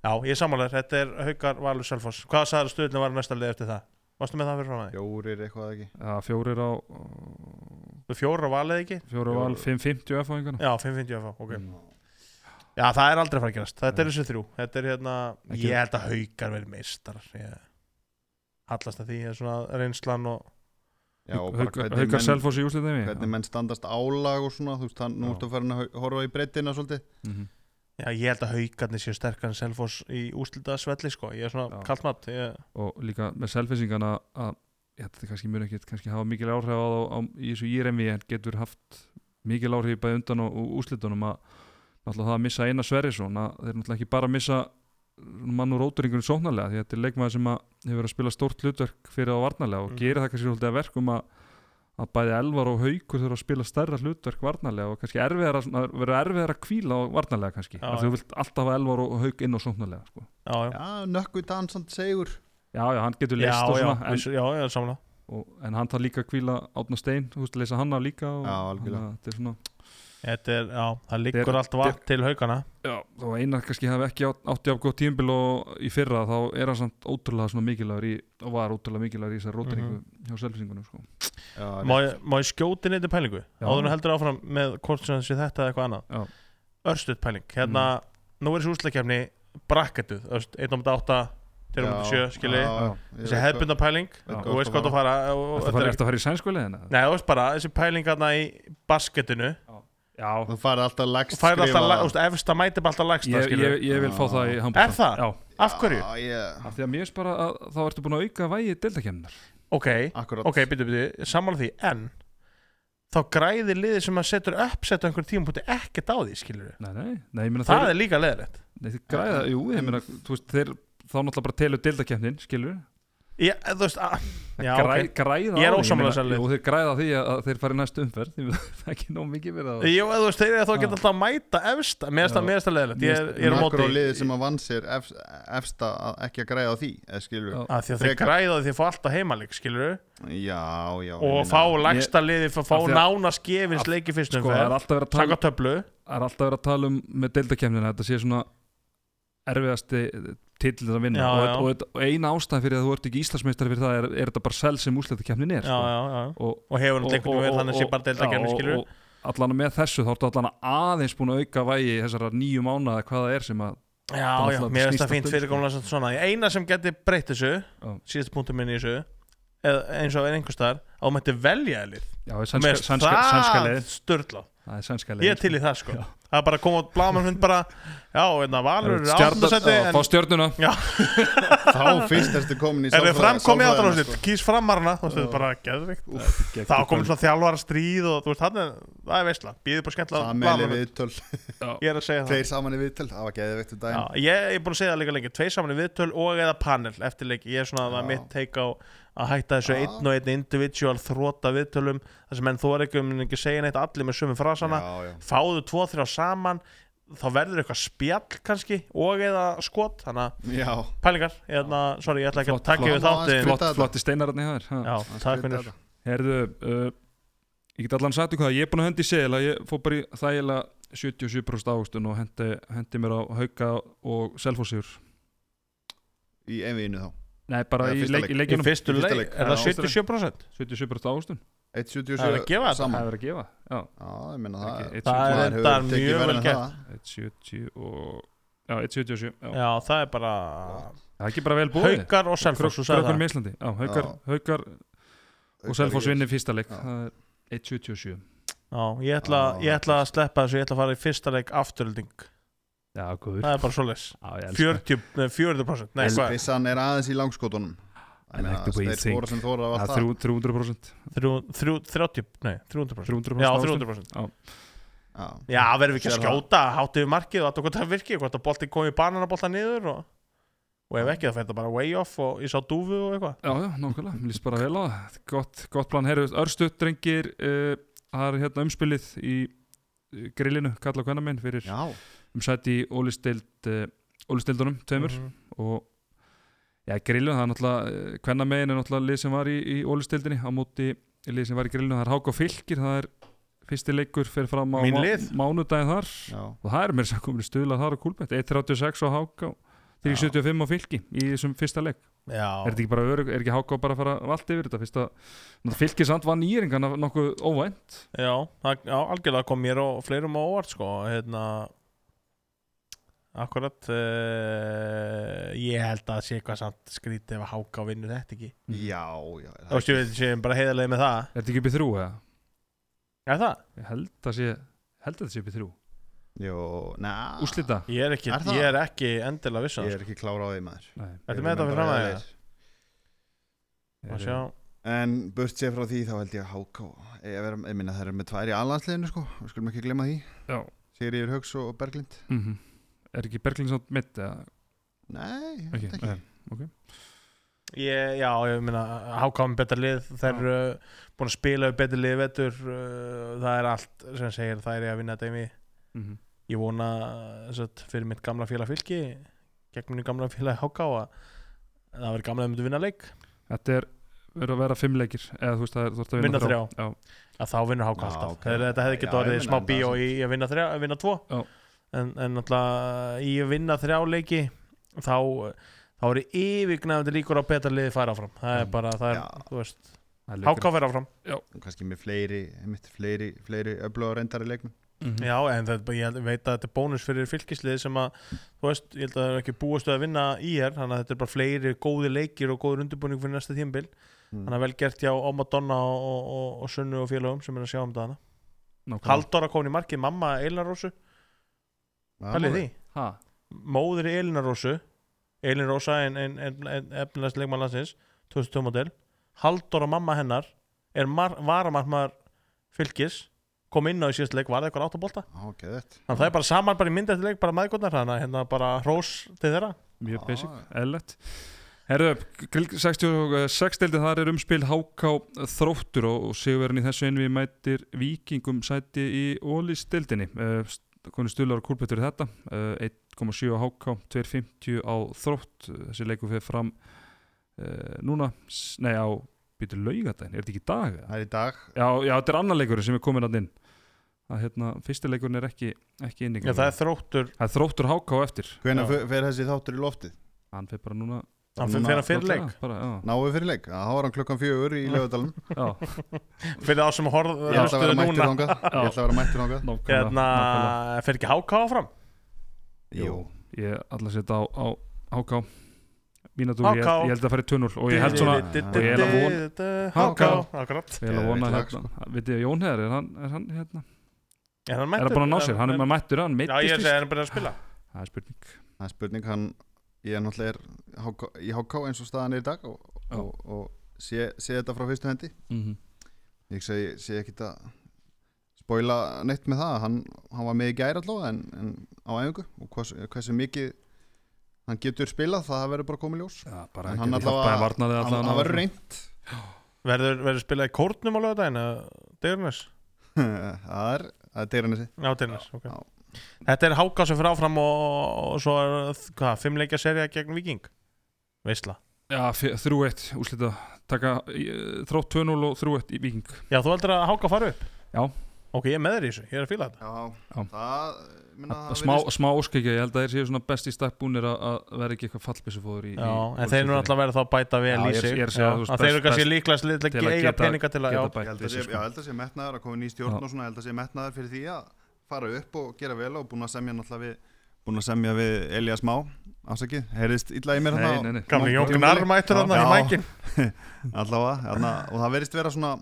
[SPEAKER 1] Já.
[SPEAKER 2] Já, ég er sammálaður, þetta er Haukar Valur Selfoss Hvað sagður stöðunum var næsta leið eftir það? Varstu með það fyrir fram að
[SPEAKER 3] Fjórir eitthvað ekki
[SPEAKER 1] Já, fjórir á
[SPEAKER 2] því? Fjóra valið ekki?
[SPEAKER 1] fjórir á val 550 F og einhverna
[SPEAKER 2] Já, 550 FH, ok
[SPEAKER 3] Mm.
[SPEAKER 2] Já, það er aldrei að fara að gerast. Þetta
[SPEAKER 1] Nei.
[SPEAKER 2] er þessi þrjú. Þetta er hérna,
[SPEAKER 1] Ekki-
[SPEAKER 2] ég held að haukar verið meistarar. Ég hallast að því er svona reynslan og...
[SPEAKER 3] Já, og bara
[SPEAKER 1] Haukar
[SPEAKER 3] hvernig
[SPEAKER 1] Haukar
[SPEAKER 3] menn-
[SPEAKER 1] Selfoss í úsliðinni
[SPEAKER 3] hvernig menn standast álag og svona þú veist, hann, nú
[SPEAKER 1] Já.
[SPEAKER 3] ertu farin að hau- horfa í breytina svolítið
[SPEAKER 2] Mhm.
[SPEAKER 1] menn
[SPEAKER 2] Já, ég held að haukarnir séu sterkar en Selfoss í úslita svelli, sko. Ég er svona
[SPEAKER 1] Já.
[SPEAKER 2] kallt mat. Ég...
[SPEAKER 1] og líka með selfinsingana að ég, þetta kannski mjög ekkert kannski hafa mikil áhrif á, á, á í þessu íremi en getur haft mikil áhrif bæði undan og, og úslitunum að náttúrulega það að missa eina Sverrisson að þeir náttúrulega ekki bara missa mann úr róturingunum sóknarlega því þetta er leikmaður sem að hefur verið að spila stórt hlutverk fyrir á varnarlega og
[SPEAKER 2] Mhm.
[SPEAKER 1] gerir það kannski svolítið að verkum að, að bæði elvar og haukur þurfa að spila stærra hlutverk varnarlega og kannski erfiðar að vera erfiðar að kvíla á varnarlega kannski,
[SPEAKER 2] Já,
[SPEAKER 1] af því þú vilt alltaf hafa elvar og hauk inn á sóknarlega sko.
[SPEAKER 2] Já, já.
[SPEAKER 3] Já, nökku dansand segur
[SPEAKER 1] já, já, hann getur
[SPEAKER 2] Já,
[SPEAKER 1] list og
[SPEAKER 2] já,
[SPEAKER 1] svona en-
[SPEAKER 2] vissu- já, já, samla.
[SPEAKER 1] og, en hann þarf líka að kvíla Átna Stein, þú veist, leysa hann af líka og,
[SPEAKER 3] Já, algjörlega.
[SPEAKER 1] þannig að þetta er svona,
[SPEAKER 2] Þetta er, já, það liggur allt vatn til haugana
[SPEAKER 1] Já, þó að Einar kannski hafi ekki átt- átti af góð tímbil og í fyrra þá er hann samt ótrúlega svona mikilvægur í, og var ótrúlega mikilvægur í þessar
[SPEAKER 2] Mhm.
[SPEAKER 1] rótringu hjá selfisingunum sko.
[SPEAKER 3] Já,
[SPEAKER 2] Má ég, má ég skjóti neitt pælingu?
[SPEAKER 1] Já.
[SPEAKER 2] Áður en heldur áfram með hvort sem sé þetta eða eitthvað
[SPEAKER 1] Já. Mm.
[SPEAKER 2] annað Örstuð pæling, hérna Nú er þessi úslakefni brakketuð 1.8, 2.7, skilji Þessi hefðbunda pæling,
[SPEAKER 1] Já.
[SPEAKER 2] þú veist hvað þú fara
[SPEAKER 1] Ertu
[SPEAKER 2] og- og
[SPEAKER 1] að
[SPEAKER 2] þetta
[SPEAKER 1] fara-
[SPEAKER 2] er-
[SPEAKER 1] ertu að fara í sænskvöli þennan?
[SPEAKER 2] Nei, þú veist bara, þessi pæling hérna í basketinu
[SPEAKER 1] Já,
[SPEAKER 3] Þú farið alltaf
[SPEAKER 2] Þú
[SPEAKER 3] lagst
[SPEAKER 2] færði alltaf, la- þú veist, efsta mæti bara alltaf lagsta,
[SPEAKER 1] ég,
[SPEAKER 2] skilju
[SPEAKER 1] ég, ég vil fá það í handbólta
[SPEAKER 2] Er það?
[SPEAKER 1] Já,
[SPEAKER 2] Af hverju?
[SPEAKER 3] Já, ég-
[SPEAKER 1] af því að mér spara að þá ertu búin að auka vægi deildakemnar
[SPEAKER 2] Ok,
[SPEAKER 3] Akkurat
[SPEAKER 2] ok, byrju, byrju, sammála því En þá græðir liðið sem að setur upp Setta einhver tímapunkti ekkert á því, skilju
[SPEAKER 1] Nei, nei, nei, ég meina
[SPEAKER 2] Það
[SPEAKER 1] þeir,
[SPEAKER 2] er líka leðrætt
[SPEAKER 1] nei, þeir græða, jú, ég meina, þú veist, þeir þá náttúrulega bara telur deildakemnin, skilur
[SPEAKER 2] Já, þú veist að, Já,
[SPEAKER 1] Græ,
[SPEAKER 2] ok
[SPEAKER 1] Græða
[SPEAKER 2] Ég er
[SPEAKER 1] á því,
[SPEAKER 2] ósammála
[SPEAKER 1] meina,
[SPEAKER 2] þessari leið.
[SPEAKER 1] Jú, þeir græða á því að, að þeir fari næstu umferð ég meina, (laughs) Það er ekki nóg mikið verið að
[SPEAKER 2] Jú, þú veist, þeir eru þá að
[SPEAKER 1] Já.
[SPEAKER 2] geta alltaf að mæta efsta Mér erst
[SPEAKER 1] Já.
[SPEAKER 2] að mér erst að leðilegt Ég er, ég er á
[SPEAKER 3] Makkur
[SPEAKER 2] móti
[SPEAKER 3] á liðið sem að vann sér efst, efsta að ekki að græða á því eða skilur
[SPEAKER 1] Já.
[SPEAKER 3] já.
[SPEAKER 2] að Því að þeir
[SPEAKER 3] Frekar.
[SPEAKER 2] græða því að fá alltaf heimalik, skilur
[SPEAKER 3] já, já
[SPEAKER 2] Og
[SPEAKER 3] ég
[SPEAKER 2] fá
[SPEAKER 3] meina-
[SPEAKER 2] lagsta liði Fá
[SPEAKER 1] Af því að-
[SPEAKER 2] nána skefins
[SPEAKER 1] Af-
[SPEAKER 2] leiki fyrst um
[SPEAKER 1] Sko, það er
[SPEAKER 2] fer
[SPEAKER 1] alltaf verið að Sko. tala,
[SPEAKER 2] Saka töflu
[SPEAKER 1] það er alltaf verið að tala um með deildakemnina Þetta sé svona erfiðasti titl að vinna
[SPEAKER 2] Já,
[SPEAKER 1] og,
[SPEAKER 2] já.
[SPEAKER 1] og, og, og eina ástæðan fyrir að þú ert ekki Íslandsmeistari fyrir það er, er þetta bara sel sem úsleitakemnin er
[SPEAKER 2] Já, já, já
[SPEAKER 1] já. Og,
[SPEAKER 2] Og hefur hann leikum verið þannig að sé bara delta kemni,
[SPEAKER 1] já,
[SPEAKER 2] skilur
[SPEAKER 1] og- og allan með þessu þá ertu allan aðeins búin að auka vægi þessara nýju mánaða hvað það er sem að
[SPEAKER 2] Já, já,
[SPEAKER 1] náttúrulega
[SPEAKER 2] mér finnst
[SPEAKER 1] snýst
[SPEAKER 2] það fínt
[SPEAKER 1] allt um,
[SPEAKER 2] fyrirkomlega samt svona Ég Eina sem geti breytt þessu Síðast punktum minni í þessu eða eins og er einhvers staðar að þú mætti velja þér lið
[SPEAKER 1] já, er
[SPEAKER 2] Mér
[SPEAKER 1] sænska,
[SPEAKER 2] finnst
[SPEAKER 1] sænska, sænska
[SPEAKER 2] það
[SPEAKER 1] leið
[SPEAKER 2] sturla
[SPEAKER 1] það er sænska leið
[SPEAKER 2] ég er til í það sko
[SPEAKER 1] Já.
[SPEAKER 2] það er bara að koma út blaman hund bara já, en það valur er
[SPEAKER 1] stjarnan,
[SPEAKER 2] áttundarsæti
[SPEAKER 1] já,
[SPEAKER 2] en
[SPEAKER 1] fá stjörnuna
[SPEAKER 3] Þá fyrst erstu komin
[SPEAKER 2] (laughs)
[SPEAKER 3] í
[SPEAKER 2] er
[SPEAKER 3] sálfræði-
[SPEAKER 2] þið framkomið
[SPEAKER 3] sálfræðina,
[SPEAKER 2] áttundarsæti sko. kýs framarna, þú veist, þetta er bara geðvikt þá komið svona þjálfara stríð og þú veist, þarna er- það er veistla, býðið bara skemmtilega
[SPEAKER 3] Sameli
[SPEAKER 2] blaman hund,
[SPEAKER 3] viðtöl,
[SPEAKER 2] ég er að segja það
[SPEAKER 3] tveir saman í viðtöl Það var geðið veikt um
[SPEAKER 2] Já,
[SPEAKER 3] daginn
[SPEAKER 2] ég er búin að segja það líka lengi, tvei saman í viðtöl og eða panel eftir leik, ég er svona að það er
[SPEAKER 3] Já.
[SPEAKER 2] mitt teika á að hætta þessu
[SPEAKER 3] Já.
[SPEAKER 2] einn og einn individual þróta viðtölum, þar sem enn þó er ekki um ekki segja neitt allir með sömu frasana
[SPEAKER 3] já, já.
[SPEAKER 2] fáðu tvo, þrjá saman þá verður eitthvað spjall kannski og eða skot, þannig að
[SPEAKER 3] já.
[SPEAKER 2] pælingar hérna, sorry, ég ætla ekki að
[SPEAKER 1] Flott,
[SPEAKER 2] taka
[SPEAKER 1] flott.
[SPEAKER 2] yfir
[SPEAKER 3] Aðeins
[SPEAKER 2] þáttin
[SPEAKER 1] flott, flotti steinar hérna hér
[SPEAKER 2] Já, takk finnur
[SPEAKER 3] Þetta-
[SPEAKER 1] herðu uh, ég get allan sagt um hvað ég er búin að hendi í segil að ég fór bara í þægilega 77% águstun og hendi, hendi mér á hauka og selfósigur
[SPEAKER 3] Í einvíinu þá
[SPEAKER 1] nei bara
[SPEAKER 3] Já,
[SPEAKER 1] í,
[SPEAKER 3] fyrsta
[SPEAKER 1] leik,
[SPEAKER 3] leik.
[SPEAKER 1] í
[SPEAKER 2] Í
[SPEAKER 1] leikinum
[SPEAKER 2] fyrstu
[SPEAKER 3] Í fyrsta
[SPEAKER 2] leik,
[SPEAKER 3] leik.
[SPEAKER 2] er það
[SPEAKER 1] Já.
[SPEAKER 2] 77%?
[SPEAKER 1] 77% águstun
[SPEAKER 3] 1.77
[SPEAKER 2] Það er að gefa þetta.
[SPEAKER 1] það
[SPEAKER 3] saman
[SPEAKER 1] er verið að gefa já,
[SPEAKER 3] Já, ég meina það
[SPEAKER 1] ekki,
[SPEAKER 2] Það er
[SPEAKER 3] maður
[SPEAKER 2] enda
[SPEAKER 3] hefur tekið
[SPEAKER 2] mjög
[SPEAKER 3] verra
[SPEAKER 2] vel
[SPEAKER 3] en
[SPEAKER 2] gert.
[SPEAKER 3] það.
[SPEAKER 1] 1.70 og já, 1.77 já.
[SPEAKER 2] Já, það er bara
[SPEAKER 1] það er ekki bara vel búið
[SPEAKER 2] haukar og selfoss og sagði
[SPEAKER 1] Krökkur
[SPEAKER 2] það
[SPEAKER 1] með Íslandi já, haukar,
[SPEAKER 3] Já.
[SPEAKER 1] haukar og Selfoss vinnir fyrsta leik
[SPEAKER 3] Já.
[SPEAKER 1] það er 1.77
[SPEAKER 2] Já, ég ætla,
[SPEAKER 3] Já,
[SPEAKER 2] ég ætla að sleppa þessu, ég ætla að fara í fyrsta leik afturölding,
[SPEAKER 1] já, góður
[SPEAKER 2] það er bara svoleiðis
[SPEAKER 1] Já, ég elska
[SPEAKER 2] 40, nei, 40% Nei,
[SPEAKER 1] Elska.
[SPEAKER 2] hvað,
[SPEAKER 3] Pissan er aðeins í langskotunum
[SPEAKER 1] I like the way you
[SPEAKER 3] Þeir
[SPEAKER 1] think.
[SPEAKER 3] skora sem þóra
[SPEAKER 1] það.
[SPEAKER 3] var
[SPEAKER 1] Já,
[SPEAKER 3] það
[SPEAKER 1] þrjú- 300%
[SPEAKER 2] Þrjú- þrjú- 30, nei, 300%
[SPEAKER 1] 300%
[SPEAKER 2] Já,
[SPEAKER 1] ástand.
[SPEAKER 2] 300%
[SPEAKER 3] Já.
[SPEAKER 2] Já, verðum við ekki að
[SPEAKER 3] Sér það.
[SPEAKER 2] skjóta, hátu við markið og alltaf hvort það virki, hvort að bolti kom í bananabolta niður og, og ef ekki það fer þetta bara way off og ég sá dúfu og eitthvað
[SPEAKER 1] já, já, nákvæmlega mér líst bara vel á það gott, gott plan herru örstuð drengir uh, það er hérna umspilið í eh, grillinu kalla hvenna minn fyrir
[SPEAKER 3] Já,
[SPEAKER 1] um sæti í ólisteild uh, ólistildunum tveimur
[SPEAKER 2] Mhm.
[SPEAKER 1] og já, grillinu, það er náttúrulega hvenna megin er náttúrulega lið sem var í, í ólistildinni á móti lið sem var í grillinu, það er Hák og Fylkir það er fyrsti leikur fyrir fram á
[SPEAKER 2] Mín
[SPEAKER 1] má-
[SPEAKER 2] lið.
[SPEAKER 1] mánudaginn þar
[SPEAKER 3] já
[SPEAKER 1] og það er mér sem komin stuðlað þar á kúlbett 1.36 á Hák og 3.75 á Fylki í þessum fyrsta leik er þetta
[SPEAKER 2] Já,
[SPEAKER 1] ekki bara örug, er ekki Hák bara að fara allt yfir þetta fyrsta, Náttúrulega Fylkir samt var nýringana nokkuð óvænt
[SPEAKER 2] já, það, já, algjörlega kom mér og fleirum á óvart sko, hérna Akkurat uh, ég held að sé eitthvað samt skrítið ef að háka og vinnu þetta ekki
[SPEAKER 3] Já, já
[SPEAKER 2] Þú veist, ég veit, séum bara heiðarlega með það
[SPEAKER 1] er þetta ekki upp í þrjú eða?
[SPEAKER 2] Er það?
[SPEAKER 1] Ég held að sé held að þetta sé upp í þrjú,
[SPEAKER 3] Jó, næ
[SPEAKER 1] úslita
[SPEAKER 2] Ég er ekki,
[SPEAKER 3] Er það?
[SPEAKER 2] ég er ekki endilega vissan
[SPEAKER 3] Ég
[SPEAKER 2] sko.
[SPEAKER 3] er ekki klára á því maður
[SPEAKER 1] Nei,
[SPEAKER 2] Ertu með
[SPEAKER 3] Ég er
[SPEAKER 2] þetta fyrir
[SPEAKER 3] bara
[SPEAKER 2] framan
[SPEAKER 3] eðlilegir.
[SPEAKER 2] Má sjá.
[SPEAKER 3] En burt sér frá því þá held ég að háká Ég, vera, ég minna það er með tvær í aðlandsliðinu sko Við skulum ekki glemma því
[SPEAKER 1] Já.
[SPEAKER 3] Sigur yfir Hauks og Berglind
[SPEAKER 1] mm er ekki Berglingsson mitt eða
[SPEAKER 3] Nei, ég
[SPEAKER 1] Ekki,
[SPEAKER 3] veit ekki
[SPEAKER 1] nei.
[SPEAKER 2] Mhm. Ég, já, ég meina, hákáum betra lið, þeir eru uh, búin að spila við betra lið vettur, uh, það er allt sem segir það er ég að vinna þetta í mig.
[SPEAKER 1] mm -hmm.
[SPEAKER 2] Ég vona, þess að fyrir mitt gamla félag fylki, gegn mínu gamla félag háká að það verður gamla að þau myndu vinna leik.
[SPEAKER 1] þetta er verður að vera fimm leikir eða þú veist það er þú ert að
[SPEAKER 2] Vinna
[SPEAKER 1] vinna
[SPEAKER 2] þrjá.
[SPEAKER 1] Já,
[SPEAKER 2] að þá vinnur háka
[SPEAKER 3] Já,
[SPEAKER 2] alltaf
[SPEAKER 3] ok.
[SPEAKER 2] Þeir, þetta hefði ekki
[SPEAKER 3] Já, ég
[SPEAKER 2] orðið
[SPEAKER 3] meina,
[SPEAKER 2] smá
[SPEAKER 3] en það
[SPEAKER 2] bíó
[SPEAKER 3] samt.
[SPEAKER 2] í að vinna þrjá að vinna tvo
[SPEAKER 1] Já.
[SPEAKER 2] en, en náttúrulega í að vinna þrjá leiki þá þá eru yfirgnæðandi líkur á að betra liði færa áfram það er
[SPEAKER 1] Mm.
[SPEAKER 2] bara, það er,
[SPEAKER 3] Já.
[SPEAKER 2] þú veist
[SPEAKER 1] það er leikir.
[SPEAKER 2] háka færa áfram,
[SPEAKER 3] og kannski með fleiri, einmitt fleiri, fleiri öfluga reyndari leikmenn Mm.
[SPEAKER 1] Mhm.
[SPEAKER 2] já en það, ég held- veit að þetta er bónus fyrir fylkislið sem að þú veist, ég held að það er ekki búastu að vinna í hér þannig að þetta er bara fleiri góði leikir og góður undirbúning fyrir næsta tímbil þannig
[SPEAKER 3] mm.
[SPEAKER 2] að vel gert hjá Óma Donna og, og, og, og Sunnu og félagum sem er að sjá um dagana
[SPEAKER 1] Nákvæmlega.
[SPEAKER 2] Halldóra komin í markið, mamma Eilnarósu, pælið því
[SPEAKER 1] Ha,
[SPEAKER 2] móður Elina Rósu Elina Rósa en, en, en, en efnilegst leikmann landsins 2002 model Halldóra mamma hennar er mar, varamarkmaður fylgis kom inn á í síðast leik, var það eitthvað áttabólta
[SPEAKER 3] ok, þetta
[SPEAKER 2] þannig að það er bara saman bara í myndi eftir leik, bara maðgóðnar hana hérna bara hrós til þeirra
[SPEAKER 1] mjög
[SPEAKER 3] Ah.
[SPEAKER 1] basic, eðlert Herðu, grill 66 deildi þar er umspil HK þróttur og, og sigurverðin í þessu einvi mætir vikingum sæti í Ólís deildinni uh, konu stuðlar og kúlbetur í þetta uh, 1,7 á HK, 2,50 á þrótt Eh, þessi leikur fyrir fram uh, núna, s- nei á býtur laugadaginn, er þetta ekki í dag? eða?
[SPEAKER 3] það er í dag
[SPEAKER 1] Já, já, þetta er annar leikur sem er komin að inn að hérna, fyrsti leikurinn er ekki, ekki inn í
[SPEAKER 2] Já, það er þróttur,
[SPEAKER 1] það er þróttur HK á eftir
[SPEAKER 3] hvenær
[SPEAKER 2] Já.
[SPEAKER 3] fer fer þessi þáttur í loftið
[SPEAKER 1] hann fyrir bara núna
[SPEAKER 2] hann fyrir
[SPEAKER 3] Núna-
[SPEAKER 2] fyrir fyrir leik
[SPEAKER 1] fljótlega, bara, já,
[SPEAKER 3] náu fyrir leik, það var hann klukkan fjögur í lögadalum (laughs)
[SPEAKER 1] já.
[SPEAKER 2] fyrir þá sem horf,
[SPEAKER 3] ég ætla að
[SPEAKER 2] hlustuðu
[SPEAKER 3] vera mættur
[SPEAKER 2] núna
[SPEAKER 3] þangað ég ætla að vera mættur þangað
[SPEAKER 1] Nákvæmlega,
[SPEAKER 2] hérna,
[SPEAKER 1] nákvæmlega.
[SPEAKER 2] fyrir ekki háká áfram
[SPEAKER 3] jú,
[SPEAKER 1] Ég ætla að setja á, á HK Mínatúr,
[SPEAKER 2] HK.
[SPEAKER 1] ég, held- ég held að fara í tunnul og ég held svona
[SPEAKER 3] og
[SPEAKER 1] ég er að von-
[SPEAKER 2] háká,
[SPEAKER 1] HK.
[SPEAKER 2] akkurat
[SPEAKER 1] Ég held að
[SPEAKER 3] Geðveikt
[SPEAKER 1] vona
[SPEAKER 3] lag,
[SPEAKER 1] hérna Vitið þið, Jón Heðar, er hann, er hann hérna
[SPEAKER 2] er hann
[SPEAKER 1] Er hann búin að ná sér, hann er maður mættur, hann
[SPEAKER 2] Já, ég
[SPEAKER 1] meittist
[SPEAKER 2] segi,
[SPEAKER 1] víst.
[SPEAKER 2] er hann búin að spila
[SPEAKER 1] Það er spurning
[SPEAKER 3] það er spurning hann ég er náttúrulega er HK, í HK eins og staðan er í dag og,
[SPEAKER 1] Já.
[SPEAKER 3] og, og sé, sé þetta frá fyrstu hendi
[SPEAKER 1] Mhm.
[SPEAKER 3] ég segi, sé ekki að spoila neitt með það hann, hann var með í gæri allavega en, en á æfingu og hvers, hversu mikið hann getur spilað það verður bara komið ljós
[SPEAKER 1] Já, bara
[SPEAKER 3] En
[SPEAKER 1] ekki
[SPEAKER 3] hann
[SPEAKER 1] að
[SPEAKER 3] allavega-
[SPEAKER 1] hjálpa að varna þið
[SPEAKER 3] hann,
[SPEAKER 1] allavega
[SPEAKER 3] hann verður reynd
[SPEAKER 2] Verður, verður spilað í kórnum á lögadaginn eða Deirnes?
[SPEAKER 3] (laughs) það er, það er deyrann þessi
[SPEAKER 2] Já, Deirnes, ok.
[SPEAKER 3] Já.
[SPEAKER 2] Þetta er Háká sem fyrir áfram og, og svo er, hvað, fimmleikja serja gegn Viking? Veisla.
[SPEAKER 1] Já, fjö- 3-1 úrslita Taka eh, þrótt 2-0 og 3-1 í Víking
[SPEAKER 2] Já, þú heldur að Háká fari upp?
[SPEAKER 1] Já.
[SPEAKER 2] Ok, ég er með þér í þessu, ég er að fíla þetta.
[SPEAKER 3] já,
[SPEAKER 1] Já.
[SPEAKER 3] það minna,
[SPEAKER 1] Smá, smá óskækja, ég held að þeir séu svona best í stakk búnir að- að vera ekki eitthvað fallbissufóður í
[SPEAKER 2] Já, en þeir eru alltaf verið þá að bæta vel
[SPEAKER 1] Já,
[SPEAKER 2] í
[SPEAKER 1] ég er-
[SPEAKER 2] sig.
[SPEAKER 1] ég er að segja,
[SPEAKER 2] Já,
[SPEAKER 1] þú veist,
[SPEAKER 2] að þeir eru
[SPEAKER 1] best-
[SPEAKER 2] kannski líklegast til
[SPEAKER 1] til að
[SPEAKER 2] að eiga
[SPEAKER 1] geta-
[SPEAKER 2] peninga til
[SPEAKER 1] geta
[SPEAKER 2] að, já,
[SPEAKER 3] ég held
[SPEAKER 1] bætt
[SPEAKER 3] að
[SPEAKER 1] þessu
[SPEAKER 3] sé, já,
[SPEAKER 1] sko.
[SPEAKER 3] held að sé metnaðar að koma ný stjórn
[SPEAKER 1] Já.
[SPEAKER 3] og svona, ég held að sé metnaðar fyrir því að fara upp og gera vel og búin að semja náttúrulega við búin að semja við Elías Má afsakið, heyrðist illa í mér
[SPEAKER 1] Nei,
[SPEAKER 3] hérna
[SPEAKER 1] nei,
[SPEAKER 3] á-
[SPEAKER 1] nei
[SPEAKER 2] gamli
[SPEAKER 3] Já.
[SPEAKER 2] Jón Gunnar mættur
[SPEAKER 1] Já.
[SPEAKER 2] þarna í
[SPEAKER 3] Já.
[SPEAKER 2] mækin.
[SPEAKER 3] allavega, hérna, og það verðist vera svona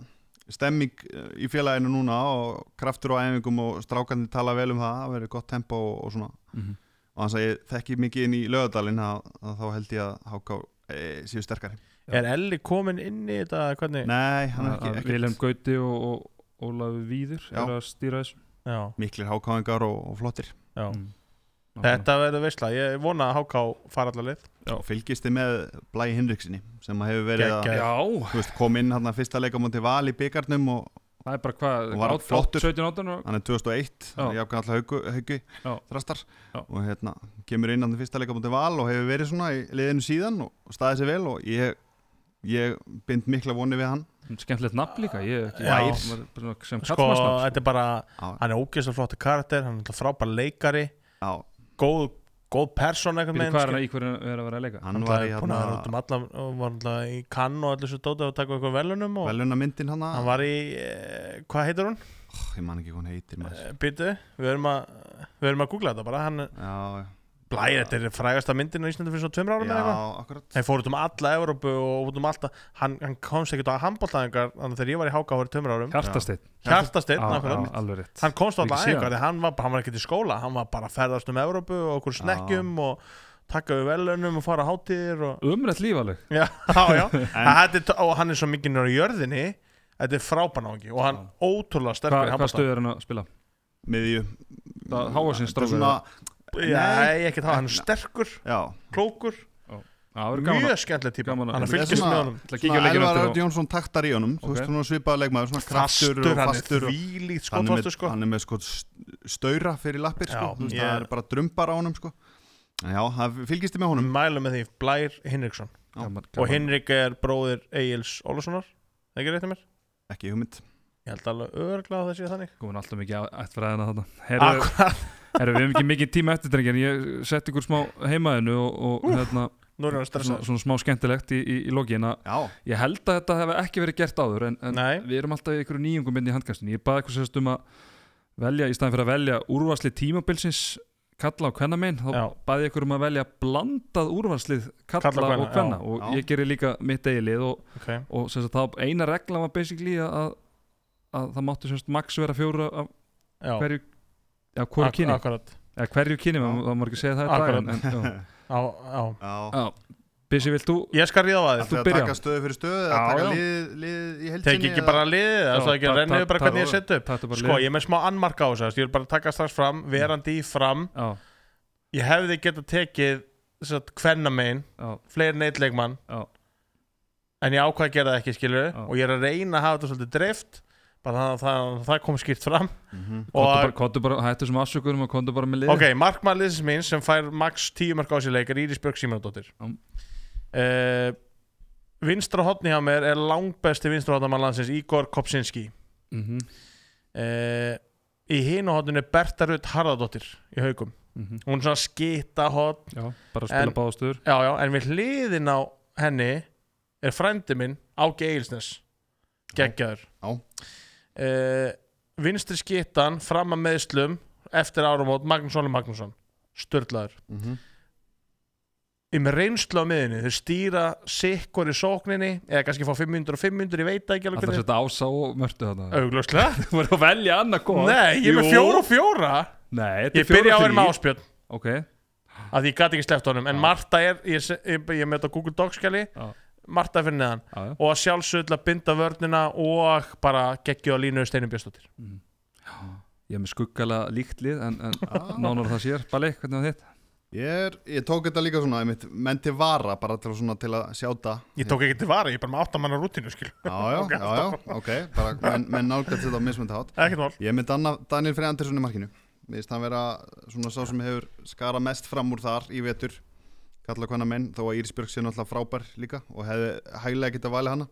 [SPEAKER 3] stemming eh, í félaginu núna og kraftur á æfingum og strákandi tala vel um það, það verður gott tempo og, og svona,
[SPEAKER 1] Mhm.
[SPEAKER 3] og þannig að ég þekki mikið inn í lögadalinn að, að þá held ég að háká e, séu sterkari
[SPEAKER 1] Já.
[SPEAKER 2] Er Elli komin inn í þetta, hvernig?
[SPEAKER 3] nei, hann er
[SPEAKER 1] Að-
[SPEAKER 3] ekki,
[SPEAKER 1] að
[SPEAKER 3] ekki
[SPEAKER 1] Vilhelm Gauti og, og Ólafur Víður
[SPEAKER 3] Já.
[SPEAKER 1] eru að stýra þessu
[SPEAKER 2] Já,
[SPEAKER 3] miklir hákáingar og, og flottir
[SPEAKER 2] já.
[SPEAKER 1] Mm. Nákvæmlega.
[SPEAKER 2] Þetta verður veisla, ég vona að Háká fara allar leið.
[SPEAKER 1] Já.
[SPEAKER 3] og fylgist þið með Blæi Hinriksinni sem að hefur verið að
[SPEAKER 2] Geggjað.
[SPEAKER 1] Já,
[SPEAKER 3] þú veist, kom inn hann að fyrsta leika múti val í byggarnum og
[SPEAKER 1] það er bara hvað
[SPEAKER 3] Og var
[SPEAKER 1] át- át-
[SPEAKER 3] flottur.
[SPEAKER 1] 17 átan og
[SPEAKER 3] hann er 2001
[SPEAKER 1] Já.
[SPEAKER 3] ég afgæði alltaf haugu, haugu
[SPEAKER 1] Já.
[SPEAKER 3] þrastar
[SPEAKER 1] Já.
[SPEAKER 3] og hérna kemur inn hann að fyrsta leika múti val og hefur verið svona í liðinu síðan og staðið sér vel og ég, ég bind mikla voni við hann
[SPEAKER 1] skemmtilegt nafn líka ég, ekki,
[SPEAKER 2] Já.
[SPEAKER 1] Maður- svona sem
[SPEAKER 2] Sko,
[SPEAKER 1] kallmannsnafn
[SPEAKER 2] þetta er bara,
[SPEAKER 3] á,
[SPEAKER 2] hann er ógeðslega flottur karakter, hann er náttúrulega frábær leikari.
[SPEAKER 3] á,
[SPEAKER 2] góð, góð person eitthvað
[SPEAKER 1] Býtu, hvað er hann í hverju er að vera að leika?
[SPEAKER 3] hann var í
[SPEAKER 2] hann var út
[SPEAKER 3] hérna
[SPEAKER 2] um alla, var alltaf í kann og allir svo dótið og taka eitthvað velunum og
[SPEAKER 3] veluna myndin hann
[SPEAKER 2] hann var í, eh, hvað heitir hún?
[SPEAKER 3] ég man ekki hvað hann heitir maður.
[SPEAKER 2] Eh, Býtu, við erum að við erum að googla þetta bara, hann
[SPEAKER 3] já,
[SPEAKER 2] blæði, þetta er frægasta myndin á Íslandi fyrir svo tveimur árum
[SPEAKER 3] já,
[SPEAKER 2] eða eitthvað
[SPEAKER 3] akkurat
[SPEAKER 2] Þeir fóru út um alla Evrópu og út um alltaf hann, hann komst ekkert á handbóltaðingar þannig að þegar ég var í Háka fyrir tveimur árum
[SPEAKER 1] Hjartasteinn,
[SPEAKER 2] Hjartasteinn,
[SPEAKER 1] Já, já,
[SPEAKER 2] nákvæmlega
[SPEAKER 1] Ah, alveg rétt
[SPEAKER 2] hann komst
[SPEAKER 1] Mikið
[SPEAKER 2] alltaf
[SPEAKER 1] síðan.
[SPEAKER 2] aðeins hann var, hann var ekkert í skóla, hann var bara að ferðast um Evrópu og okkur snekkjum og taka við velunum og fara á hátíðir
[SPEAKER 3] (laughs)
[SPEAKER 2] og
[SPEAKER 1] Umrætt líf alveg
[SPEAKER 2] já, já, já. Þetta er, og hann er svo mikið nörður í jörðinni þetta er frábænáki og hann ótrúlega
[SPEAKER 1] Hva,
[SPEAKER 2] sterkur í
[SPEAKER 1] Hvað
[SPEAKER 2] handbolta.
[SPEAKER 1] stuð er hann að spila?
[SPEAKER 3] miðju
[SPEAKER 1] Það- hávaxinn
[SPEAKER 3] Þetta er
[SPEAKER 1] strákur,
[SPEAKER 3] svona- Nei.
[SPEAKER 2] Nei, ekki það, hann er sterkur,
[SPEAKER 3] já
[SPEAKER 2] klókur
[SPEAKER 1] Það verður gaman að
[SPEAKER 2] mjög skemmtileg típa,
[SPEAKER 1] gaman að-
[SPEAKER 2] hann
[SPEAKER 1] Þetta
[SPEAKER 3] er
[SPEAKER 2] fylgist
[SPEAKER 3] svona-
[SPEAKER 2] með honum
[SPEAKER 1] Ætla að kíkja á
[SPEAKER 3] Svona
[SPEAKER 1] leikinn
[SPEAKER 3] Elvar
[SPEAKER 1] eftir
[SPEAKER 3] Örd
[SPEAKER 1] og-
[SPEAKER 3] Jónsson taktar í honum
[SPEAKER 1] Ok.
[SPEAKER 3] Þú veist, svona svipaða leikmaður, svona kraftur og
[SPEAKER 2] hann er
[SPEAKER 3] fastur og
[SPEAKER 2] þvílíkt
[SPEAKER 3] hann
[SPEAKER 2] skotfastur
[SPEAKER 3] er, með,
[SPEAKER 2] sko
[SPEAKER 3] hann er með sko st- staura fyrir lappir sko.
[SPEAKER 2] Já,
[SPEAKER 3] Þú veist,
[SPEAKER 2] ég-
[SPEAKER 3] það er bara drumbar á honum sko. En já, það fylgist þið með honum
[SPEAKER 2] mælum með því, Blær Hinriksson
[SPEAKER 1] gaman,
[SPEAKER 2] og
[SPEAKER 1] gaman.
[SPEAKER 2] Hinrik er bróðir Egil's Ólafssonar ekki rétt að mér
[SPEAKER 3] ekki hugmynd
[SPEAKER 2] ég held alveg örglega að það sé þannig
[SPEAKER 1] komin alltaf mikið ættfræðina þarna Herru,
[SPEAKER 2] akkurat
[SPEAKER 1] herru, við hefum ekki mikið tíma eftir drengir en ég sett ykkur smá heimaðinu og, og hérna,
[SPEAKER 2] nú er
[SPEAKER 1] svona,
[SPEAKER 2] hann stressað
[SPEAKER 1] svona smá skemmtilegt í, í, í lokin að
[SPEAKER 3] já,
[SPEAKER 1] ég held að þetta hefði ekki verið gert áður en, en
[SPEAKER 2] Nei.
[SPEAKER 1] við erum alltaf í ykkur nýjungum myndi í handkastinu ég baði ykkur sérst um að velja í staðin fyrir að velja úrvarslið tímabilsins kalla og hvenna þá
[SPEAKER 2] Já.
[SPEAKER 1] baði ykkur um að velja blandað úrvarslið kalla,
[SPEAKER 2] Karla og kvenna,
[SPEAKER 1] og hvenna
[SPEAKER 2] já.
[SPEAKER 1] og
[SPEAKER 3] Já.
[SPEAKER 1] ég gerir líka mitt eigilið og,
[SPEAKER 2] okay.
[SPEAKER 1] og sem sagt þá eina regla var basically að, að það máttu semst max vera fjóra af
[SPEAKER 2] já,
[SPEAKER 1] hverju já, hverju
[SPEAKER 2] Ak-
[SPEAKER 1] kyni,
[SPEAKER 2] akkurat
[SPEAKER 1] eða hverju kyni
[SPEAKER 3] Já.
[SPEAKER 1] það má ekki segja það í dag en, en,
[SPEAKER 2] (laughs)
[SPEAKER 1] já.
[SPEAKER 2] á, á.
[SPEAKER 3] já
[SPEAKER 1] já, Bissi, vilt þú
[SPEAKER 2] ég skal ríða að þið
[SPEAKER 3] Ættu að
[SPEAKER 1] byrja.
[SPEAKER 3] taka stöðu fyrir stöðu
[SPEAKER 1] Já,
[SPEAKER 3] að taka
[SPEAKER 1] já.
[SPEAKER 3] lið, lið í heildinni
[SPEAKER 2] teki ekki bara liðið það er ekki
[SPEAKER 1] Já,
[SPEAKER 2] að
[SPEAKER 1] ta-
[SPEAKER 2] renna
[SPEAKER 1] ta-
[SPEAKER 2] yfir bara
[SPEAKER 1] ta-
[SPEAKER 2] hvernig ég set upp
[SPEAKER 1] þetta bara
[SPEAKER 2] sko ég er með smá annmarka á þessu þú veist, ég vil bara taka strax fram verandi í fram
[SPEAKER 1] já,
[SPEAKER 2] ég hefði getað tekið hvernig megin
[SPEAKER 1] já,
[SPEAKER 2] fleiri neitleikmann
[SPEAKER 1] já,
[SPEAKER 2] en ég ákvað að gera það ekki skilur
[SPEAKER 1] Já.
[SPEAKER 2] og ég er að reyna að hafa þetta svolítið dreift bara það, það, það kom skýrt fram
[SPEAKER 3] Mhm.
[SPEAKER 1] kontu
[SPEAKER 2] og
[SPEAKER 1] bara, kontu bara hættu sem afsökunum og kontu bara með lið
[SPEAKER 2] ok, markmann liðsins mín sem fær max 10 mark á sér leikar Íris Björg Simonadóttir
[SPEAKER 1] Já.
[SPEAKER 2] uh, vinstra hotni hjá mér er langbesti vinstra hotnamann landsins Igor Kopsinski
[SPEAKER 1] Mhm,
[SPEAKER 2] uh, í hinu hotninu er Berta Rutt Harðardóttir í haugum
[SPEAKER 1] mhm.
[SPEAKER 2] hún er svona skita hotn
[SPEAKER 1] já, bara spila
[SPEAKER 2] En-
[SPEAKER 1] en, báðastur
[SPEAKER 2] já, já, en við hliðin á henni er frændi minn Áki Eilsnes geggjaður
[SPEAKER 3] Já.
[SPEAKER 2] Eh, vinstri skittan fram að meðslum eftir árumót Magnús Óli Magnússon störlaður
[SPEAKER 3] Mhm.
[SPEAKER 2] um reynslu á miðinu, þeir stýra sikkur í sókninni, eða kannski fá 500 og 500, ég veit það ekki alveg
[SPEAKER 1] alltaf að
[SPEAKER 2] hvernig
[SPEAKER 1] setja ása og mörtu þarna
[SPEAKER 2] augljóslega,
[SPEAKER 1] þú verður að velja annað góð
[SPEAKER 2] nei, ég er með
[SPEAKER 1] Jú.
[SPEAKER 2] fjóra og fjóra
[SPEAKER 1] nei, þetta
[SPEAKER 2] Sko, ég
[SPEAKER 1] er fjóra
[SPEAKER 2] byrja á
[SPEAKER 1] og
[SPEAKER 2] henni með
[SPEAKER 1] þrý
[SPEAKER 2] áspjörn
[SPEAKER 1] ok,
[SPEAKER 2] að ég gæti ekki sleppt honum, en
[SPEAKER 1] Já.
[SPEAKER 2] Marta er ég, se- ég, ég er með þetta á Google Docs-skjali
[SPEAKER 1] Já.
[SPEAKER 2] Marta er fyrir neðan
[SPEAKER 1] já, já
[SPEAKER 2] og að sjálfsögðu til að binda vörnina og bara geggju á línu Steinum Björnsdóttir
[SPEAKER 1] Mhm. ég er með skuggala líkt lið en,
[SPEAKER 2] (laughs)
[SPEAKER 1] en
[SPEAKER 2] Ah.
[SPEAKER 3] Já.
[SPEAKER 1] nánar það sér, Bali, hvernig var þitt?
[SPEAKER 3] Ég, er, ég tók þetta líka svona einmitt, menn til vara bara til, svona, til að sjáta
[SPEAKER 2] Ég tók ekki til vara, ég er bara með áttamanna rútinu skil
[SPEAKER 3] já, já, já, já, ok bara, menn, menn nálgast þetta á mismöndi hátt
[SPEAKER 2] Ekkert mál
[SPEAKER 3] Ég er með Danna, Daniel Frey Andersson í markinu Mér finnst hann vera svona sá sem hefur skara mest fram úr þar í vetur kalla hvaðna menn, þó að Íris Björg sé náttúrulega frábær líka og hefði hæglega getað valið hana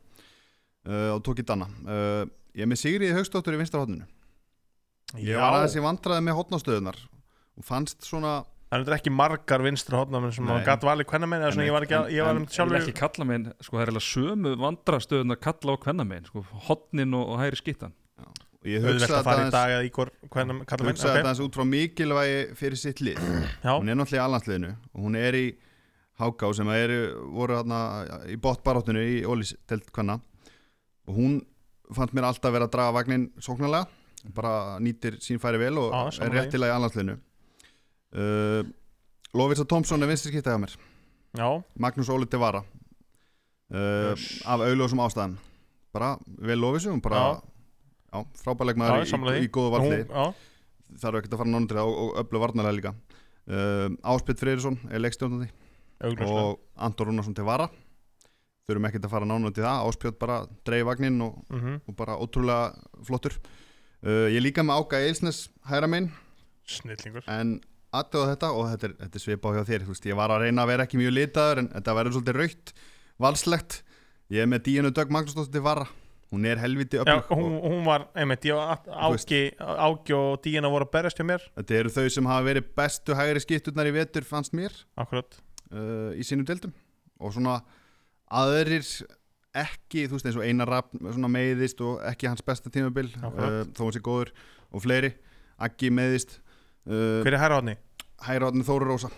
[SPEAKER 3] uh, og tók í Danna uh, Ég er með Sigriði Haugsdóttur í vinstra hotninu Ég var aðeins í vandræði með hotnastöðunar og fannst svona
[SPEAKER 2] Það er ekki margar vinstra hotnamenn sem
[SPEAKER 3] Nei.
[SPEAKER 2] maður gætt valið hvernig menn eða svona
[SPEAKER 3] Einmitt.
[SPEAKER 2] ég var ekki að, ég var
[SPEAKER 3] En-
[SPEAKER 2] um
[SPEAKER 1] Sjálf
[SPEAKER 2] sjálfur
[SPEAKER 1] ekki kalla megin, sko það er eiginlega sömu vandrastöðun að kalla á hvenna megin, sko hotnin og, og hægri skittan
[SPEAKER 3] ég
[SPEAKER 2] auðvelt að
[SPEAKER 3] hugsaði þetta
[SPEAKER 2] fara í
[SPEAKER 3] aðeins,
[SPEAKER 2] dag eða íkor hvernig kallar menn
[SPEAKER 3] hugsa okay.
[SPEAKER 2] okay.
[SPEAKER 3] aðeins út frá mikilvægi fyrir sitt lið hún
[SPEAKER 2] Já,
[SPEAKER 3] er náttúrulega í allansliðinu og hún er í Háká sem er, voru þarna í botbaráttinu í Ólís telt hvenna og hún fannst mér alltaf vera að draga vagnin sóknarlega bara nýtir sín færi vel og
[SPEAKER 2] Já,
[SPEAKER 3] er
[SPEAKER 2] sammála því.
[SPEAKER 3] réttilega í allansliðinu uh, Lovisa Thompson er vinstri skiptaði á mér
[SPEAKER 2] já,
[SPEAKER 3] Magnús Óli Devara uh,
[SPEAKER 2] Yes.
[SPEAKER 3] af augljósum ástæðum bara vel Lovisu hún bara, já,
[SPEAKER 2] Já,
[SPEAKER 3] frábærleikmaður í,
[SPEAKER 2] sammála
[SPEAKER 3] í,
[SPEAKER 2] því.
[SPEAKER 3] í góðu
[SPEAKER 2] hún,
[SPEAKER 3] varliði
[SPEAKER 2] já
[SPEAKER 3] þarf ekkert að fara nánum til það og, og öllu varnarlega líka um, Áspjöld Freyrisson er leikstjórnandi
[SPEAKER 2] augljóslega
[SPEAKER 3] og Andor Rúnarsson til vara þurfum ekkert að fara nánum til það Áspjöld bara dreif vagnin og,
[SPEAKER 2] Mhm.
[SPEAKER 3] og bara ótrúlega flottur uh, ég er líka með Áka Eilsnes hæra minn
[SPEAKER 2] Snillingur
[SPEAKER 3] en aðtöða þetta og þetta er, þetta er svipa hjá þér þú veist, ég var að reyna að vera ekki mjög litaður en þetta verður svolítið raukt, valslegt ég er með Díunu Dögg Magnúsdóttir til vara hún er helviti
[SPEAKER 2] Já,
[SPEAKER 3] öflug
[SPEAKER 2] hún, hún var, einmitt, ég var
[SPEAKER 3] Þú veist.
[SPEAKER 2] ági, ági og díina voru að berjast hjá mér
[SPEAKER 3] þetta eru þau sem hafa verið bestu hægri skipturnar í vetur fannst mér
[SPEAKER 2] Akkurat
[SPEAKER 3] uh, í sínum deildum og svona aðrir ekki, þú veist eins og Einar Rappn svona meiðist og ekki hans besta tímabil uh,
[SPEAKER 2] Akkurat.
[SPEAKER 3] þó hann sé góður og fleiri Aggi meiðist uh,
[SPEAKER 2] Hver er herra hotni?
[SPEAKER 3] Hæraðni Þóru Rósa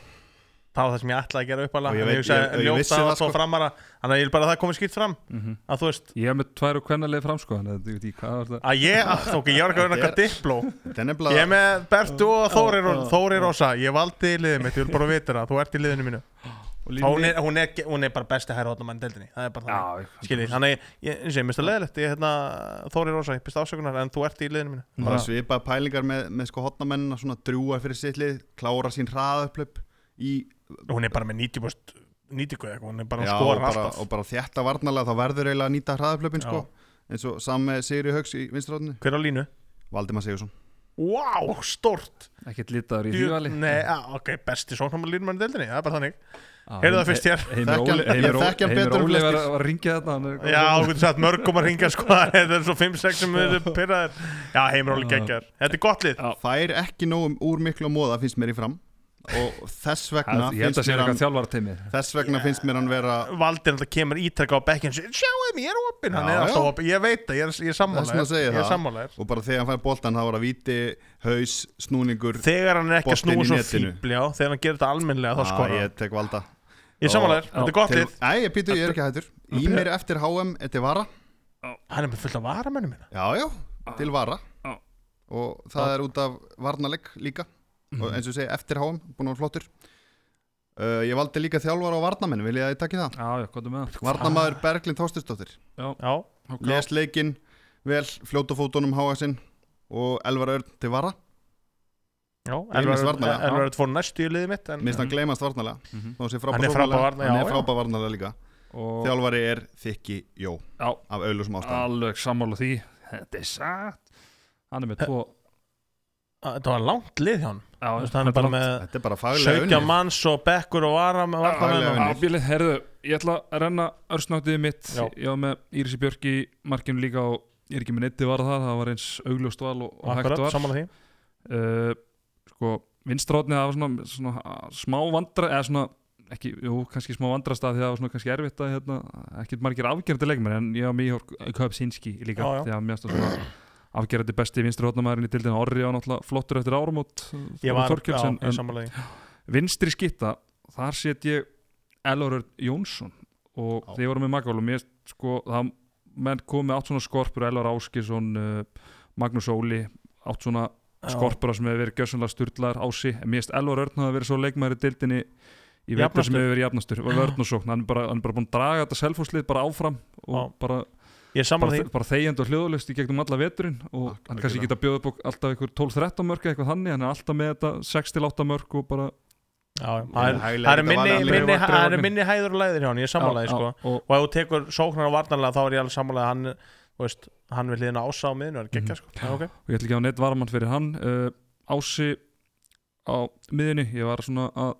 [SPEAKER 2] Það var það sem ég ætlaði að gera upp
[SPEAKER 3] Og
[SPEAKER 2] alveg
[SPEAKER 3] ég
[SPEAKER 2] En
[SPEAKER 3] veit-
[SPEAKER 2] ég hugsaði,
[SPEAKER 3] ég- ég
[SPEAKER 2] ljóta
[SPEAKER 3] vissi
[SPEAKER 2] það
[SPEAKER 3] það,
[SPEAKER 2] svo
[SPEAKER 3] sko.
[SPEAKER 2] framara Þannig að ég vil bara að það komið skýrt fram
[SPEAKER 1] Mhm.
[SPEAKER 2] Að þú veist,
[SPEAKER 1] Ég er með tvær og hvenna leið fram sko en þetta- ég veit ekki hvað var það
[SPEAKER 2] að ég, að, ok, ég var ekki að vera eitthvað dipló
[SPEAKER 3] þetta er
[SPEAKER 2] Ég
[SPEAKER 3] nefnilega
[SPEAKER 2] er með Bertu og
[SPEAKER 1] Já,
[SPEAKER 2] Þórir,
[SPEAKER 1] já,
[SPEAKER 2] Þórir Rósa Ég valdi í liðið mitt, ég vil bara vita það Þú ert í liðinu mínu
[SPEAKER 1] Og
[SPEAKER 2] Og Hún er, hún er, ge- hún er bara besti herra hotnamann í deildinni Það er bara það
[SPEAKER 1] Já,
[SPEAKER 2] Skiljið, þannig, að ég, eins og ég mista leðilegt Ég, hérna, Þórir Rósa, ég byrst afsökunar En þú ert í liðinu mínu
[SPEAKER 3] bara
[SPEAKER 1] Já.
[SPEAKER 3] svipað pælingar með, með sko hotnamennina svona drúa fyrir sittlið, klára sín hraðaupplöp í,
[SPEAKER 2] Hún er bara með 90 búst, 90 guð eitthvað, Hún er bara að
[SPEAKER 3] já, og,
[SPEAKER 2] skora
[SPEAKER 3] bara,
[SPEAKER 2] alltaf
[SPEAKER 3] og bara þjætta varnalega þá verður eiginlega að nýta hraðaupplöpin
[SPEAKER 2] Já.
[SPEAKER 3] sko, eins og sami Sigri Haugs í vinstráðinu,
[SPEAKER 2] Hver á línu?
[SPEAKER 3] Valdimar Sigursson
[SPEAKER 2] Vá, wow, stort
[SPEAKER 1] ekkert litaður í því vali
[SPEAKER 2] mm, Nei, á, ok, besti sóknarmann línum í deildinni, það er bara þannig Heyrðu það fyrst hér.
[SPEAKER 1] Heimir
[SPEAKER 3] Þekki hann-
[SPEAKER 1] Óli-
[SPEAKER 3] ég
[SPEAKER 1] Heimir Ó-
[SPEAKER 3] þekki hann
[SPEAKER 1] Heimir
[SPEAKER 3] betur en
[SPEAKER 1] Óli var
[SPEAKER 3] flestir.
[SPEAKER 1] var að ringja þetta hann er-
[SPEAKER 2] Já, þú getur sagt mörgum að ringa sko (laughs) Þetta er svo 5-6 sem við erum pyrraðir Já, heimur alveg geggar Þetta er gott lið
[SPEAKER 3] Fær ekki nóg um- úr miklu að móða finnst mér í fram og þess vegna
[SPEAKER 1] Hann- Ég held
[SPEAKER 3] finnst
[SPEAKER 1] að sé
[SPEAKER 3] mér
[SPEAKER 1] eitthvað
[SPEAKER 3] hann,
[SPEAKER 1] þjálfarteimi
[SPEAKER 3] þess vegna finnst mér hann vera
[SPEAKER 2] Valdir alltaf kemur ítrekka á bekkin Sjáum, ég er opinn, hann
[SPEAKER 3] Já,
[SPEAKER 2] er alltaf
[SPEAKER 3] já.
[SPEAKER 2] opinn Ég veit það, ég er- ég er
[SPEAKER 3] Þess vegna
[SPEAKER 2] sammálaðir
[SPEAKER 3] segi ég
[SPEAKER 2] Ég er
[SPEAKER 3] það.
[SPEAKER 2] sammálaðir
[SPEAKER 3] og bara þegar hann fær boltan það var að viti, haus, snúningur
[SPEAKER 2] Þegar hann er ekki að
[SPEAKER 3] Boltinn
[SPEAKER 2] snúa
[SPEAKER 3] í
[SPEAKER 2] svo
[SPEAKER 3] netinu.
[SPEAKER 2] fíbl, já Þegar hann gerir þetta almennlega, þá
[SPEAKER 3] Já,
[SPEAKER 2] skora hann.
[SPEAKER 3] ég tek valda
[SPEAKER 2] Ég er sammálaðir,
[SPEAKER 1] Já.
[SPEAKER 2] þetta er gott
[SPEAKER 3] Til-
[SPEAKER 2] lið
[SPEAKER 3] Nei, ég pýtu, ég er ekki hættur Í mér eftir HM er til vara
[SPEAKER 2] Hann er með fullt af varamönnum hérna. minna
[SPEAKER 3] Já, já, til vara
[SPEAKER 1] Já.
[SPEAKER 3] Og það er út af varnaleg líka Og
[SPEAKER 1] Mhm.
[SPEAKER 3] eins og ég segi, eftir HM, búin að vera flottur uh, Ég valdi líka þjálfara og varnamenn Vil ég að ég takki það?
[SPEAKER 1] Já, já, hvað er með það?
[SPEAKER 3] Varnamaður Berglind Þorstinsdóttir
[SPEAKER 2] Já,
[SPEAKER 1] Ok.
[SPEAKER 3] Les leikinn, vel, fljóta fótunum háasinn Og Elvar Örn til vara
[SPEAKER 2] já
[SPEAKER 3] minnst varnarlega, já.
[SPEAKER 2] Elvar er tvo næstu í liðið mitt en-
[SPEAKER 3] Minnst hann gleymast varnalega
[SPEAKER 1] Mhm.
[SPEAKER 3] Þó hann sé
[SPEAKER 2] Hann er
[SPEAKER 3] frábær
[SPEAKER 2] frábær varnarlega,
[SPEAKER 3] Hann er
[SPEAKER 2] já, já.
[SPEAKER 3] frábær varnalega líka
[SPEAKER 1] Og
[SPEAKER 3] Þjálfari er þykki jó
[SPEAKER 1] Já.
[SPEAKER 3] Af auðlúsum ástæðum
[SPEAKER 1] alveg sammála því Þetta er satt Hann er með tvo
[SPEAKER 2] Ah, Þetta var langt lið hjá hann
[SPEAKER 1] Já,
[SPEAKER 2] Þú veist, hann er bara með
[SPEAKER 3] Þetta er bara faglega
[SPEAKER 2] 17
[SPEAKER 3] unnið.
[SPEAKER 2] manns og bekkur og varam
[SPEAKER 3] Faglega
[SPEAKER 2] varnarmenn og-
[SPEAKER 3] unnið.
[SPEAKER 1] Ábílið, herðu, ég ætla að renna örsnáttiðið mitt
[SPEAKER 2] Já.
[SPEAKER 1] Ég var með Írisi Björk í markinu líka og ég er ekki með netti var það, það var eins augljóst val og, og hægt
[SPEAKER 2] Akkurat,
[SPEAKER 1] var
[SPEAKER 2] sammála því
[SPEAKER 1] uh, Sko, vinstrótnið það var svona, svona smá vandra eða svona, ekki, jú, kannski smá vandrast af því að það var svona kannski erfitt að hérna, ekkert margir afgerandi leikmenn en ég var með Íhor Köpsinski líka
[SPEAKER 2] Já, já.
[SPEAKER 1] því að mér stóð svona afgerandi besti vinstrótnamaðurinn í dildin Orri og náttúrulega flottur eftir árumót
[SPEAKER 2] Ég var, já,
[SPEAKER 1] Þorkjölsen,
[SPEAKER 2] ég er sammála því
[SPEAKER 1] vinstri skitta þar set ég Elorur Jónsson og
[SPEAKER 3] Já.
[SPEAKER 1] þegar ég voru með Magálum ég, sko, það menn kom með átt svona skorpur Elvar Áskisson, uh, Magnús Óli átt svona skorpura sem hefur verið gjössanlega sturlaðar ási en mér finnst Elvar Örn hafa verið svo leikmæri dildinni í veitur sem
[SPEAKER 2] Jafnastur.
[SPEAKER 1] hefur verið jafnastur og vörn og sókn, hann er bara, hann er bara búin að draga þetta selfhúslið bara áfram og
[SPEAKER 2] Já.
[SPEAKER 1] bara,
[SPEAKER 2] Ég er sammála
[SPEAKER 1] bara,
[SPEAKER 2] því
[SPEAKER 1] bara þegjandi og hljóðlust í gegnum alla veturinn og
[SPEAKER 3] Algjörlega.
[SPEAKER 1] hann kannski geta bjóð upp á alltaf einhver 12-13 mörg eitthvað þannig, hann er alltaf með þetta 6-8 mörg og bara
[SPEAKER 2] Já, já, það er-
[SPEAKER 3] Hæglega
[SPEAKER 2] Það er
[SPEAKER 3] þetta
[SPEAKER 2] minni,
[SPEAKER 3] varnarlega.
[SPEAKER 2] minni,
[SPEAKER 1] vandræði
[SPEAKER 2] það er
[SPEAKER 1] orðin.
[SPEAKER 2] minni hæður og læðir hjá hann, ég er sammála því
[SPEAKER 1] Já,
[SPEAKER 2] sko
[SPEAKER 1] já, og,
[SPEAKER 2] Og ef þú tekur sóknar og varnarlega þá er ég alveg sammála því að hann, þú veist, hann vil hliðina ása á miðinu, hann er geggja sko Já, ok
[SPEAKER 1] og ég ætla ekki að hafa neitt varamann fyrir hann uh, Ási á miðinni, ég var svona að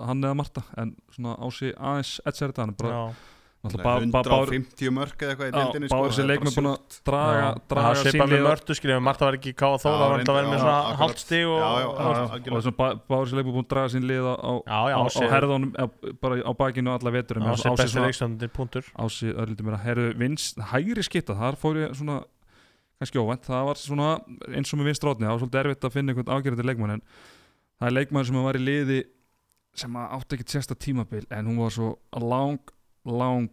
[SPEAKER 1] að hann eða Marta en svona Ási aðeins etser þetta hann er bara,
[SPEAKER 2] Já,
[SPEAKER 1] náttúrulega bá- bá- báður
[SPEAKER 3] 150 mörg eða eitthvað í
[SPEAKER 1] Já,
[SPEAKER 3] deildinni sko,
[SPEAKER 1] báður
[SPEAKER 3] það
[SPEAKER 1] þessi
[SPEAKER 3] er
[SPEAKER 1] leikmenn
[SPEAKER 3] bara
[SPEAKER 1] búin
[SPEAKER 3] sjúkt.
[SPEAKER 1] að draga,
[SPEAKER 2] það
[SPEAKER 1] draga
[SPEAKER 2] sé
[SPEAKER 1] sín
[SPEAKER 2] bara með
[SPEAKER 1] lið og,
[SPEAKER 2] mörtu skiljum Marta var ekki í káða þóra,
[SPEAKER 3] Já,
[SPEAKER 2] hann var
[SPEAKER 3] reyndar,
[SPEAKER 2] verið með
[SPEAKER 3] já,
[SPEAKER 2] svona
[SPEAKER 3] akkurat.
[SPEAKER 2] halvstig og og-
[SPEAKER 3] Já, já, já,
[SPEAKER 1] og, og
[SPEAKER 3] algjörlega.
[SPEAKER 1] þessum bá- báður þessi leikmenn búin að draga sín lið á, á,
[SPEAKER 2] Já, já,
[SPEAKER 1] á, á
[SPEAKER 2] Ási er-
[SPEAKER 1] herðunum eða bara á bakinu og alla veturum
[SPEAKER 2] Ási er
[SPEAKER 1] Ási
[SPEAKER 2] besti
[SPEAKER 1] svona-
[SPEAKER 2] leikstöndir, punktur
[SPEAKER 1] Ási örlítið mér að herðu vinst, hægri skitta, þar fór ég svona kannski óvænt, það var svona eins og með vinst rótni, það var svolítið erfitt að finna einhvern afgerandi leikmann en það er leikmann sem var í liði sem að átti ekkert sérsta tímabil en hún var svo lang, lang,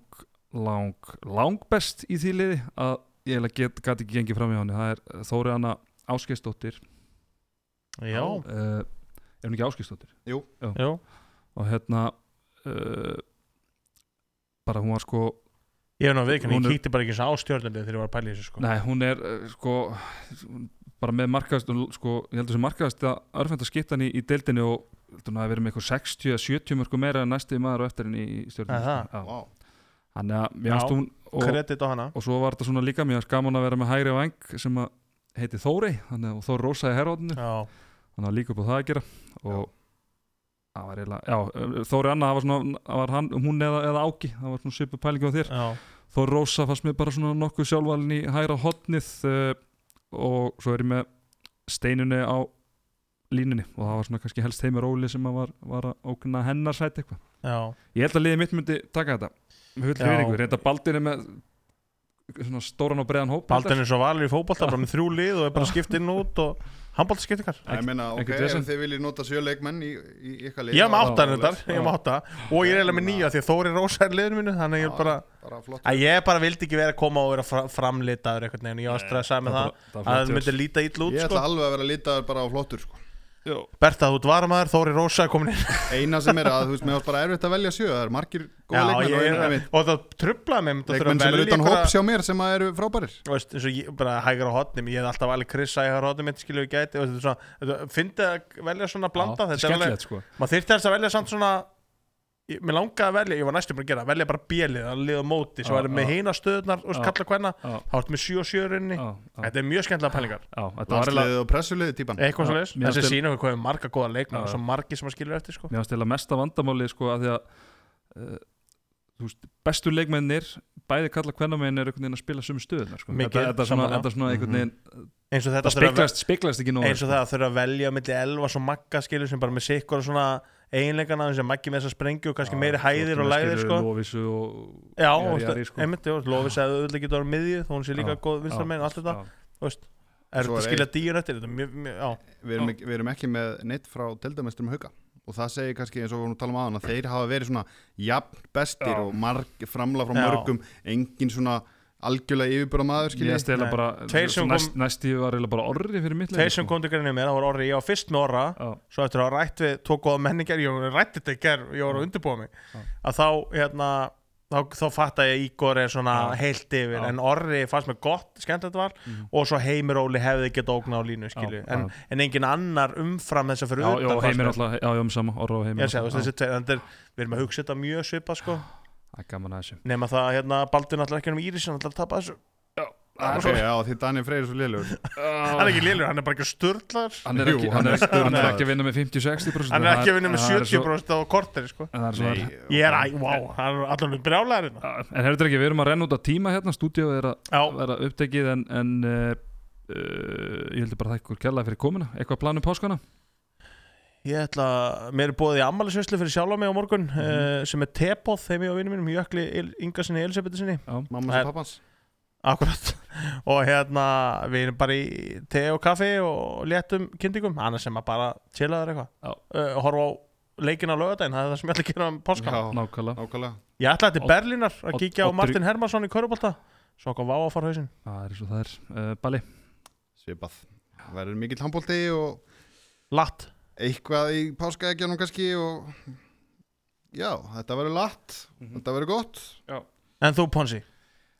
[SPEAKER 1] lang, lang best í því liði að ég eiginlega get, gat ekki gengið fram í hann það er Þóri Anna Áskeisdóttir
[SPEAKER 2] Já,
[SPEAKER 1] uh, er hún ekki Áskeisdóttir
[SPEAKER 2] já,
[SPEAKER 1] og hérna uh, bara hún var sko
[SPEAKER 2] ég er nú að viðkynna,
[SPEAKER 1] Hún
[SPEAKER 2] ég
[SPEAKER 1] er-
[SPEAKER 2] kíkti bara ekki eins og á stjórnandi þegar ég var að pæla í þessu sko
[SPEAKER 1] Nei, hún er uh, sko hún- bara með markaðast sko, ég heldur sem markaðast að örfenda skiptan í, í deildinni og heldur hún að vera með eitthvað 60 eða 70 mörgum meira en næsti maður og eftir henni í
[SPEAKER 2] Er
[SPEAKER 1] stjórnum
[SPEAKER 2] það?
[SPEAKER 1] sko.
[SPEAKER 3] Vá.
[SPEAKER 1] Já. Þannig að mér
[SPEAKER 2] Já.
[SPEAKER 1] finnst hún og,
[SPEAKER 2] Kredit á hana
[SPEAKER 1] og svo var þetta svona líka mér finnst gaman að vera með hægri vang sem að heiti Þóri þannig, að- og Þóri Rósa í herrótinu
[SPEAKER 2] Já,
[SPEAKER 1] þannig að líka upp á það að gera og það var eiginlega já, Þóri Anna, það var svona það var hann, hún eða, eða Áki, það var svona svipu pælingi á þér
[SPEAKER 2] já,
[SPEAKER 1] Þó Rósa fannst mér bara svona nokkuð sjálfvalin í hægra hotnið uh, og svo er ég með steinunni á línunni og það var svona kannski helst heimur Óli sem að var, var að ógna hennar sæti eitthvað.
[SPEAKER 2] já
[SPEAKER 1] Ég held að liðið mitt myndi taka þetta. Við höllum
[SPEAKER 2] Já.
[SPEAKER 1] við ykkur, reynda Baldin er með svona stóran og breiðan hóp.
[SPEAKER 2] Baldin er svo valur í fótbolta, bara með þrjú lið og er bara að skipta inn og út og handbólta skiptingar
[SPEAKER 3] Já, Ég meina, ok,
[SPEAKER 1] ekkert vesen.
[SPEAKER 3] ef þið viljið nota sjö leikmenn í, í í ykkar lið
[SPEAKER 2] Ég er með
[SPEAKER 3] þá-
[SPEAKER 2] átta þetta, ég er með átta og ég er eiginlega með
[SPEAKER 3] Já.
[SPEAKER 2] nýja því að Þóri Rósa er liðinu mínu þannig að ég er bara
[SPEAKER 3] bara flott
[SPEAKER 2] að ég bara vildi ekki vera að koma og vera fra- framlitaður einhvern veginn, ég var stressað með það að það myndi líta ítl út
[SPEAKER 3] Ég ætla
[SPEAKER 2] sko
[SPEAKER 3] alveg að vera litaður bara á flottur sko.
[SPEAKER 2] Berta, þú ert varmaður, Þóri Rósa er komin inn
[SPEAKER 3] Eina sem er að, þú veist, mér varst bara erfitt að velja sjö Það eru margir góða
[SPEAKER 2] Já,
[SPEAKER 3] leikmenn
[SPEAKER 2] ég
[SPEAKER 3] og
[SPEAKER 2] er
[SPEAKER 3] einu
[SPEAKER 2] að,
[SPEAKER 3] einmitt
[SPEAKER 2] og það trublaði mig myndi að þurfa að
[SPEAKER 3] Leikmenn sem eru
[SPEAKER 2] velja
[SPEAKER 3] utan
[SPEAKER 2] einhverja-
[SPEAKER 3] hóps hjá mér sem að eru frábærir
[SPEAKER 2] Þú veist, eins og ég, bara hægra hotnum, ég hef alltaf alveg krissa hægra hotnum mitt skilju og gæti, þú veist, þetta er svona fyndi að velja svona blanda, þetta er alveg
[SPEAKER 1] skemmtilegt sko.
[SPEAKER 2] maður þyrfti þess að velja samt svona ég, mér langaði að velja, ég var næstum bara að gera það, velja bara bjelið, að liða móti sem
[SPEAKER 1] Já,
[SPEAKER 2] væri með
[SPEAKER 1] já.
[SPEAKER 2] heina stöðunar og
[SPEAKER 1] Já.
[SPEAKER 2] kalla hvenna
[SPEAKER 1] Já,
[SPEAKER 2] þá ertu með 7 og 7 runni
[SPEAKER 1] já, já,
[SPEAKER 2] þetta er mjög skemmtilega pælingar
[SPEAKER 1] já, þetta var eiginlega-
[SPEAKER 3] landsliðið og pressuliðið típan
[SPEAKER 1] Já,
[SPEAKER 2] eitthvað svo
[SPEAKER 1] mér
[SPEAKER 2] leiðis þessi
[SPEAKER 1] finnst-
[SPEAKER 2] sína okkur hvað er marga góða leikmenn
[SPEAKER 1] Já.
[SPEAKER 2] og svo margi sem að skilur eftir sko.
[SPEAKER 1] mér finnst eða mesta vandamálið sko að því að uh, þú veist, bestu leikmennir bæði kalla kvennamennir einhvern veginn að spila sömu stöðunar sko.
[SPEAKER 2] Mikið,
[SPEAKER 1] þetta, þetta, er svona,
[SPEAKER 2] sammála.
[SPEAKER 1] þetta er svona einhvern veginn
[SPEAKER 2] eins og þetta
[SPEAKER 1] það sko.
[SPEAKER 2] þurfa að
[SPEAKER 1] speglast, speglast ekki
[SPEAKER 2] ve-
[SPEAKER 1] nóg
[SPEAKER 2] eins og það að þurfa að velja milli elva svo magga skilur sem bara með sikkur og svona eiginleikana sem maggi með þess að sprengju og kannski meiri hæðir og læðir sko.
[SPEAKER 1] Lófísu og
[SPEAKER 2] já,
[SPEAKER 1] Jari,
[SPEAKER 2] og
[SPEAKER 1] Jari,
[SPEAKER 2] veist,
[SPEAKER 1] sko.
[SPEAKER 2] einmitt, og lofið segði að auðvitað getur á miðju þó hún sé líka
[SPEAKER 1] Já,
[SPEAKER 2] góð vinstarmenn og allt þetta
[SPEAKER 1] Já.
[SPEAKER 2] Þú veist, er
[SPEAKER 3] Svo
[SPEAKER 2] þetta
[SPEAKER 3] er
[SPEAKER 2] skilja dýjun eftir þetta er mjög, mjög, já,
[SPEAKER 3] við erum, ekki, við erum ekki með neitt frá deildamesturum hauka og það segir kannski eins og við vorum að tala um aðan að þeir hafa verið svona jafn bestir
[SPEAKER 1] Já.
[SPEAKER 3] og marg, framlega frá
[SPEAKER 2] Já.
[SPEAKER 3] mörgum engin svona algjörlega yfirbúra maður
[SPEAKER 1] Ég
[SPEAKER 3] skilji
[SPEAKER 1] veist eiginlega
[SPEAKER 2] Nei.
[SPEAKER 1] bara,
[SPEAKER 2] Tveir sem kom-
[SPEAKER 1] næst, næstíð var eiginlega bara orri fyrir mitt sko.
[SPEAKER 2] þeir sem kom til grænir mér, það voru orri, ég var fyrst með orra
[SPEAKER 1] Já,
[SPEAKER 2] svo eftir að hafa rætt við tók góða menningar ég rætti þetta í gerð, ég voru að undirbúa mig
[SPEAKER 1] Já.
[SPEAKER 2] að þá, hérna þá, þá fatt að ég Ígor er svona
[SPEAKER 1] Já.
[SPEAKER 2] heilt yfir
[SPEAKER 1] Já.
[SPEAKER 2] en Orri fannst mér gott skemmt þetta var
[SPEAKER 1] Mhm.
[SPEAKER 2] og svo Heimir Óli hefði geta ógna á línu skilju
[SPEAKER 1] Já,
[SPEAKER 2] en, en engin annar umfram þess að fyrir
[SPEAKER 1] já, já,
[SPEAKER 2] utan
[SPEAKER 1] heimir alltaf, já, já, um sama, orra og heimir
[SPEAKER 2] ég sé, þú veist,
[SPEAKER 1] náttúrulega.
[SPEAKER 2] þessi tveir, þannig er, við erum að hugsa þetta mjög svipað sko
[SPEAKER 1] Já, Það er gaman að þessu
[SPEAKER 2] nema það að hérna, Baldur náttúrulega ekki um Íris hann ætlar að tapa þessu, Ah,
[SPEAKER 3] Það segja, já, því Daniel Freyr er svo liðlegur
[SPEAKER 2] hann er ekki lélur, hann er bara ekki sturlar
[SPEAKER 1] Hann er
[SPEAKER 3] Jú,
[SPEAKER 1] ekki,
[SPEAKER 3] hann
[SPEAKER 1] hann
[SPEAKER 3] er
[SPEAKER 1] er, hann er
[SPEAKER 3] stjórnmaður.
[SPEAKER 1] ekki að vinna með 50-60%
[SPEAKER 2] hann er ekki að vinna með
[SPEAKER 1] það er svo-
[SPEAKER 2] 70% á korteri sko
[SPEAKER 1] það er svo-
[SPEAKER 3] Nei,
[SPEAKER 2] ég er, æ, wow, hann er allan brjálæðurinn
[SPEAKER 1] Ah, En herrðu ekki, við erum að renna út á tíma hérna Stúdíóið er að
[SPEAKER 2] já,
[SPEAKER 1] vera upptekið En, en uh, uh, ég heldur bara að þakka úr kjærlega fyrir komuna Eitthvað planum páskana?
[SPEAKER 2] Ég ætla að, mér er búið í ammælisvislu fyrir sjálf á mig á morgun eh, sem er tepóð þeim ég og vinnum mínum, Jökli Il- Inga sinni Elisabeth sinni,
[SPEAKER 3] Mamma
[SPEAKER 2] Það er-
[SPEAKER 3] sem pappans
[SPEAKER 2] akkurat (laughs) og hérna, við erum bara í te og kaffi og léttum kynningum annars sem að bara chilla þar
[SPEAKER 1] Já.
[SPEAKER 2] eitthvað uh, horfa á leikin á lögadaginn það er það sem ég ætla að gera um
[SPEAKER 3] Já,
[SPEAKER 2] páskan
[SPEAKER 1] Nákvæmlega,
[SPEAKER 3] nákvæmlega
[SPEAKER 2] Ég ætla að til
[SPEAKER 1] Odd-
[SPEAKER 2] Berlínar að
[SPEAKER 1] Odd-
[SPEAKER 2] kíkja á
[SPEAKER 1] Oddrý-
[SPEAKER 2] Martin Hermansson í Körubolta svo okkur vá að fara hausinn
[SPEAKER 1] það er svo það er uh, Bali,
[SPEAKER 3] Svipað Verður mikill handbólti og
[SPEAKER 2] Latt,
[SPEAKER 3] eitthvað í páskaegjanum kannski og Já, þetta verður latt Þetta verður gott
[SPEAKER 2] en þú Ponsi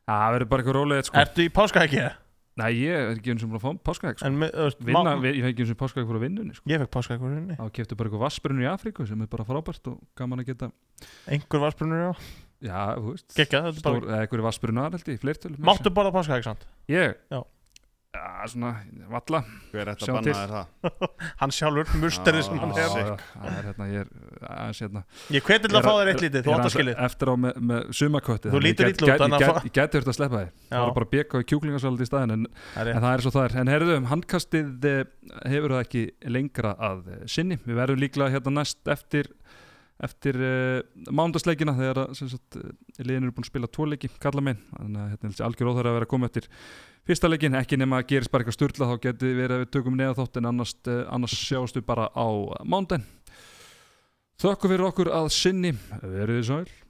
[SPEAKER 1] það verður bara eitthvað rólega sko.
[SPEAKER 2] Ertu í páska ekki?
[SPEAKER 1] Nei, ég er ekki eins og búin að fá páskaegg sko.
[SPEAKER 2] En, mi- þú veist,
[SPEAKER 1] Vinna,
[SPEAKER 2] ma-
[SPEAKER 1] við, Ég fengi eins og páskaegg fyrir að vinnunni sko.
[SPEAKER 2] Ég fekk páska eitthvað húsinni
[SPEAKER 1] Þá keftu bara eitthvað vassbrunni í Afríku sem er bara frábært og gaman að geta
[SPEAKER 2] Einhver varspunur á
[SPEAKER 1] Já, þú veist
[SPEAKER 2] Gekka, þetta er bara
[SPEAKER 1] Stór, eða eitthvað vassbrunnar held ég, fleirtölu
[SPEAKER 2] Máttu borða páska ekki sant?
[SPEAKER 1] Ég?
[SPEAKER 2] Já.
[SPEAKER 1] Já, svona, valla
[SPEAKER 3] Hver ætti
[SPEAKER 1] Sjáum
[SPEAKER 3] að
[SPEAKER 1] til.
[SPEAKER 3] banna þér það?
[SPEAKER 2] Hann sjálfur, musterið sem hann
[SPEAKER 3] Já,
[SPEAKER 2] hefur
[SPEAKER 1] já, Það er hérna, ég er aðeins hérna
[SPEAKER 2] Ég hveti til
[SPEAKER 1] Ég
[SPEAKER 2] að fá
[SPEAKER 1] er-
[SPEAKER 2] þér eitt
[SPEAKER 1] Ég er
[SPEAKER 2] lítið, þú átt að
[SPEAKER 1] aðeins
[SPEAKER 2] skilið
[SPEAKER 1] Eftir á með, með sumakötti
[SPEAKER 2] Þú lítur illa út,
[SPEAKER 1] Ég
[SPEAKER 2] þannig að
[SPEAKER 1] get- ég geti verið að sleppa þið
[SPEAKER 2] Já.
[SPEAKER 1] Það var bara að bjekka í kjúklingasaldi í staðin en,
[SPEAKER 2] Það
[SPEAKER 1] en
[SPEAKER 2] er rétt.
[SPEAKER 1] það er svo það er En heyrðu, handkastið eh, hefur það ekki lengra að eh, sinni Við verðum líklega hérna næst eftir eftir uh, mándagsleikina þegar að, sem sagt, uh, liðin eru búin að spila tvoleiki kalla minn, þannig að hérna er þessi algjör óþæra að vera að koma eftir fyrsta leikin, ekki nema að gerist bara eitthvað sturla þá geti verið að við tökum neða þátt en annars, uh, annars sjástu bara á mánden Þökkum fyrir okkur að sinni, verið þið sæl